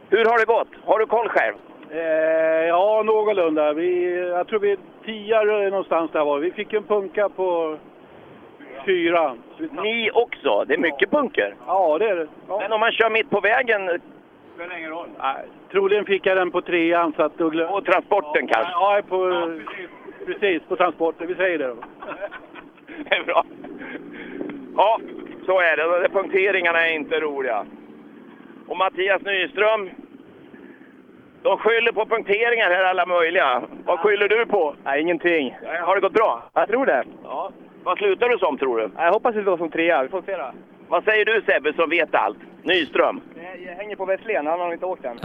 Hur har det gått? Har du koll själv? Eh, ja, någorlunda. Vi, jag tror vi tiar någonstans där var. Vi fick en punka på fyra. Ni också? Det är mycket punker. Ja, det är det. Men om man kör mitt på vägen... spelar ingen roll. Nej, troligen fick jag den på trean. Så att då glöm... På transporten kanske? Ja, på, precis. på transporten. Vi säger det då. Det är bra. Ja, så är det. De där punkteringarna är inte roliga. Och Mattias Nyström, De skyller på punkteringar här alla möjliga. Vad skyller du på? Nej, ingenting. Har det gått bra? Jag tror det. Ja. Vad slutar du som tror du? Jag hoppas det går som trea. Vi får se då. Vad säger du Sebbe som vet allt? Nyström? Jag hänger på Westlén. Han har inte åkt än.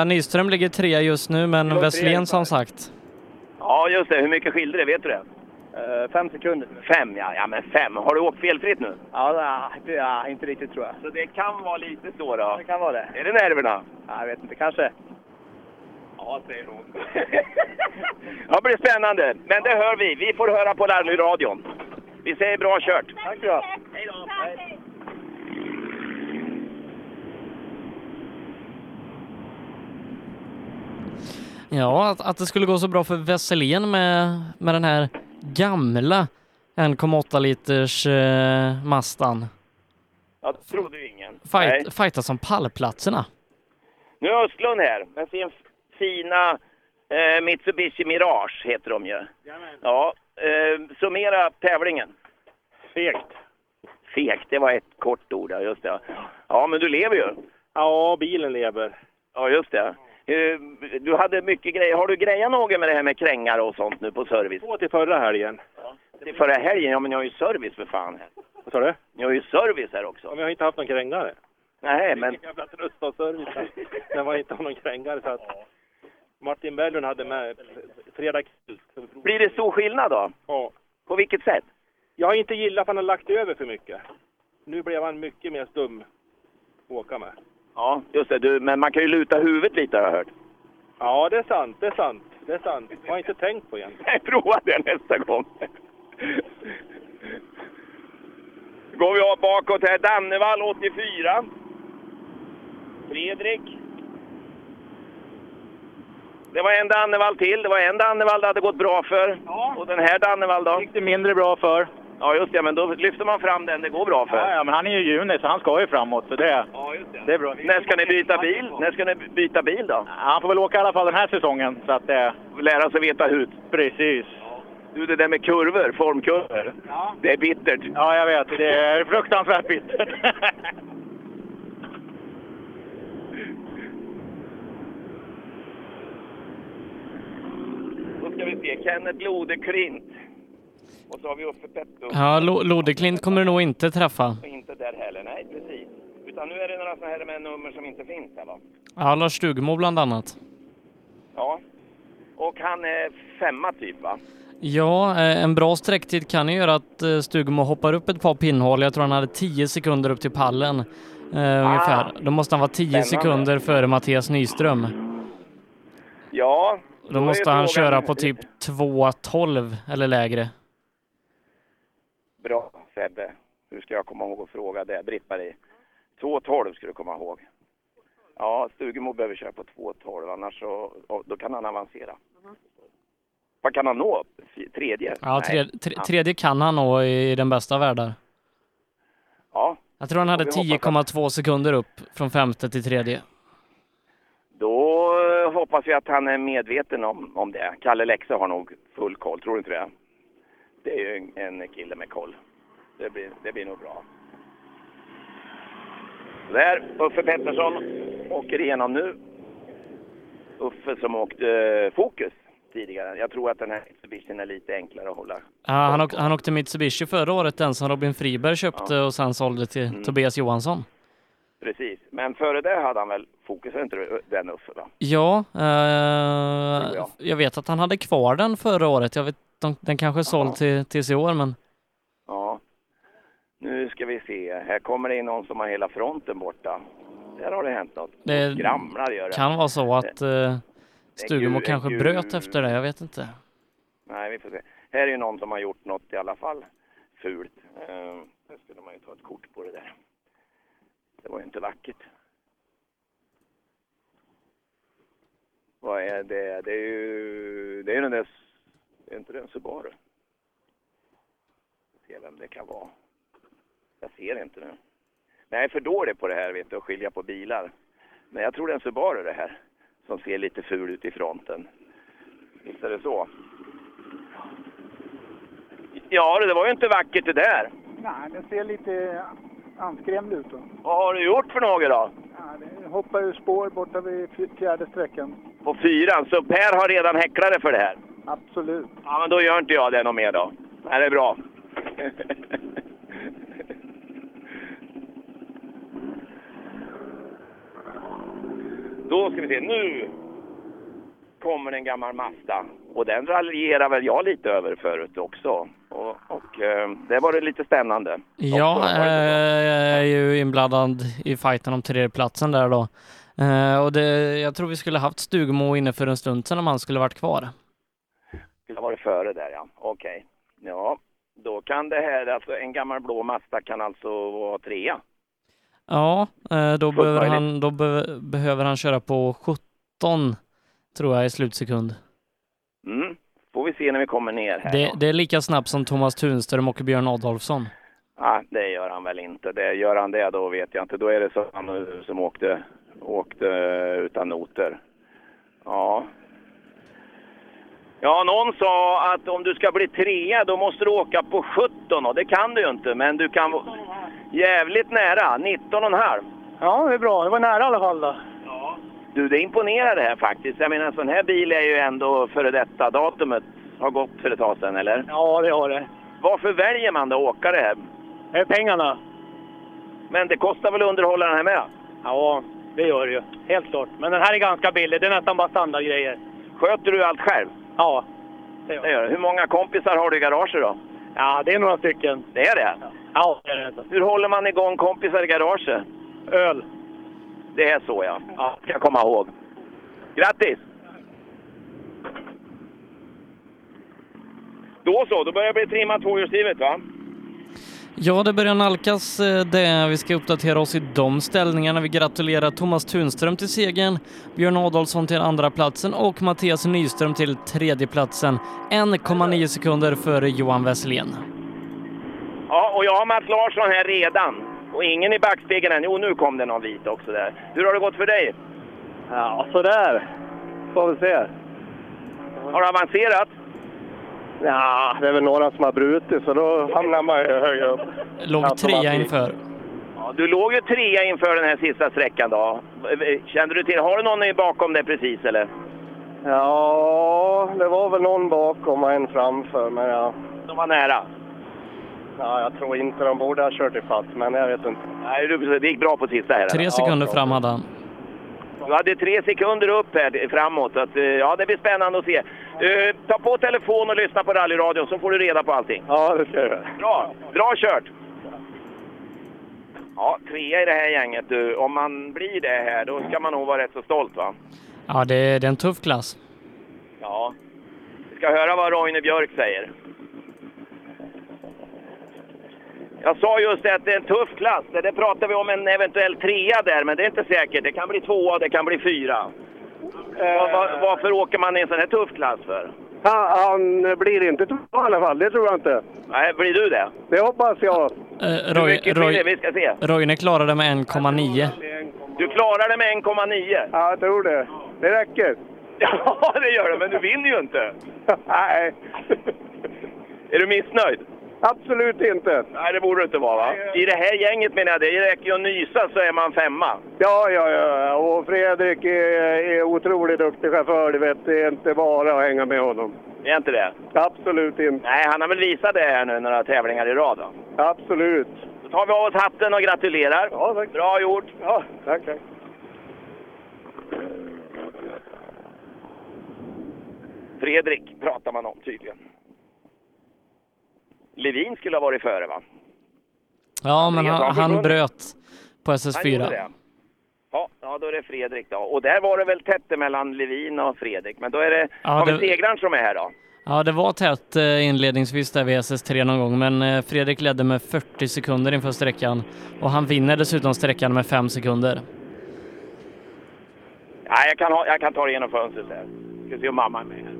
Eh, Nyström ligger trea just nu, men Låg trea. Westlén som sagt. Ja, just det. Hur mycket skilde det? Vet du det? Eh, fem sekunder. Fem, ja. Ja, men fem. Har du åkt felfritt nu? Ja, det, ja, inte riktigt tror jag. Så det kan vara lite så då? Det kan vara det. Är det nerverna? Ja, jag vet inte. Kanske. Ja, säger hon. ja, det blir spännande. Men det hör vi. Vi får höra på Larnyradion. Vi säger bra kört. Tack så Hej då. Ja, att, att det skulle gå så bra för Wesselén med, med den här gamla 1,8 liters eh, Mastan. Ja, det trodde ju ingen. Nej. Fight, fightas om pallplatserna. Nu är Östlund här med sin fina eh, Mitsubishi Mirage, heter de ju. Ja, eh, summera tävlingen. Fegt. Fegt, det var ett kort ord, ja, just det. Ja, men du lever ju. Ja, bilen lever. Ja, just det. Eh, Du hade mycket grejer. Har du grejat något med det här med krängar och sånt nu på service? Två till förra helgen. Till förra helgen? Ja, men jag har ju service för fan. Vad sa du? Jag har ju service här också. Ja, men jag har inte haft någon krängare. Nej, men... Vilken jävla tröst av service. Den var inte av någon krängare så att... Martin Berglund hade med fredag kväll. Blir det stor skillnad då? Ja. På vilket sätt? Jag har inte gillat att han har lagt över för mycket. Nu blev han mycket mer stum att åka med. Ja, just det. Du, men man kan ju luta huvudet lite har jag hört. Ja, det är sant, det är sant, det är sant. Jag har inte tänkt på egentligen. Nej, prova det nästa gång. går vi av bakåt här. Dannevall 84. Fredrik. Det var en Dannevall till. Det var en Dannevall det hade gått bra för. Och den här Dannevall då? gick det mindre bra för. Ja, just det. Men då lyfter man fram den det går bra för. Ja, ja, men han är ju juni så han ska ju framåt. Så det, Ja, just det. det är bra. När ska ni byta bil? När ska ni byta bil då? Han får väl åka i alla fall den här säsongen. Så att, eh, Lära sig veta hut. Precis. Du, det där med kurvor, formkurvor. Det är bittert. Ja, jag vet. Det är fruktansvärt bittert. Då ska vi se. Kenneth Lodeklint. Och så har vi uppe Petto. Ja, Lo- Lodeklint kommer du nog inte träffa. Och inte där heller, nej precis. Utan nu är det några sådana här med nummer som inte finns här va? Ja, Lars Stugemo bland annat. Ja. Och han är femma typ va? Ja, eh, en bra sträcktid kan ju göra att eh, Stugemo hoppar upp ett par pinnhål. Jag tror han hade 10 sekunder upp till pallen eh, ungefär. Då måste han vara 10 Ah. spännande. sekunder före Mattias Nyström. Ja. Då är måste han frågan- köra på typ 2.12 eller lägre. Bra Sebbe. Hur ska jag komma ihåg att fråga det? Britt-Marie. 2.12 ska du komma ihåg. Ja, Stugemo behöver köra på 2.12 annars så ja, då kan han avancera. Vad kan han nå? F- Tredje? Ja, Nej. tre, tre, tredje kan han nå i den bästa av världar. Ja, Jag tror han hade 10,2 sekunder upp från femte till tredje. Då eh, hoppas vi att han är medveten om, om det. Kalle Lexe har nog full koll, tror du inte det? Det är ju en, en kille med koll. Det blir, det blir nog bra. Där, Uffe Pettersson åker igenom nu. Uffe som åkte eh, Fokus tidigare. Jag tror att den här Mitsubishin är lite enklare att hålla. Ja, han, åk, han åkte Mitsubishi förra året, den som Robin Friberg köpte och sen sålde till Mm. Tobias Johansson. Precis. Men före det hade han väl Fokus, är inte det, den Uffe va? Ja, eh, jag vet att han hade kvar den förra året. Jag vet, de, den kanske är såld till, tills i år, men Ja. Nu ska vi se. Här kommer det in någon som har hela fronten borta. Där har det hänt något. det Skramlar gör det. kan vara så att eh, Stugemo gul- kanske gul- bröt efter det. Jag vet inte. Nej, vi får se. Här är ju någon som har gjort något i alla fall fult. Eh, här skulle man ju ta ett kort på det där. Det var ju inte vackert. Vad är det? Det är ju, det är ju den där... Är inte det en Subaru? Ska se vem det kan vara. Jag ser inte nu. Men jag är för dålig på det här, vet du, att skilja på bilar. Men jag tror det är en Subaru det här. Som ser lite ful ut i fronten. Visst är det så? Ja, det var ju inte vackert det där. Nej, den ser lite anskrämd ut. Då. Vad har du gjort för något då? Ja, det hoppar ur spår borta vid fj- fjärde sträckan. på fyran. Så Per har redan häcklare för det här. Absolut. Ja, men då gör inte jag det något mer då. Nej, det är bra. Då ska vi se, nu kommer en gammal Mazda. Och den raljerar väl jag lite över förut också. Och, och eh, det var det lite spännande. Ja, eh, jag är ju inblandad i fighten om tredjeplatsen där då. Eh, och det, jag tror vi skulle haft Stugmo inne för en stund sedan om han skulle varit kvar. Det var det före där ja, okej. Ja, då kan det här, alltså en gammal blå Mazda kan alltså vara trea. Ja, eh, då, behöver möjligt. han, då be, behöver han köra på 17 tror jag i slutsekund. Mm. Får vi se när vi kommer ner här. Det, det är lika snabbt som Thomas Tunström och Björn Adolfsson. Ja, det gör han väl inte. Det gör han det då vet jag inte. Då är det så han som åkte, åkte utan noter. Ja. Ja, någon sa att om du ska bli trea då måste du åka på 17 och det kan du ju inte. Men du kan vara jävligt nära, 19,5. Ja, det är bra. Det var nära i alla fall då. Du, det imponerar det här faktiskt. Jag menar, en sån här bil är ju ändå före detta datumet. Har gått för ett tag sedan, eller? Ja, det har det. Varför väljer man då att åka det här? Det är pengarna. Men det kostar väl att underhålla den här med? Ja, det gör det ju. Helt klart. Men den här är ganska billig. Det är nästan bara standardgrejer. Sköter du allt själv? Ja. Det gör det. Hur många kompisar har du i garaget då? Ja, det är några stycken. Det är det? Ja, det är det. Hur håller man igång kompisar i garaget? Öl. Det är så ja. Ja, ska jag komma ihåg. Grattis! Då så, då börjar det bli trimmat tvåhjulsdrivet va? Ja, det börjar nalkas eh, det. Vi ska uppdatera oss i de ställningarna. Vi gratulerar Thomas Tunström till segern, Björn Adolfsson till andra platsen och Mattias Nyström till tredje platsen. 1,9 sekunder före Johan Wesselén. Ja, och jag har Mats Larsson här redan. Och ingen i backspegeln än. Jo, nu kom det någon vit också där. Hur har det gått för dig? Ja, sådär. Får vi se. Har du avancerat? Ja, det är väl några som har brutit så då hamnar man ju högre upp. Låg Alltså, trea inför. Ja, du låg ju trea inför den här sista sträckan då. Kände du till, har du någon bakom dig precis eller? Ja, det var väl någon bakom och en framför, men ja. De var nära? Ja, jag tror inte de borde ha kört ifatt, men jag vet inte. Nej, du- det gick bra på sista här. Tre sekunder fram hade han. Du hade tre sekunder upp här framåt. så Att, eh, ja, det blir spännande att se. Eh, ta på telefon och lyssna på rallyradion så får du reda på allting. Ja, det ska jag göra. Bra, bra kört! Ja, trea i det här gänget du. Om man blir det här, då ska man nog vara rätt så stolt va? Ja, det, det är en tuff klass. Ja. Vi ska höra vad Roine Björk säger. Jag sa just det att det är en tuff klass. Det där pratar vi om en eventuell trea där, men det är inte säkert. Det kan bli tvåa, det kan bli fyra. Var, var, varför åker man i en sån här tuff klass för? Han, han blir inte två i alla fall, det tror jag inte. Nej, blir du det? Det hoppas jag. Eh, Hur Roy, mycket blir det? Roy, Vi ska se. Roine klarade det med 1,9. Du klarar det med 1,9. Ja, jag tror det. Det räcker. Ja, det gör det, men du vinner ju inte. Nej. Är du missnöjd? Absolut inte. Nej, det borde du inte vara va? I det här gänget menar jag, det räcker ju att nysa så är man femma. Ja, ja, ja. Och Fredrik är, är otroligt duktig chaufför, du vet. Det är inte bara att hänga med honom. Det är inte det? Absolut inte. Nej, han har väl visat det här nu några tävlingar i rad. Då. Absolut. då tar vi av oss hatten och gratulerar. Bra gjort! Ja, tack, tack. Fredrik pratar man om tydligen. Levin skulle ha varit före va? Ja, men Andreas, har han, han han försvunnit? bröt på Han gjorde det. SS4. Ja, ja, då är det Fredrik då. Och där var det väl tätt mellan Levin och Fredrik. Men då är det, Ja, har vi det- segraren som är här då? Ja, det var tätt eh, inledningsvis där vid SS3 någon gång, men eh, Fredrik ledde med 40 sekunder inför sträckan och han vinner dessutom sträckan med 5 sekunder. Nej, jag kan, ha, jag kan ta det genom fönstret här. Ska se om mamma är med här.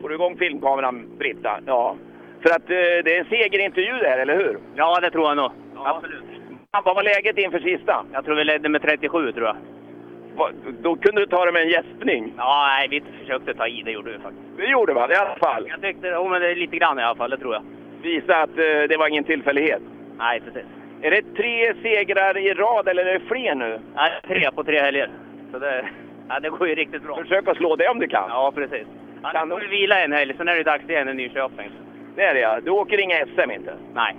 Får du igång filmkameran, Britta? Ja. För att eh, det är en segerintervju det här, eller hur? Ja, det tror jag nog. Absolut. Vad var läget inför sista? Jag tror vi ledde med 37, tror jag. Va, då kunde du ta det med en gäspning? Ja, nej, vi försökte ta i, det gjorde vi faktiskt. Det gjorde man i alla fall. Jag tyckte, jo men det är lite grann i alla fall, det tror jag. Visa att eh, det var ingen tillfällighet. Nej, precis. Är det tre segrar i rad eller är det fler nu? Nej, tre på tre helger. Så det... Ja, det går ju riktigt bra. Försök att slå det om du kan. Ja, precis. Kan du vila en helg, sen är det dags igen i Nyköping. Det är det ja. Du åker inga SM inte? Nej.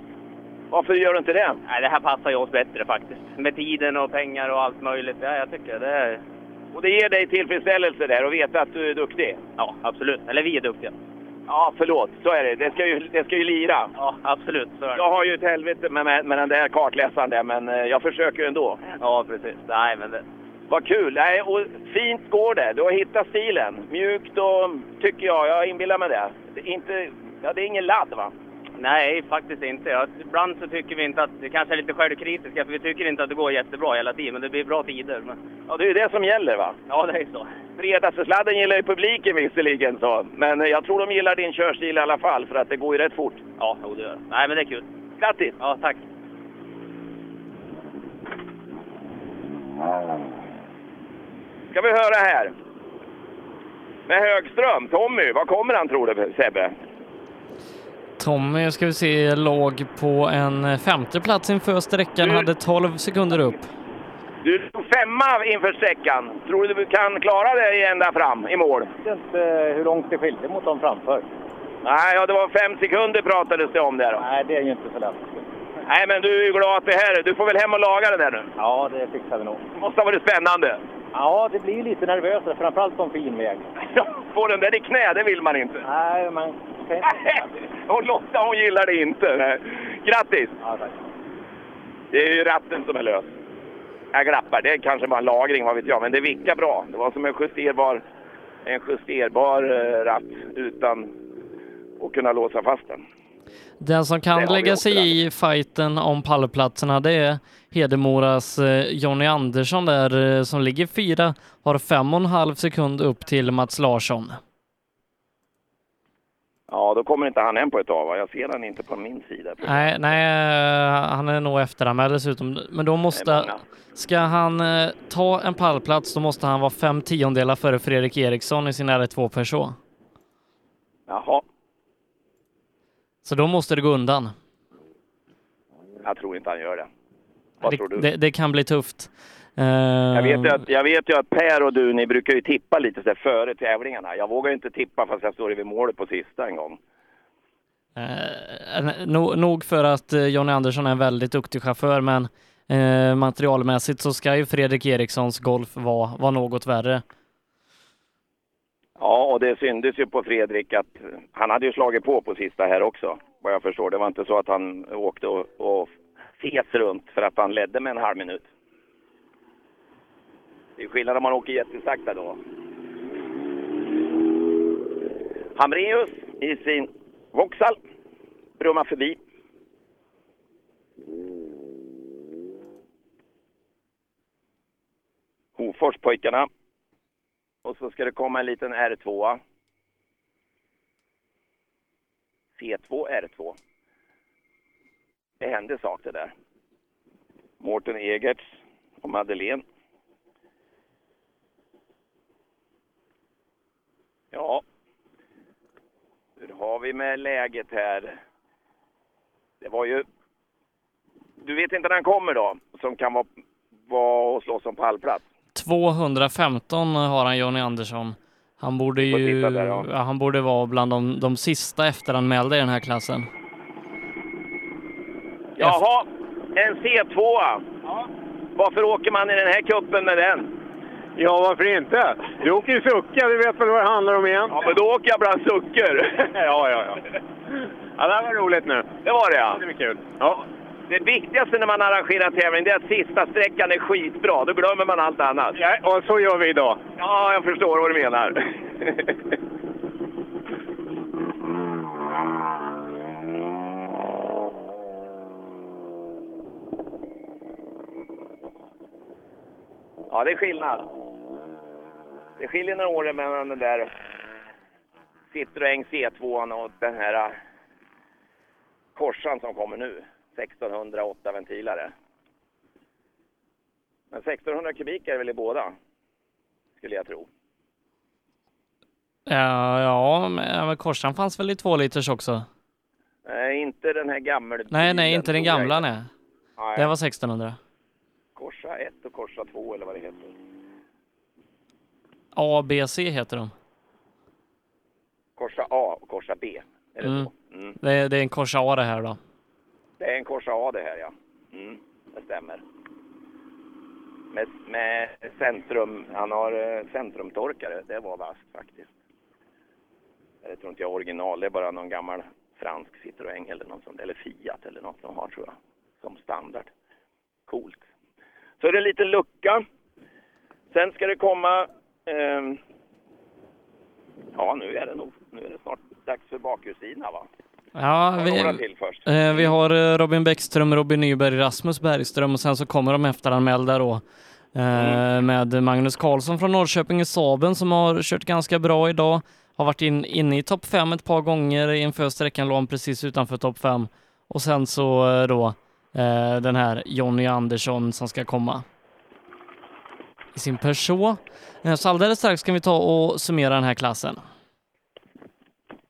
Varför gör du inte det? Nej, det här passar ju oss bättre faktiskt. Med tiden och pengar och allt möjligt. Ja, jag tycker det är... Och det ger dig tillfredsställelse där och veta att du är duktig? Ja, absolut. Eller vi är duktiga. Ja, förlåt. Så är det. Det ska ju, det ska ju lira. Ja, absolut. Så är det. Jag har ju ett helvete med, med, med den där kartläsaren där, men eh, jag försöker ju ändå. Ja, precis. Nej, men det... Vad kul! Nej, och fint går det. Du har hittat stilen. Mjukt och, tycker jag, jag inbillar mig det. det är inte, ja, det är ingen ladd va? Nej, faktiskt inte. Ja, ibland så tycker vi inte att... Vi kanske är lite självkritiska, för vi tycker inte att det går jättebra hela tiden, men det blir bra tider. Men... Ja, det är ju det som gäller va? Ja, det är så. Fredagsesladden gillar ju publiken visserligen så, men eh, jag tror de gillar din körstil i alla fall för att det går ju rätt fort. Ja, jo, det gör det. Nej, men det är kul. Grattis! Ja, tack. Ska vi höra här. Med Högström, Tommy, vad kommer han tror du Sebbe? Tommy ska vi se låg på en eh, femte plats inför sträckan, hade 12 sekunder upp. Du låg femma inför sträckan. Tror du du kan klara dig ända fram i mål? Jag vet inte eh, hur långt det skilde mot dem framför. Nej, ja, det var fem sekunder pratades det om där. då. Nej, det är ju inte så lätt. Nej, men du är ju glad att det här Du får väl hem och laga det där nu? Ja, det fixar vi nog. Det måste ha varit spännande. Ja, det blir lite nervösare, framförallt på en fin väg. Få den där i knä, det vill man inte. Nej, man kan inte... Och Lotta, hon gillar det inte. Nej. Grattis! Ja, tack. Det är ju ratten som är lös. Jag glappar. Det kanske var en lagring, vad vet jag. Men det vickar bra. Det var som en justerbar, en justerbar eh, ratt utan att kunna låsa fast den. Den som kan lägga sig i fighten om pallplatserna det är Hedemoras eh, Jonny Andersson där eh, som ligger fyra, har fem och en halv sekund upp till Mats Larsson. Ja, då kommer inte han hem på ett tag, va? Jag ser han inte på min sida. Nej, nej, eh, han är nog efteranmäld dessutom. Men då måste, ska han eh, ta en pallplats då måste han vara fem tiondelar före Fredrik Eriksson i sin R2 Peugeot. Jaha, Så då måste det gå undan. jag tror inte han gör det. Vad tror du? Det, det kan bli tufft. Jag vet, ju att, jag vet ju att Per och du, ni brukar ju tippa lite så där före tävlingarna. Jag vågar ju inte tippa fast jag står vid målet på sista en gång. Eh, no, nog för att eh, Johnny Andersson är en väldigt duktig chaufför, men eh, materialmässigt så ska ju Fredrik Erikssons Golf vara vara något värre. Ja, och det syndes ju på Fredrik att han hade ju slagit på på sista här också, vad jag förstår. Det var inte så att han åkte och, och fes runt för att han ledde med en halv minut. Det är skillnad om man åker jättesakta då. Hamreus i sin Vauxhall brummar förbi. Hoforspojkarna. Och så ska det komma en liten R2. C2, R2. Det hände saker där. Mårten Egerts och Madeleine. Ja. Hur har vi med läget här? Det var ju... Du vet inte när han kommer då, som kan vara, vara och slåss om pallplats? 215 har han Johnny Andersson. Han borde ju sista där, ja. ja, han borde vara bland de, de sista efteranmälda i den här klassen. Jaha, en C2. Varför åker man i den här kuppen med den? Ja, varför inte? Du åker ju sucka, du vet väl vad det handlar om egentligen? Ja, men då åker jag bland suckor. ja, ja, ja. Ja, det här var roligt nu. Det var det ja. Det blir kul. Ja. Det viktigaste när man arrangerar tävling det är att sista sträckan är skitbra. Då glömmer man allt annat. Ja, och så gör vi idag. Ja, jag förstår vad du menar. ja, det är skillnad. Det skiljer några år mellan den där Citroën C2 och den här äh, korsan som kommer nu. 1608 ventilare. Men 1600 kubik är det väl i båda, skulle jag tro. Ja, Eh, ja men men Korsan fanns väl i två liters också? Nej, inte den här gamla. Nej, nej, inte den gamla nej. Nej. Det var 1600. Korsa 1 och Korsa 2 eller vad det heter. ABC heter de. Korsa A och korsa B. Är det Mm. så? Mm. Det, är, det är en korsare här då. Det är en korsa A det här ja. Mm. Det stämmer. Med, med centrum, han har eh, centrumtorkare. Det var vasst faktiskt. Det tror inte jag är original. Det är bara någon gammal fransk Citroën eller något sånt. Eller Fiat eller något de har tror jag. Som standard. Coolt. Så är det lite lucka. Sen ska det komma... ehm, ja, nu är det nog. Nu är det snart dags för bakhjulsdrivna va? Ja, vi, Några till först. eh, vi har eh, Robin Bäckström, Robin Nyberg, Rasmus Bergström och sen så kommer de efteranmälda då eh, med Magnus Karlsson från Norrköping i Saben som har kört ganska bra idag. Har varit in, inne i topp fem ett par gånger inför sträckan låg han precis utanför topp fem Och sen så eh, då eh, den här Jonny Andersson som ska komma i sin Peugeot. Eh, Så alldeles strax kan vi ta och summera den här klassen.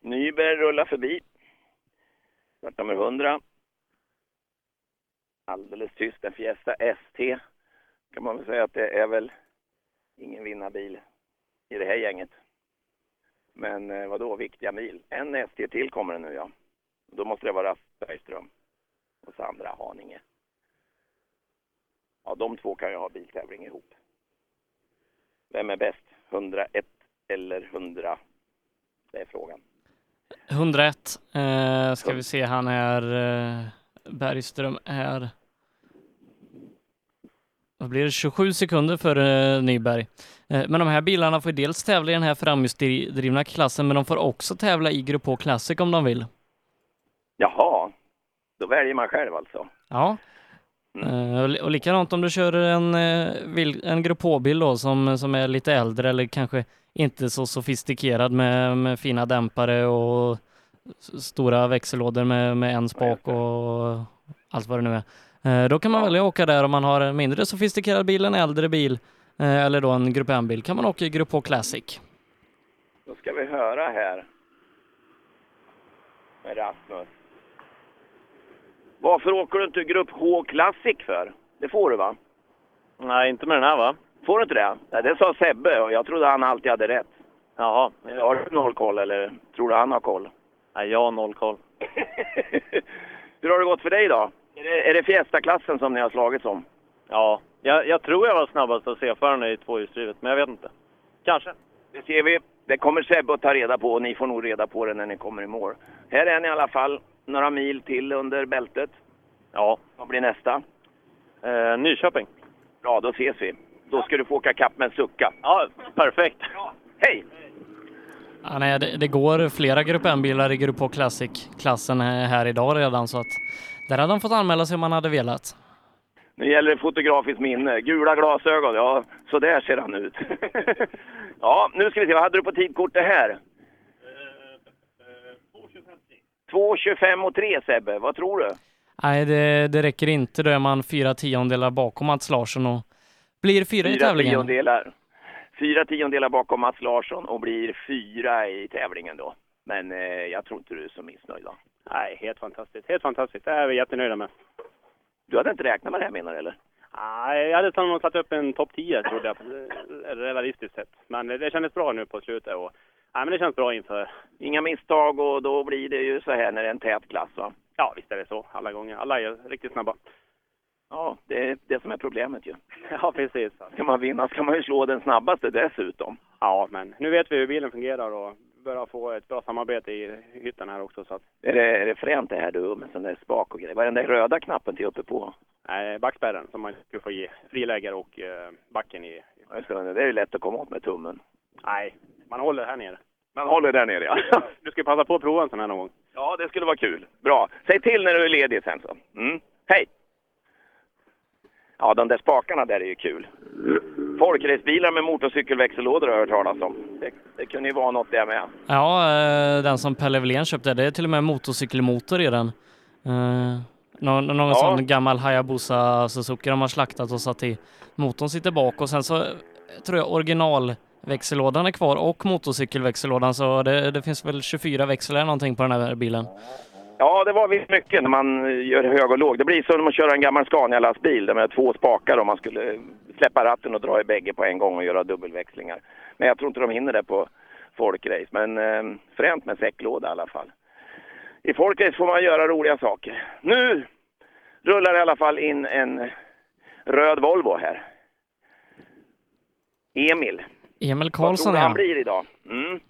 Nyberg rullar förbi. Start nummer 100. Alldeles tyst, en Fiesta ST. Kan man väl säga att det är väl ingen vinnarbil i det här gänget. Men eh, vadå, viktiga mil. En ST till kommer det nu ja. Då måste det vara Rasmus Bergström och Sandra Haninge. Ja, de två kan ju ha biltävling ihop. Vem är bäst? 101 eller 100? Det är frågan. 101 eh, ska vi se, han är eh, Bergström är vad blir det, 27 sekunder före eh, Nyberg. Eh, men de här bilarna får ju dels tävla i den här framhjulsdrivna klassen, men de får också tävla i Grupp H Classic om de vill. Jaha, då väljer man själv alltså. Ja. Eh, och li- och likadant om du kör en, eh, vil- en Grupp H-bil då som, som är lite äldre eller kanske inte så sofistikerad med, med fina dämpare och s- stora växellådor med, med en spak och allt vad det nu är. Eh, Då kan man välja att åka där om man har en mindre sofistikerad bil, en äldre bil eh, eller då en Grupp M-bil kan man åka i Grupp H Classic. Då ska vi höra här med Rasmus. Varför åker du inte Grupp H Classic för? Det får du va? Nej, inte med den här va? Får du inte det? Nej, det sa Sebbe och jag trodde han alltid hade rätt. Jaha. Har du noll koll eller tror du han har koll? Nej, jag har noll koll. Hur har det gått för dig då? Är det, är det Fiesta-klassen som ni har slagits om? Ja, jag, jag tror jag var snabbast av C-förarna i tvåhjulsdrivet, men jag vet inte. Kanske. Det ser vi. Det kommer Sebbe att ta reda på och ni får nog reda på det när ni kommer i mål. Här är ni i alla fall några mil till under bältet. Ja. Vad blir nästa? Eh, Nyköping. Bra, då ses vi. Då ska du få åka kapp med en sucka. Ja, perfekt. Hej! Ja, nej, det, det går flera Grupp M-bilar i Grupp H Classic-klassen eh, här idag redan så att där hade de fått anmäla sig om man hade velat. Nu gäller det fotografiskt minne. Gula glasögon, ja, så där ser han ut. ja, nu ska vi se, vad hade du på tidkortet här? Eh, 2.25 och 3 Sebbe, vad tror du? Nej, det, det räcker inte. Då är man fyra tiondelar bakom Mats Larsson och blir fyra i Fyra tävlingen. Tiondelar. Fyra tiondelar bakom Mats Larsson och blir fyra i tävlingen då. Men eh, jag tror inte du är så missnöjd då. Nej, helt fantastiskt. Helt fantastiskt. Det är vi jättenöjda med. Du hade inte räknat med det här menar du eller? Nej, jag hade sannolikt satt upp en topp 10 trodde jag, eh, realistiskt sett. Men det, det kändes bra nu på slutet och nej, men det känns bra inför. Inga misstag och då blir det ju så här när det är en tät klass va? Ja, visst är det så alla gånger. Alla är riktigt snabba. Ja, det är det som är problemet ju. Ja, precis. Ska man vinna ska man ju slå den snabbaste dessutom. Ja, men nu vet vi hur bilen fungerar och börjar få ett bra samarbete i hytten här också. Så att, Är det, är det fränt det här du med sån där spak och grejer? Vad är den där röda knappen till uppe på? nej, backspärren som man skulle få ge friläger och eh, backen i. Jag ska- Det är ju lätt att komma åt med tummen. Nej, man håller här nere. Man håller där nere ja. Du ska passa på att prova en sån här någon gång. Ja, det skulle vara kul. Bra. Säg till när du är ledig sen så. Mm. Hej! Ja, de där spakarna där är ju kul. Folkracebilar med motorcykelväxellådor har jag hört talas om. Det, det kunde ju vara något det med. Ja, eh, den som Pelle Wilén köpte, det är till och med motorcykelmotor i den. Eh, Någon, någon sån gammal Hayabusa Suzuki de har slaktat och satt i. Motorn sitter bak och sen så eh, tror jag originalväxellådan är kvar och motorcykelväxellådan så det, det finns väl 24 växlar eller någonting på den här bilen. Ja, det var visst mycket när man eh, gör hög och låg. Det blir som att köra en gammal eh, Scania-lastbil där man har två spakar om man skulle släppa ratten och dra i bägge på en gång och göra dubbelväxlingar. Men jag tror inte de hinner det på folkrace. Men eh, fränt med säcklåda i alla fall. I folkrace får man göra roliga saker. Nu rullar i alla fall in en röd Volvo här. Emil. Emil Vad tror Karlsson du han ja. blir idag? Mm.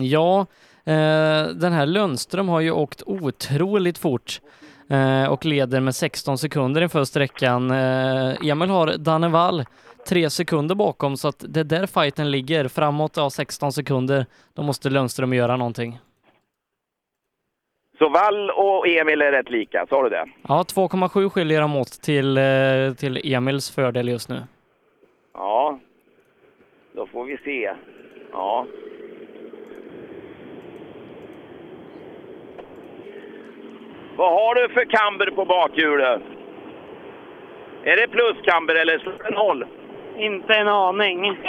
Ja, eh, den här Lundström har ju åkt otroligt fort eh, och leder med 16 sekunder inför sträckan. Eh, Emil har Danne Wall tre sekunder bakom så att det är där fighten ligger. Framåt av 16 sekunder, då måste Lundström göra någonting. Så Wall och Emil är rätt lika, sa du det? Ja, 2,7 skiljer de åt till, eh, till Emils fördel just nu. Ja, då får vi se. Ja. Vad har du för camber på bakhjulet? Är det pluskamber eller slår det noll? Inte en aning.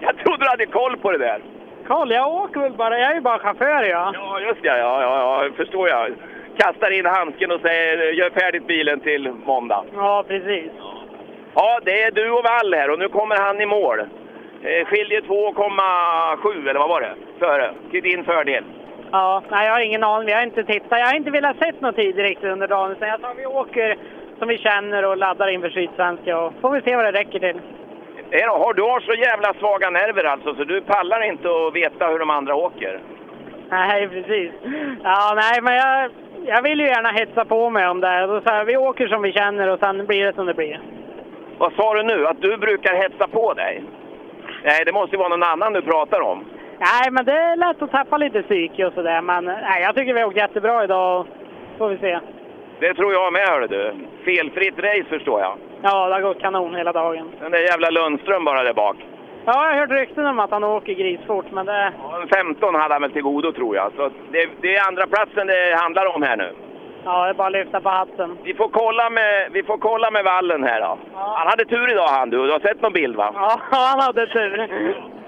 Jag trodde du hade koll på det där. Karl, jag åker väl bara. Jag är ju bara chaufför jag. Ja, just det. Ja, ja, ja, förstår jag. Kastar in handsken och säger gör färdigt bilen till måndag. Ja, precis. Ja, det är du och Wall här och nu kommer han i mål. Eh, Skiljer 2,7 eller vad var det? Före. Till din fördel. Ja, nej, jag har ingen aning. Vi har inte tittat. Jag har inte velat sett någon tid riktigt under dagen. Utan jag tar vi åker som vi känner och laddar inför Sydsvenska och får vi se vad det räcker till. Eh, då, Har du har så jävla svaga nerver alltså så du pallar inte att veta hur de andra åker? Nej, precis. Ja, nej, men jag, jag vill ju gärna hetsa på mig om det. här. Då så här, vi åker som vi känner och sen blir det som det blir. Vad sa du nu? Att du brukar hetsa på dig? Nej, det måste ju vara någon annan du pratar om. Nej, men det är lätt att tappa lite psyke och sådär. Men nej, jag tycker vi har åkt jättebra idag. och Får vi se. Det tror jag med hörru du. Felfritt race förstår jag. Ja, det har gått kanon hela dagen. Den där jävla Lundström bara där bak. Ja, jag har hört rykten om att han åker grisfort, men det... En 15 hade han väl till godo tror jag. Så det, det är andra platsen det handlar om här nu. Ja, det är bara att lyfta på hatten. Vi får kolla med, vi får kolla med vallen här då. Han hade tur idag han du. Du har sett någon bild va? Ja, han hade tur.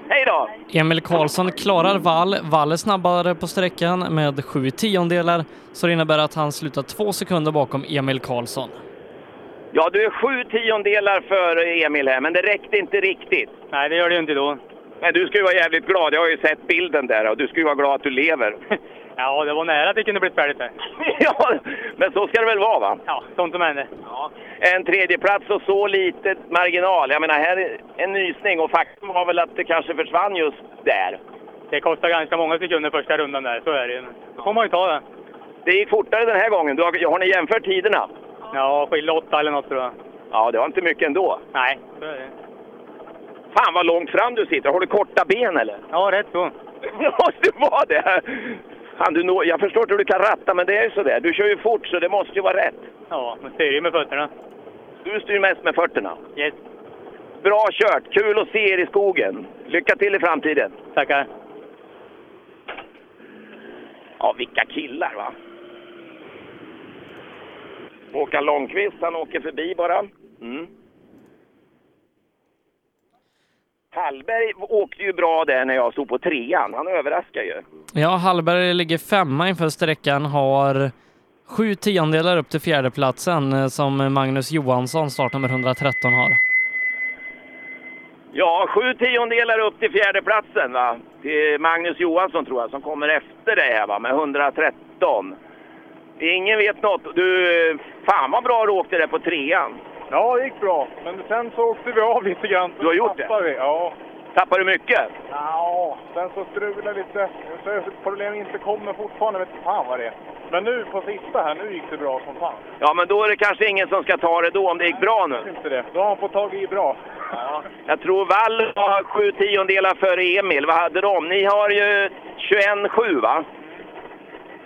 Hej då! Emil Karlsson klarar Wall. Wall är snabbare på sträckan med sju tiondelar, så det innebär att han slutar två sekunder bakom Emil Karlsson. Ja, du är sju tiondelar före Emil här, men det räckte inte riktigt. Nej, det gör det ju inte då. Men du ska ju vara jävligt glad. Jag har ju sett bilden där och du ska ju vara glad att du lever. Ja, det var nära att det kunde blivit färdigt där. ja, men så ska det väl vara va? Ja, sånt som händer. Ja. En tredjeplats och så lite marginal. Jag menar, här är en nysning och faktum var väl att det kanske försvann just där. Det kostar ganska många sekunder första rundan där, så är det ju. Då får man ju ta det. Det gick fortare den här gången. Du har, har ni jämfört tiderna? Ja, skiljer åtta eller något tror jag. Ja, det var inte mycket ändå. Nej, så är det. Fan vad långt fram du sitter. Har du korta ben eller? Ja, rätt så. Det måste vara det! Fan, du når, jag förstår inte hur du kan ratta, men det är ju sådär. Du kör ju fort, så det måste ju vara rätt. Ja, man styr ju med fötterna. Du styr mest med fötterna. Yes. Bra kört! Kul att se er i skogen. Lycka till i framtiden! Tackar. Ja, vilka killar va! Håkan Långqvist, han åker förbi bara. Mm. Hallberg åkte ju bra där när jag stod på trean. Han överraskar ju. Ja, Hallberg ligger femma inför sträckan, har sju tiondelar upp till fjärdeplatsen eh, som Magnus Johansson, startnummer 113, har. Ja, sju tiondelar upp till fjärdeplatsen va. Till Magnus Johansson tror jag, som kommer efter dig här va, med 113. Ingen vet något. Du, fan vad bra du åkte där på trean. Ja, det gick bra. Men sen så åkte vi av lite grann. Du har gjort det? Tappade Vi. Ja. Tappar du mycket? Ja, sen så strulade lite. Så Problemen inte kommer fortfarande. Vet fan vad det är. Men nu på sista här, nu gick det bra som fan. Ja, men då är det kanske ingen som ska ta det då om det gick bra nu. Inte det. Då har han fått tag i bra. Jag tror Wall har sju tiondelar före Emil. Vad hade de? Ni har ju 21-7 va?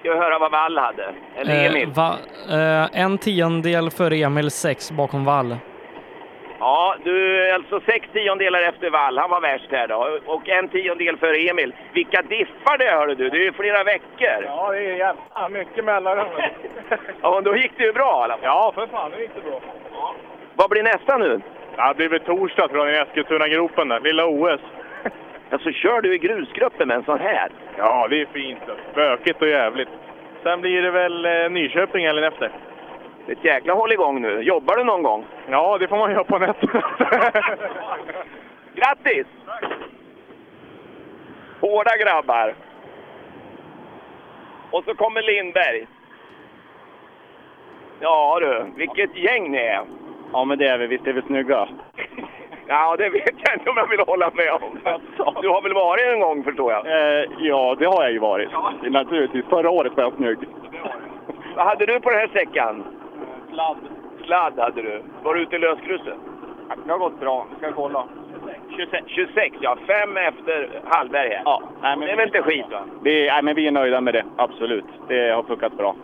Ska höra vad Wall hade. Eller Emil. Eh, va, eh, en tiondel före Emil, sex bakom Wall. Ja, du är alltså sex tiondelar efter Wall. Han var värst här då. Och en tiondel före Emil. Vilka diffar det hör du! Det är ju flera veckor. Ja, det är jävla mycket mellanrum. Ja, men då gick det ju bra i alla fall. Ja, för fan, nu gick det bra. Vad blir nästa nu? Ja, det blir väl torsdag tror jag, i Eskilstuna-gropen där. Lilla OS. Alltså, kör du i grusgruppen med en sån här? Ja, det är fint. då. Bökigt och jävligt. Sen blir det väl eh, Nyköping eller efter. Det är ett jäkla håll igång nu. Jobbar du någon gång? Ja, det får man göra på nätterna. Grattis! Hårda grabbar. Och så kommer Lindberg. Ja du, vilket gäng ni är. Ja, men det är vi. Visst är vi snygga. Ja, det vet jag inte om jag vill hålla med om. Du har väl varit en gång förstår jag? Eh, ja, det har jag ju varit. Naturligtvis. Förra året var jag snygg. Vad hade du på den här sträckan? Sladd. Sladd hade du. Var du ute i löskrysset? Det har gått bra. Vi ska kolla. 26, 26 ja. Fem efter Hallberg här. Ja. nej, men- det är väl inte skit va? Vi, nej, men vi är nöjda med det. Absolut. Det har funkat bra.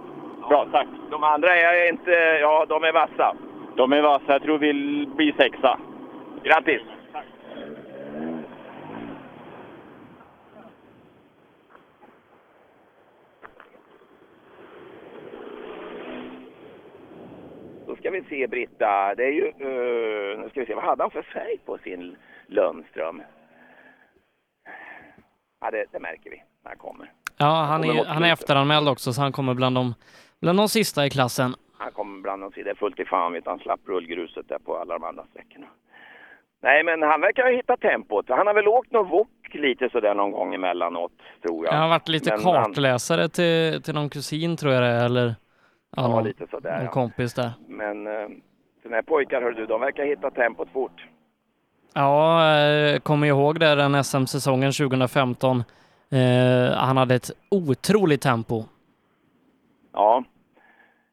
Bra, tack. De andra är inte... Ja, de är vassa. De är vassa. Jag tror vi blir sexa. Grattis! Då ska vi se Britta, det är ju... eh, nu ska vi se, vad hade han för färg på sin Lundström? Ja, det, det märker vi när han kommer. Ja, han är, ju- han är efteranmäld också, så han kommer bland de, bland de sista i klassen. Han kommer bland annat det är fullt i fan vet han slapp rullgruset där på alla de andra sträckorna. Nej, men han verkar ju hitta tempot. Han har väl åkt någon wok lite sådär någon gång emellanåt, tror jag. Han har varit lite Men han- kartläsare till, till någon kusin tror jag det är, eller ja, någon, lite sådär, någon ja. kompis där. Men eh, sådana här pojkar, hör du, de verkar hitta tempot fort. Ja, eh, kommer ihåg där den SM-säsongen 2015. Eh, han hade ett otroligt tempo. Ja.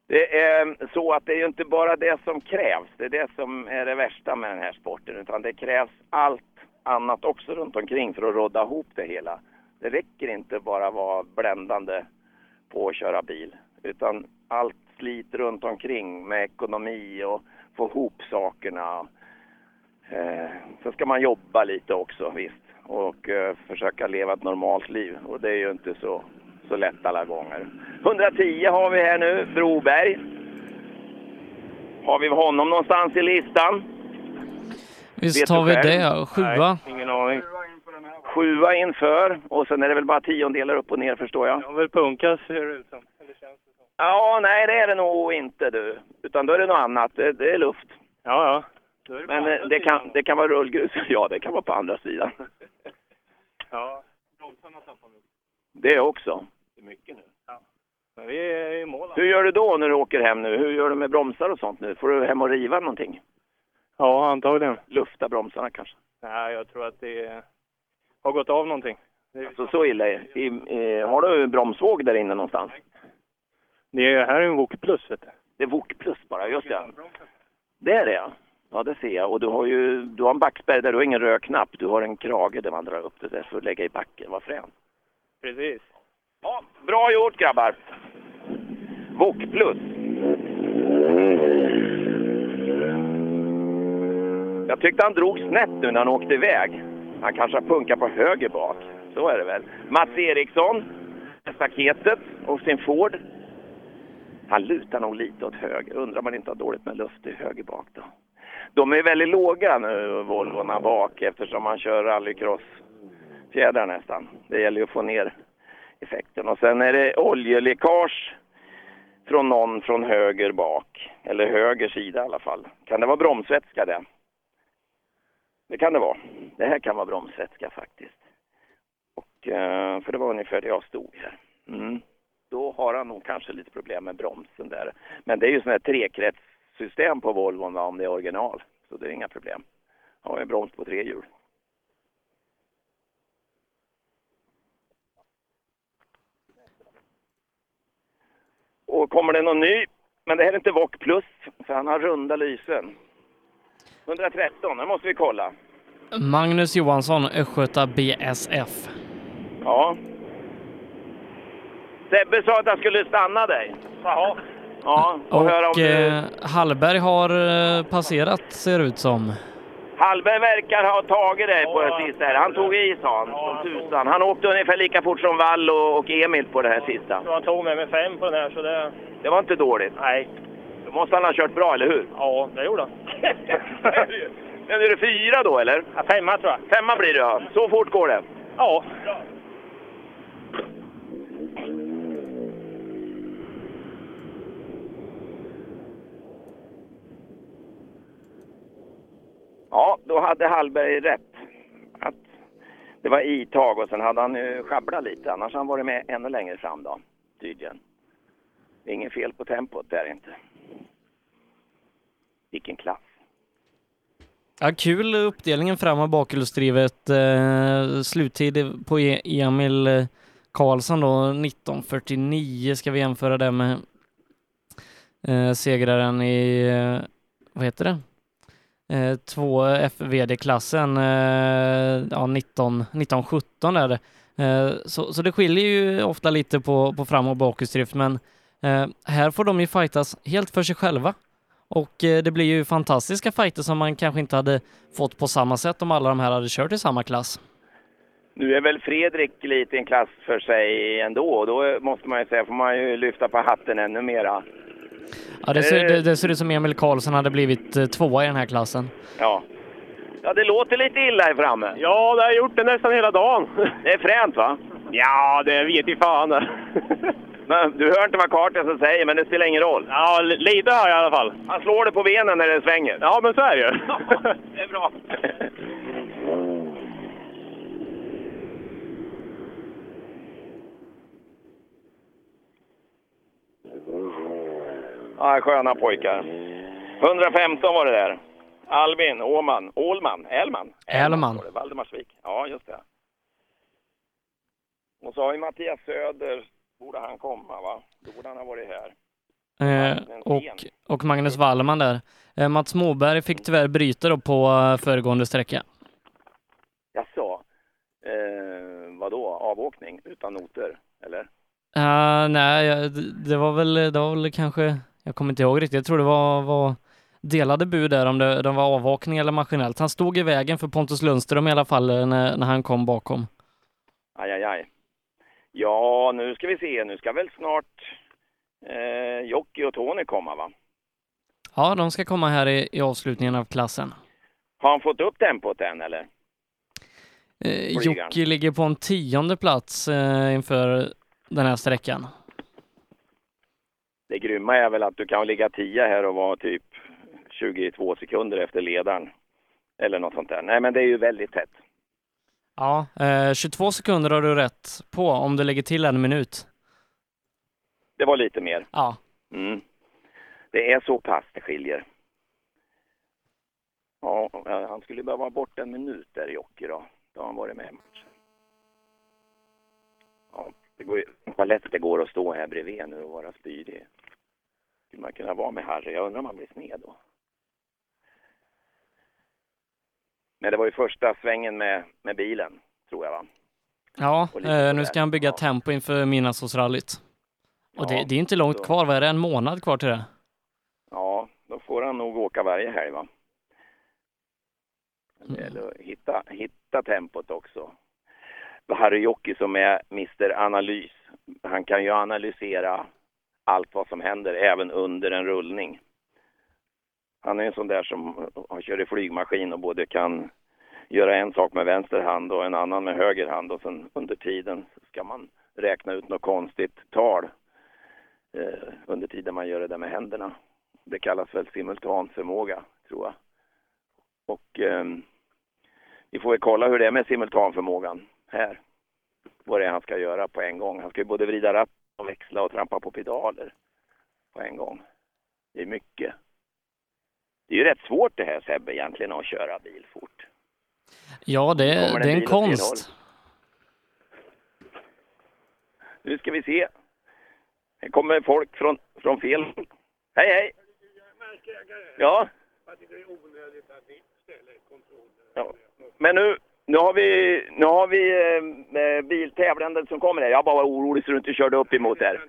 Det är så att det är ju inte bara det som krävs. Det är det som är det värsta med den här sporten. Utan det krävs allt annat också runt omkring för att rodda ihop det hela. Det räcker inte bara vara bländande på att köra bil. Utan allt slit runt omkring med ekonomi och få ihop sakerna. Eh, sen ska man jobba lite också visst. Och eh, försöka leva ett normalt liv. Och det är ju inte så, så lätt alla gånger. 110 har vi här nu, Broberg. Har vi honom någonstans i listan? Visst Vet tar du vi själv? det, sjua. Nej, ingen aning. Sjua inför och sen är det väl bara tiondelar upp och ner förstår jag. har väl punkas ser det ut som. Eller känns det som. Ja, nej det är det nog inte du. Utan då är det något annat. Det, det är luft. Ja, ja. Men eh, det kan, det kan vara rullgrus. Ja, det kan vara på andra sidan. Ja, bromsarna tappar vi. Det också. Det är mycket nu. Ja. Men vi är i mål. Hur gör du då när du åker hem nu? Hur gör du med bromsar och sånt nu? Får du hem och riva någonting? Ja, antagligen. Lufta bromsarna kanske? Nej, jag tror att det har gått av någonting. Alltså så illa är i, eh, Har du en bromsvåg där inne någonstans? Det är, här är en Wok Plus, vet du. Det är Wok Plus bara, just det. Det är det ja. Ja, det ser jag. Och du har ju du har en backspärr där, du har ingen röd knapp. Du har en krage där man drar upp det där för att lägga i backen. Vad fränt. Precis. Bra gjort grabbar! Wok Plus. Eh, Jag tyckte han drog snett nu när han åkte iväg. Han kanske har punkat på höger bak. Så är det väl. Mats Eriksson, staketet och sin Ford. Han lutar nog lite åt höger. Undrar om han inte har dåligt med luft i höger bak då. De är väldigt låga nu, Volvorna bak, eftersom man kör rallycross-fjädrar nästan. Det gäller ju att få ner effekten. Och sen är det oljeläckage från någon från höger bak, eller höger sida i alla fall. Kan det vara bromsvätska det? Det kan det vara. Det här kan vara bromsvätska faktiskt. Och, eh, för det var ungefär där jag stod här. Mm. Då har han nog kanske lite problem med bromsen där. Men det är ju sån här trekretssystem på Volvon va, om det är original. Så det är inga problem. Han har ju en broms på tre hjul. Och kommer det någon ny? Men det här är inte Vock Plus, för han har runda lysen. 113, det måste vi kolla. Magnus Johansson, Östgöta BSF. Ja. Sebbe sa att han skulle stanna dig. Jaha. Ja, och, höra om Och du... eh, Hallberg har eh, passerat ser det ut som. Hallberg verkar ha tagit dig på det sista här. Han tog i, sa han, som tusan. Han åkte ungefär lika fort som Wall och, och Emil på det här sista. Så han tog med mig fem på den här, så det... Det var inte dåligt. Nej. Då måste han ha kört bra, eller hur? Ja, det gjorde han. Men är det fyra då, eller? Ja, femma tror jag. Femma blir det, ja. Så fort går det. Ja. Ja, då hade Hallberg rätt. Att Det var itag och sen hade han eh, sjabblat lite. Annars hade han varit med ännu längre fram då, tydligen. Det är inget fel på tempot där inte. Vilken klass. Ja, kul uppdelningen fram och bakhjulsdrivet. Eh, sluttid på E- Emil eh, Karlsson då, 19.49 ska vi jämföra det med eh, segraren i, eh, vad heter det? Eh, 2 FVD-klassen, eh, ja 19, 1917 är det. Eh, så, så det skiljer ju ofta lite på, på fram och bakhjulsdrift, men eh, här får de ju fightas helt för sig själva. Och eh, det blir ju fantastiska fighter som man kanske inte hade fått på samma sätt om alla de här hade kört i samma klass. Nu är väl Fredrik lite i en klass för sig ändå. och Då måste man ju säga, får man ju lyfta på hatten ännu mera. Ja, det, ser, det, det ser ut som Emil Karlsson hade blivit eh, tvåa i den här klassen. Ja. Ja, det låter lite illa här framme. Ja, det har jag gjort det nästan hela dagen. Det är fränt va? Ja, det vet i fan. Men du hör inte vad Carterson säger, men det spelar ingen roll. Ja, lite hör jag i alla fall. Han slår det på benen när det svänger. Ja, men så är det ju. det är bra. Ja, sköna pojkar. 115 var det där. Albin Åman, Ålman, Älman. Älman. var det, Valdemarsvik. Ja, just det. Och så har vi Mattias Söder. Borde han komma, va? Då borde han ha varit här. Eh, och, och Magnus Wallman där. Eh, Mats Moberg fick tyvärr bryta då på eh, föregående sträcka. Jag sa, eh, vadå, avåkning utan noter, eller? Eh, nej, jag- det- det var, väl, det var väl kanske, jag kommer inte ihåg riktigt, jag tror det var, var delade bud där om det, de var avvakning eller maskinellt. Han stod i vägen för Pontus Lundström i alla fall eh, när, när han kom bakom. Aj, aj, aj. Ja, nu ska vi se. Nu ska väl snart eh, Jocke och Tony komma, va? Ja, de ska komma här i, i avslutningen av klassen. Har han fått upp tempot än, eller? Eh, Flygan. Jocke ligger på en tionde plats eh, inför den här sträckan. Det grymma är väl att du kan ligga 10 här och vara typ 22 sekunder efter ledaren. Eller något sånt där. Nej, men det är ju väldigt tätt. Ja, eh, 22 sekunder har du rätt på om du lägger till en minut. Det var lite mer. Ja. Mm. Det är så pass det skiljer. Ja, han skulle behöva vara borta en minut där, Jocke, då. Då har han varit med i matchen. Ja, det går ju... Vad lätt det går att stå här bredvid nu och vara spydig. Skulle man kunna vara med Harry? Jag undrar om han blir sned då. Men det var ju första svängen med, med bilen, tror jag, va? Ja, eh, nu ska han bygga tempo inför Midnattssolsrallyt. Och det, Ja, det är inte långt så- kvar, vad är det, en månad kvar till det? Ja, då får han nog åka varje helg va? Men Det gäller att hitta, hitta tempot också. Harry Jocke som är Mr Analys, han kan ju analysera allt vad som händer, även under en rullning. Han är en sån där som har kör i flygmaskin och både kan göra en sak med vänster hand och en annan med höger hand och sen under tiden ska man räkna ut något konstigt tal eh, under tiden man gör det där med händerna. Det kallas väl simultanförmåga, tror jag. Och ehm, vi får väl kolla hur det är med simultanförmågan här. Vad det är han ska göra på en gång. Han ska ju både vrida ratt och växla och trampa på pedaler på en gång. Det är mycket. Det är ju rätt svårt det här Sebbe egentligen att köra bil fort. Ja, det, Kommer det är en en bil åt fel konst. Nu ska vi se. Här kommer folk från, från fel håll. Hej hej! Ja. Ja. Men nu, nu har vi, nu har vi eh, eh, biltävlande som kommer här. Jag bara var orolig så du inte körde upp emot här.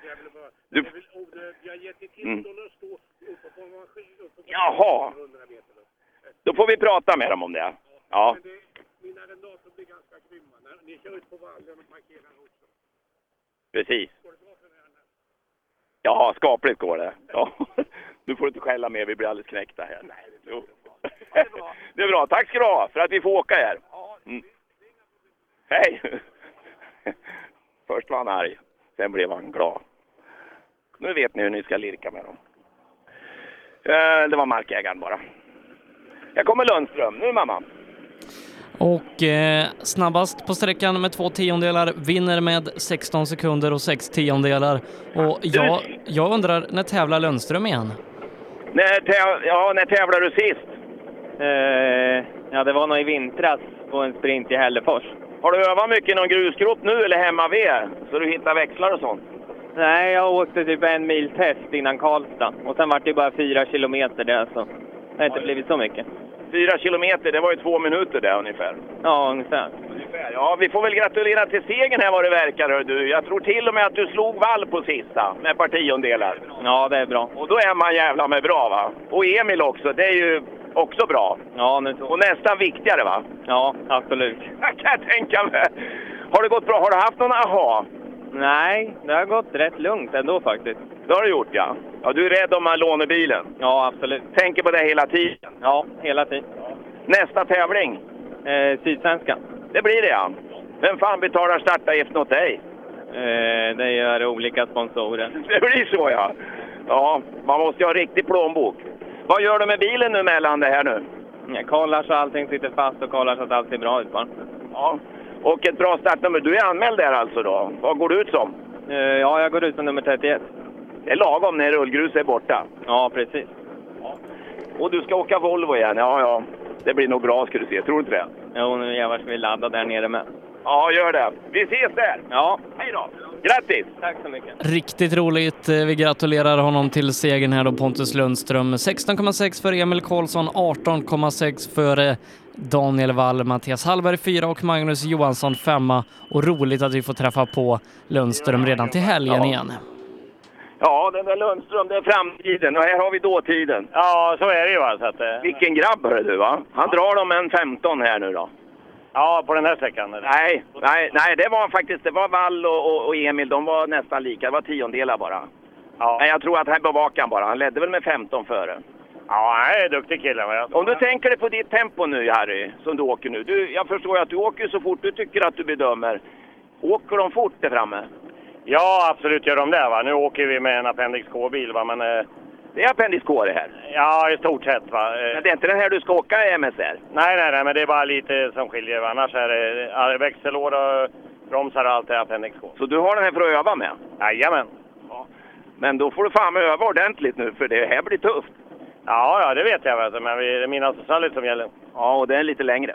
Du... Mm. Jaha, då får vi prata med dem om det. Ja. Precis. Ja, skapligt går det. Ja. Du får inte skälla mer, vi blir alldeles knäckta här. Jo. Det är bra. Tack ska du ha för att vi får åka här. Mm. Hej! Först var han arg, sen blev han glad. Nu vet ni hur ni ska lirka med dem. Eh, Det var markägaren bara. Jag kommer Lundström. Nu mamma. Och eh, snabbast på sträckan med två tiondelar vinner med 16 sekunder och 6 tiondelar. Och jag, jag undrar, när tävlar Lundström igen? När, täv- ja, när tävlade du sist? Eh, ja, det var nog i vintras på en sprint i Hällefors. Har du övat mycket i någon grusgrop nu eller hemma vid? Så du hittar växlar och sånt? Nej, jag åkte typ en mil test innan Karlstad och sen var det bara fyra kilometer där så det har inte blivit så mycket. Fyra kilometer, det var ju två minuter där ungefär. Ja, ungefär. Ungefär, Ja, vi får väl gratulera till segern här vad det verkar hör du. Jag tror till och med att du slog vall på sista med partiondelar. Ja, det är bra. Och då är man jävla med bra va? Och Emil också, det är ju också bra. Ja, nu Och nästan viktigare va? Ja, absolut. Jag kan tänka mig. Har det gått bra? Har du haft någon aha? Nej, det har gått rätt lugnt ändå faktiskt. Det har du gjort ja. Ja, du är rädd om man lånar bilen? Ja, absolut. Tänker på det hela tiden? Ja, hela tiden. Nästa tävling? Eh, Sydsvenskan. Det blir det ja. Vem fan betalar startavgiften åt dig? Eh, det gör olika sponsorer. Det blir så ja. Ja, man måste ju ha riktig plånbok. Vad gör du med bilen nu mellan det här nu? Jag kollar så allting sitter fast och kollar så att allt ser bra ut bara. Ja. Och ett bra startnummer. Du är anmäld där alltså då? Vad går du ut som? Eh, ja, jag går ut som nummer 31. Det är lagom när rullgrus är borta. Ja, precis. Och du ska åka Volvo igen? Ja, ja. Det blir nog bra ska du se. Tror du inte det? Jo, nu jävlar ska vi ladda där nere med. Ja, gör det. Vi ses där! Ja. Hej då! Grattis! Tack så mycket. Riktigt roligt. Eh, Vi gratulerar honom till segern här då, Pontus Lundström. 16,6 för Emil Karlsson, 18,6 för eh, Daniel Wall, Mattias Hallberg 4 och Magnus Johansson 5. Och roligt att vi får träffa på Lundström redan till helgen igen. Ja, den där Lundström, det är framtiden och här har vi dåtiden. Ja, så är det ju. Va, så Vilken grabb hör du va? Han drar dem en 15 här nu då. Ja, på den här sträckan? Eller? Nej, nej, nej, det var faktiskt, det var Wall och, och, och Emil, de var nästan lika. Det var tiondelar bara. Ja. Men jag tror att han bevakade han bara. Han ledde väl med 15 före. Ja, han är en duktig kille. va? Jag- Om du tänker dig på ditt tempo nu Harry, som du åker nu. Du, jag förstår ju att du åker så fort du tycker att du bedömer. Åker de fort där framme? Ja, absolut gör de det. Va? Nu åker vi med en Appendix K-bil, va? men... Eh... Det är Appendix K det här? Ja, i stort sett. Va? Eh, Men det är inte den här du ska åka i MSR? Nej, nej, nej, men det är bara lite som skiljer. Va? Annars är det ja, växellåda, bromsar och allt är Appendix K. Så du har den här för att öva med? Jajamän. Men då får du fan öva ordentligt nu, för det här blir tufft. Ja, ja, det vet jag. Vet du, men vi, det är mina rallyt som gäller. Ja, och det är lite längre.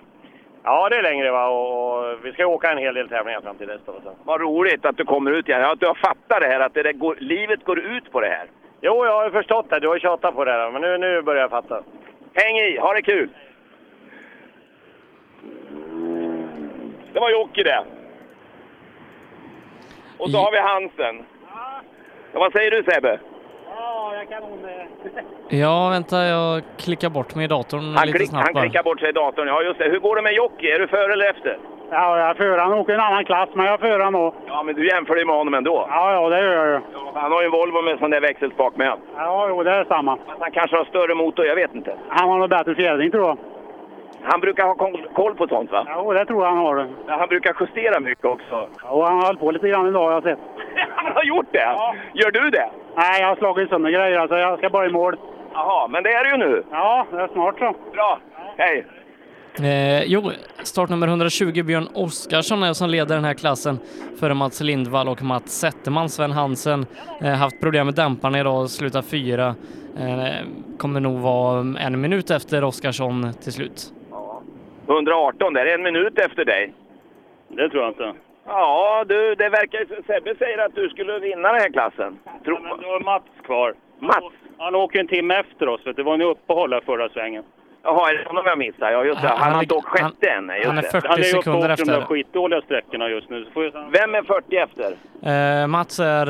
Ja, det är längre. Va? Och, och vi ska åka en hel del tävlingar fram till dess. Då, så. Vad roligt att du kommer ut igen. Ja, Att du har fattat det här, att det där går, livet går ut på det här. Jo, jag har ju förstått det. Du har ju tjatat på det här, men nu, nu börjar jag fatta. Häng i, ha det kul! Det var Jocke det. Och så har vi Hansen. Ja, vad säger du Sebbe? Ja, jag kan hon det. Ja, vänta, jag klickar bort mig i datorn Han, lite klick, snabbt han bara. klickar bort sig i datorn. Ja, just det. Hur går det med Jocke? Är du före eller efter? Ja, jag för han åker i en annan klass, men jag för han också. Ja, men du jämför dig med honom ändå. Ja, ja, det gör jag ju. Han har ju en Volvo med sån där växelspak med. Ja, jo, det är samma. Han kanske har större motor, jag vet inte. Han har nog bättre fjädring, tror jag. Han brukar ha koll, koll på sånt va? Jo, det tror jag han har. det. Men Han brukar justera mycket också. Och han har hållit på lite grann idag, har jag sett. Han har gjort det! Gör du det? Nej, jag har slagit sönder grejer, alltså. Jag ska bara i mål. Jaha, men det är det ju nu. Ja, det är snart så. Bra. Hej! Eh, jo, startnummer 120 Björn Oskarsson är som leder den här klassen före Mats Lindvall och Mats Zetterman. Sven Hansen eh, haft problem med dämparna idag och slutar fyra. Eh, kommer nog vara mm, en minut efter Oskarsson till slut. 118 där, en minut efter dig. Det tror jag inte. Ja, du, det verkar ju... Sebbe säger att du skulle vinna den här klassen. Tro... Men då är Mats kvar. Mats? Han åker en timme efter oss. Vet du. Det var en uppehåll här förra svängen. Jaha, är det honom jag missar? Ja, just det. Han, Han- har han inte åkt sjätte än. nej, just han är det. 40 Han är ju uppe och sekunder åker de där efter. skitdåliga sträckorna just nu. Så får jag... Vem är 40 efter? Eh, Mats är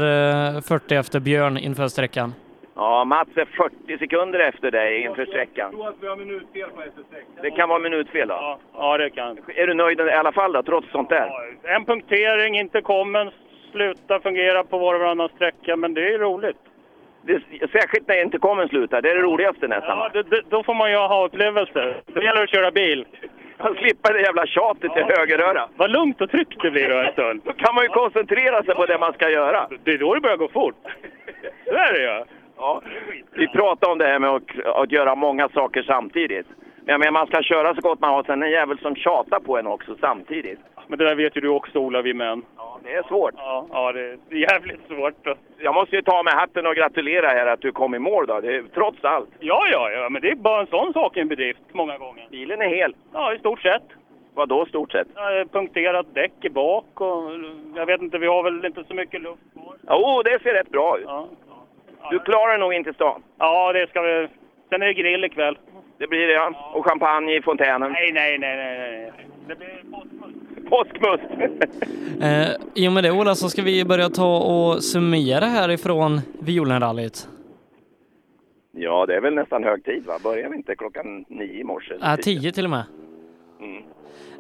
eh, 40 efter Björn inför sträckan. Ja, Mats är 40 sekunder efter dig inför sträckan. tror att vi har minutfel på SS6. Det kan vara minutfel då. Ja, det kan. Är du nöjd i alla fall då, trots sånt där? En punktering, inte kommen, sluta fungera på var och varannan sträcka, men det är ju roligt. Det, särskilt när inte kommer slutar, det är det roligaste nästan. Ja, det, det, då får man ju ha upplevelser. Då gäller det att köra bil. Man slipper det jävla tjatet till högeröra. Vad lugnt och tryggt det blir då en stund. Då kan man ju koncentrera sig på det man ska göra. Det är då det börjar gå fort. Så är det ju. Ja. Vi pratade om det här med att, att göra många saker samtidigt. Men jag menar, man ska köra så gott man har. Sen är det en jävel som tjatar på en också samtidigt. Men det där vet ju du också, Ola Wimén. Det är svårt. Ja, ja det är jävligt svårt. Då. Jag måste ju ta med hatten och gratulera här att du kom i mål då. Det är, trots allt. Ja, ja, ja, men det är bara en sån sak en bedrift många gånger. Bilen är hel. Ja, i stort sett. Vadå stort sett? Ja, eh, Punkterat däck i bak och jag vet inte, vi har väl inte så mycket luft. Jo, det ser rätt bra ut. Ja. Du klarar nog inte stan. Ja, det ska vi... Sen är det grill ikväll. Det blir det ja. Och champagne i fontänen. Nej, nej, nej, nej, nej. Det blir Påskmust! Eh, I och med det Ola så ska vi börja ta och summera härifrån Violenrallyt. Ja, det är väl nästan hög tid va? Börjar vi inte klockan nio i morse? Äh, tio till och med. Mm.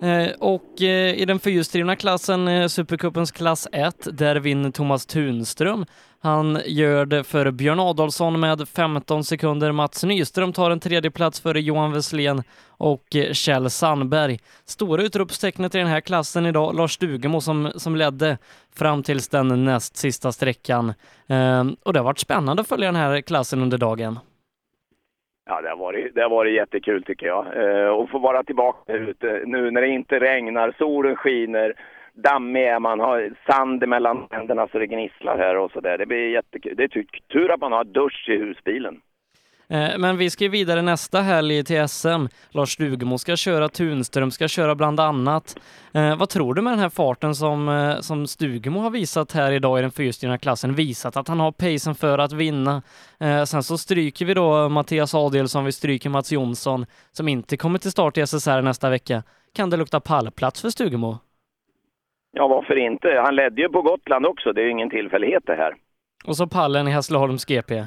Eh, och eh, i den fyrhjulsdrivna klassen, eh, Supercupens klass 1, där vinner Thomas Tunström. Han gör det för Björn Adolfsson med 15 sekunder. Mats Nyström tar en tredje plats före Johan Wesslén och eh, Kjell Sandberg. Stora utropstecknet i den här klassen idag, Lars Stugemo som, som ledde fram tills den näst sista sträckan. Eh, och det har varit spännande att följa den här klassen under dagen. Ja, det har varit, det har varit jättekul tycker jag. Eh, och få vara tillbaka där ute nu när det inte regnar, solen skiner, dammig är man, har sand mellan tänderna så det gnisslar här och så där. Det blir jättekul. Det är tur, tur att man har dusch i husbilen. Eh, Men vi ska ju vidare nästa helg till SM. Lars Stugemo ska köra, Tunström ska köra bland annat. Eh, vad tror du med den här farten som, eh, som Stugemo har visat här idag i den fyrhjulsdrivna klassen? Visat att han har pacen för att vinna. Eh, sen så stryker vi då Mattias Adelsson, vi stryker Mats Jonsson som inte kommer till start i SSR nästa vecka. Kan det lukta pallplats för Stugemo? Ja, varför inte? Han ledde ju på Gotland också. Det är ju ingen tillfällighet det här. Och så pallen i Hässleholms GP.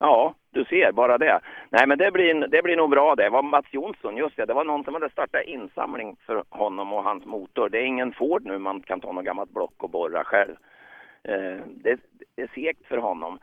Ja, du ser, bara det. Nej, men det blir, det blir nog bra det. var Mats Jonsson, just det. Det var någon som hade startat insamling för honom och hans motor. Det är ingen Ford nu man kan ta något gammalt block och borra själv. Eh, det, det är segt för honom.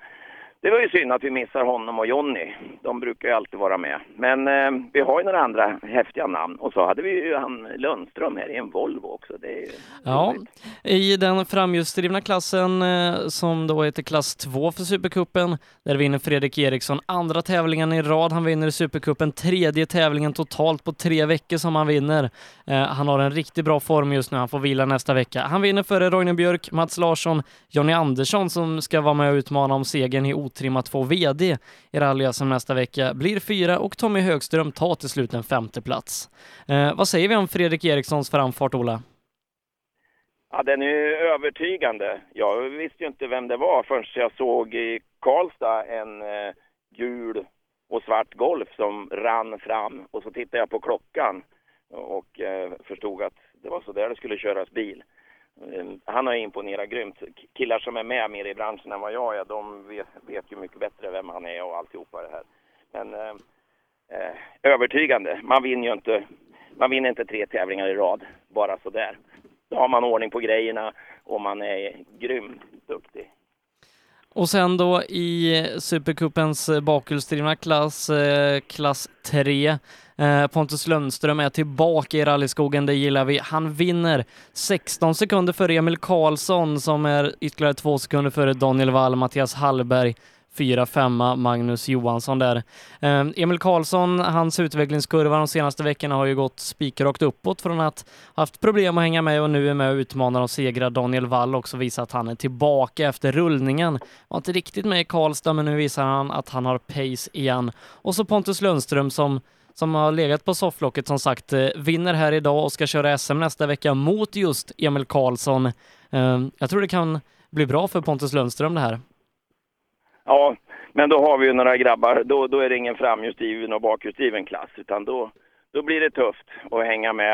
Det var ju synd att vi missar honom och Jonny. De brukar ju alltid vara med. Men eh, vi har ju några andra häftiga namn. Och så hade vi ju han Lundström här i en Volvo också. Det är ju... Ja, i den framhjulsdrivna klassen eh, som då heter klass 2 för Supercupen, där vinner Fredrik Eriksson andra tävlingen i rad. Han vinner i Supercupen, tredje tävlingen totalt på tre veckor som han vinner. Eh, Han har en riktigt bra form just nu, han får vila nästa vecka. Han vinner före Roine Björk, Mats Larsson, Jonny Andersson som ska vara med och utmana om segern i otrimmat 2 VD i rally som nästa vecka blir fyra och Tommy Högström tar till slut en femte plats. Eh, Vad säger vi om Fredrik Erikssons framfart, Ola? Ja, den är ju övertygande. Jag visste ju inte vem det var förrän jag såg i Karlstad en eh, gul och svart Golf som rann fram. Och så tittade jag på klockan och eh, förstod att det var så där det skulle köras bil. Eh, han har imponerat grymt. K- Killar som är med mer i branschen än vad jag är, de vet, vet ju mycket bättre vem han är och alltihopa det här. Men eh, eh, övertygande. Man vinner ju inte, man vinner inte tre tävlingar i rad bara så där. Då har man ordning på grejerna och man är grymt duktig. Och sen då i Supercupens eh, bakhjulsdrivna klass, eh, klass 3. Eh, Pontus Lundström är tillbaka i rallyskogen, det gillar vi. Han vinner 16 sekunder före Emil Karlsson som är ytterligare två sekunder före Daniel Wall, Mattias Hallberg, fyra femma Magnus Johansson där. Eh, Emil Karlsson, hans utvecklingskurva de senaste veckorna har ju gått spikrakt uppåt från att ha haft problem att hänga med och nu är med och utmanar och segrar. Daniel Wall också visar att han är tillbaka efter rullningen. Var inte riktigt med i Karlstad, men nu visar han att han har pace igen. Och så Pontus Lundström som som har legat på sofflocket som sagt, eh, vinner här idag och ska köra SM nästa vecka mot just Emil Karlsson. Eh, Jag tror det kan bli bra för Pontus Lundström det här. Ja, men då har vi ju några grabbar. Då, då är det ingen framhjulsdriven och bakhjulsdriven klass, utan då, då blir det tufft att hänga med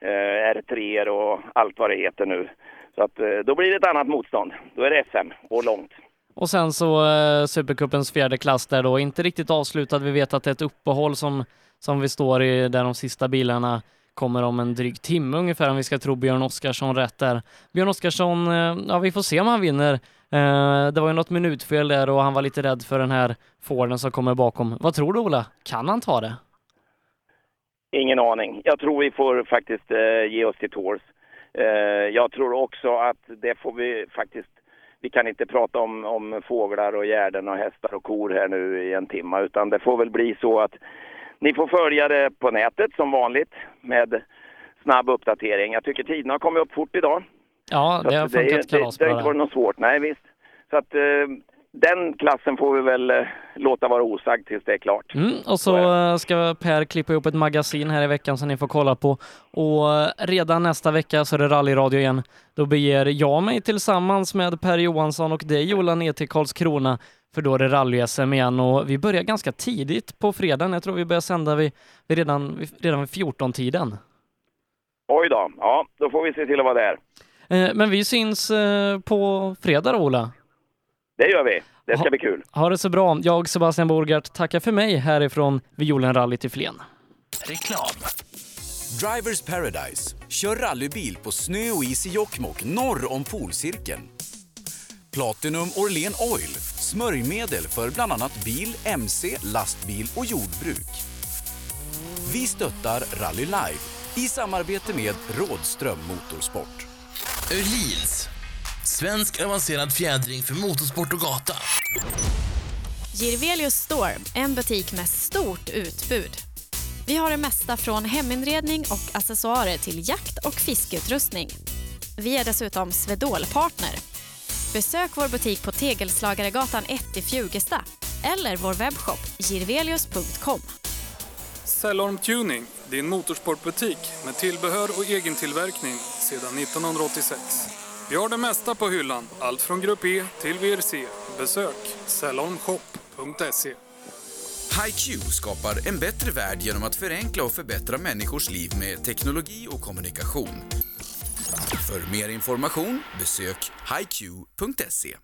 eh, R3 och allt vad det heter nu. Så att, eh, då blir det ett annat motstånd. Då är det SM och långt. Och sen så eh, Supercupens fjärde klass där då, inte riktigt avslutad. Vi vet att det är ett uppehåll som, som vi står i där de sista bilarna kommer om en dryg timme ungefär om vi ska tro Björn Oskarsson rätt där. Björn Oskarsson, eh, ja vi får se om han vinner. Eh, det var ju något minutfel där och han var lite rädd för den här Forden som kommer bakom. Vad tror du Ola? Kan han ta det? Ingen aning. Jag tror vi får faktiskt eh, ge oss till tåls. Eh, jag tror också att det får vi faktiskt... Vi kan inte prata om, om fåglar och gärden och hästar och kor här nu i en timme utan det får väl bli så att Ni får följa det på nätet som vanligt med snabb uppdatering. Jag tycker tiderna har kommit upp fort idag. Ja, det har Så det, funkat det, kalas det på har det inte varit här. något svårt, nej visst. Så att eh, den klassen får vi väl eh, låta vara osagd tills det är klart. Mm, och så eh, ska Per klippa ihop ett magasin här i veckan som ni får kolla på. Och eh, redan nästa vecka så är det rallyradio igen. Då beger jag mig tillsammans med Per Johansson och dig Ola ner till Karlskrona för då är det rally-SM igen och vi börjar ganska tidigt på fredagen. Jag tror vi börjar sända vid, vid redan, vid, redan vid 14-tiden. Oj då, ja då får vi se till att vara där. Eh, Men vi syns eh, på fredag då, Ola. Det gör vi, det ska bli kul. Ha det så bra. Jag, Sebastian Borgart, tackar för mig härifrån Violen Rally till Flen. Reklam. Drivers Paradise. Kör rallybil på snö och is i Jokkmokk norr om polcirkeln. Platinum Orlen Oil. Smörjmedel för bland annat bil, mc, lastbil och jordbruk. Vi stöttar Rally Live i samarbete med Rådström Motorsport. Öhlins. Svensk avancerad fjädring för motorsport och gata. Girvelius Store, en butik med stort utbud. Vi har det mesta från heminredning och accessoarer till jakt och fiskeutrustning. Vi är dessutom Swedol-partner. Besök vår butik på Tegelslagaregatan 1 i Fjugesta eller vår webbshop girvelius.com. Cellorm Tuning, din motorsportbutik med tillbehör och egen tillverkning sedan 1986. Vi har det mesta på hyllan, allt från Grupp E till VRC. Besök cellormshop.se. HiQ skapar en bättre värld genom att förenkla och förbättra människors liv med teknologi och kommunikation. För mer information besök hiq.se.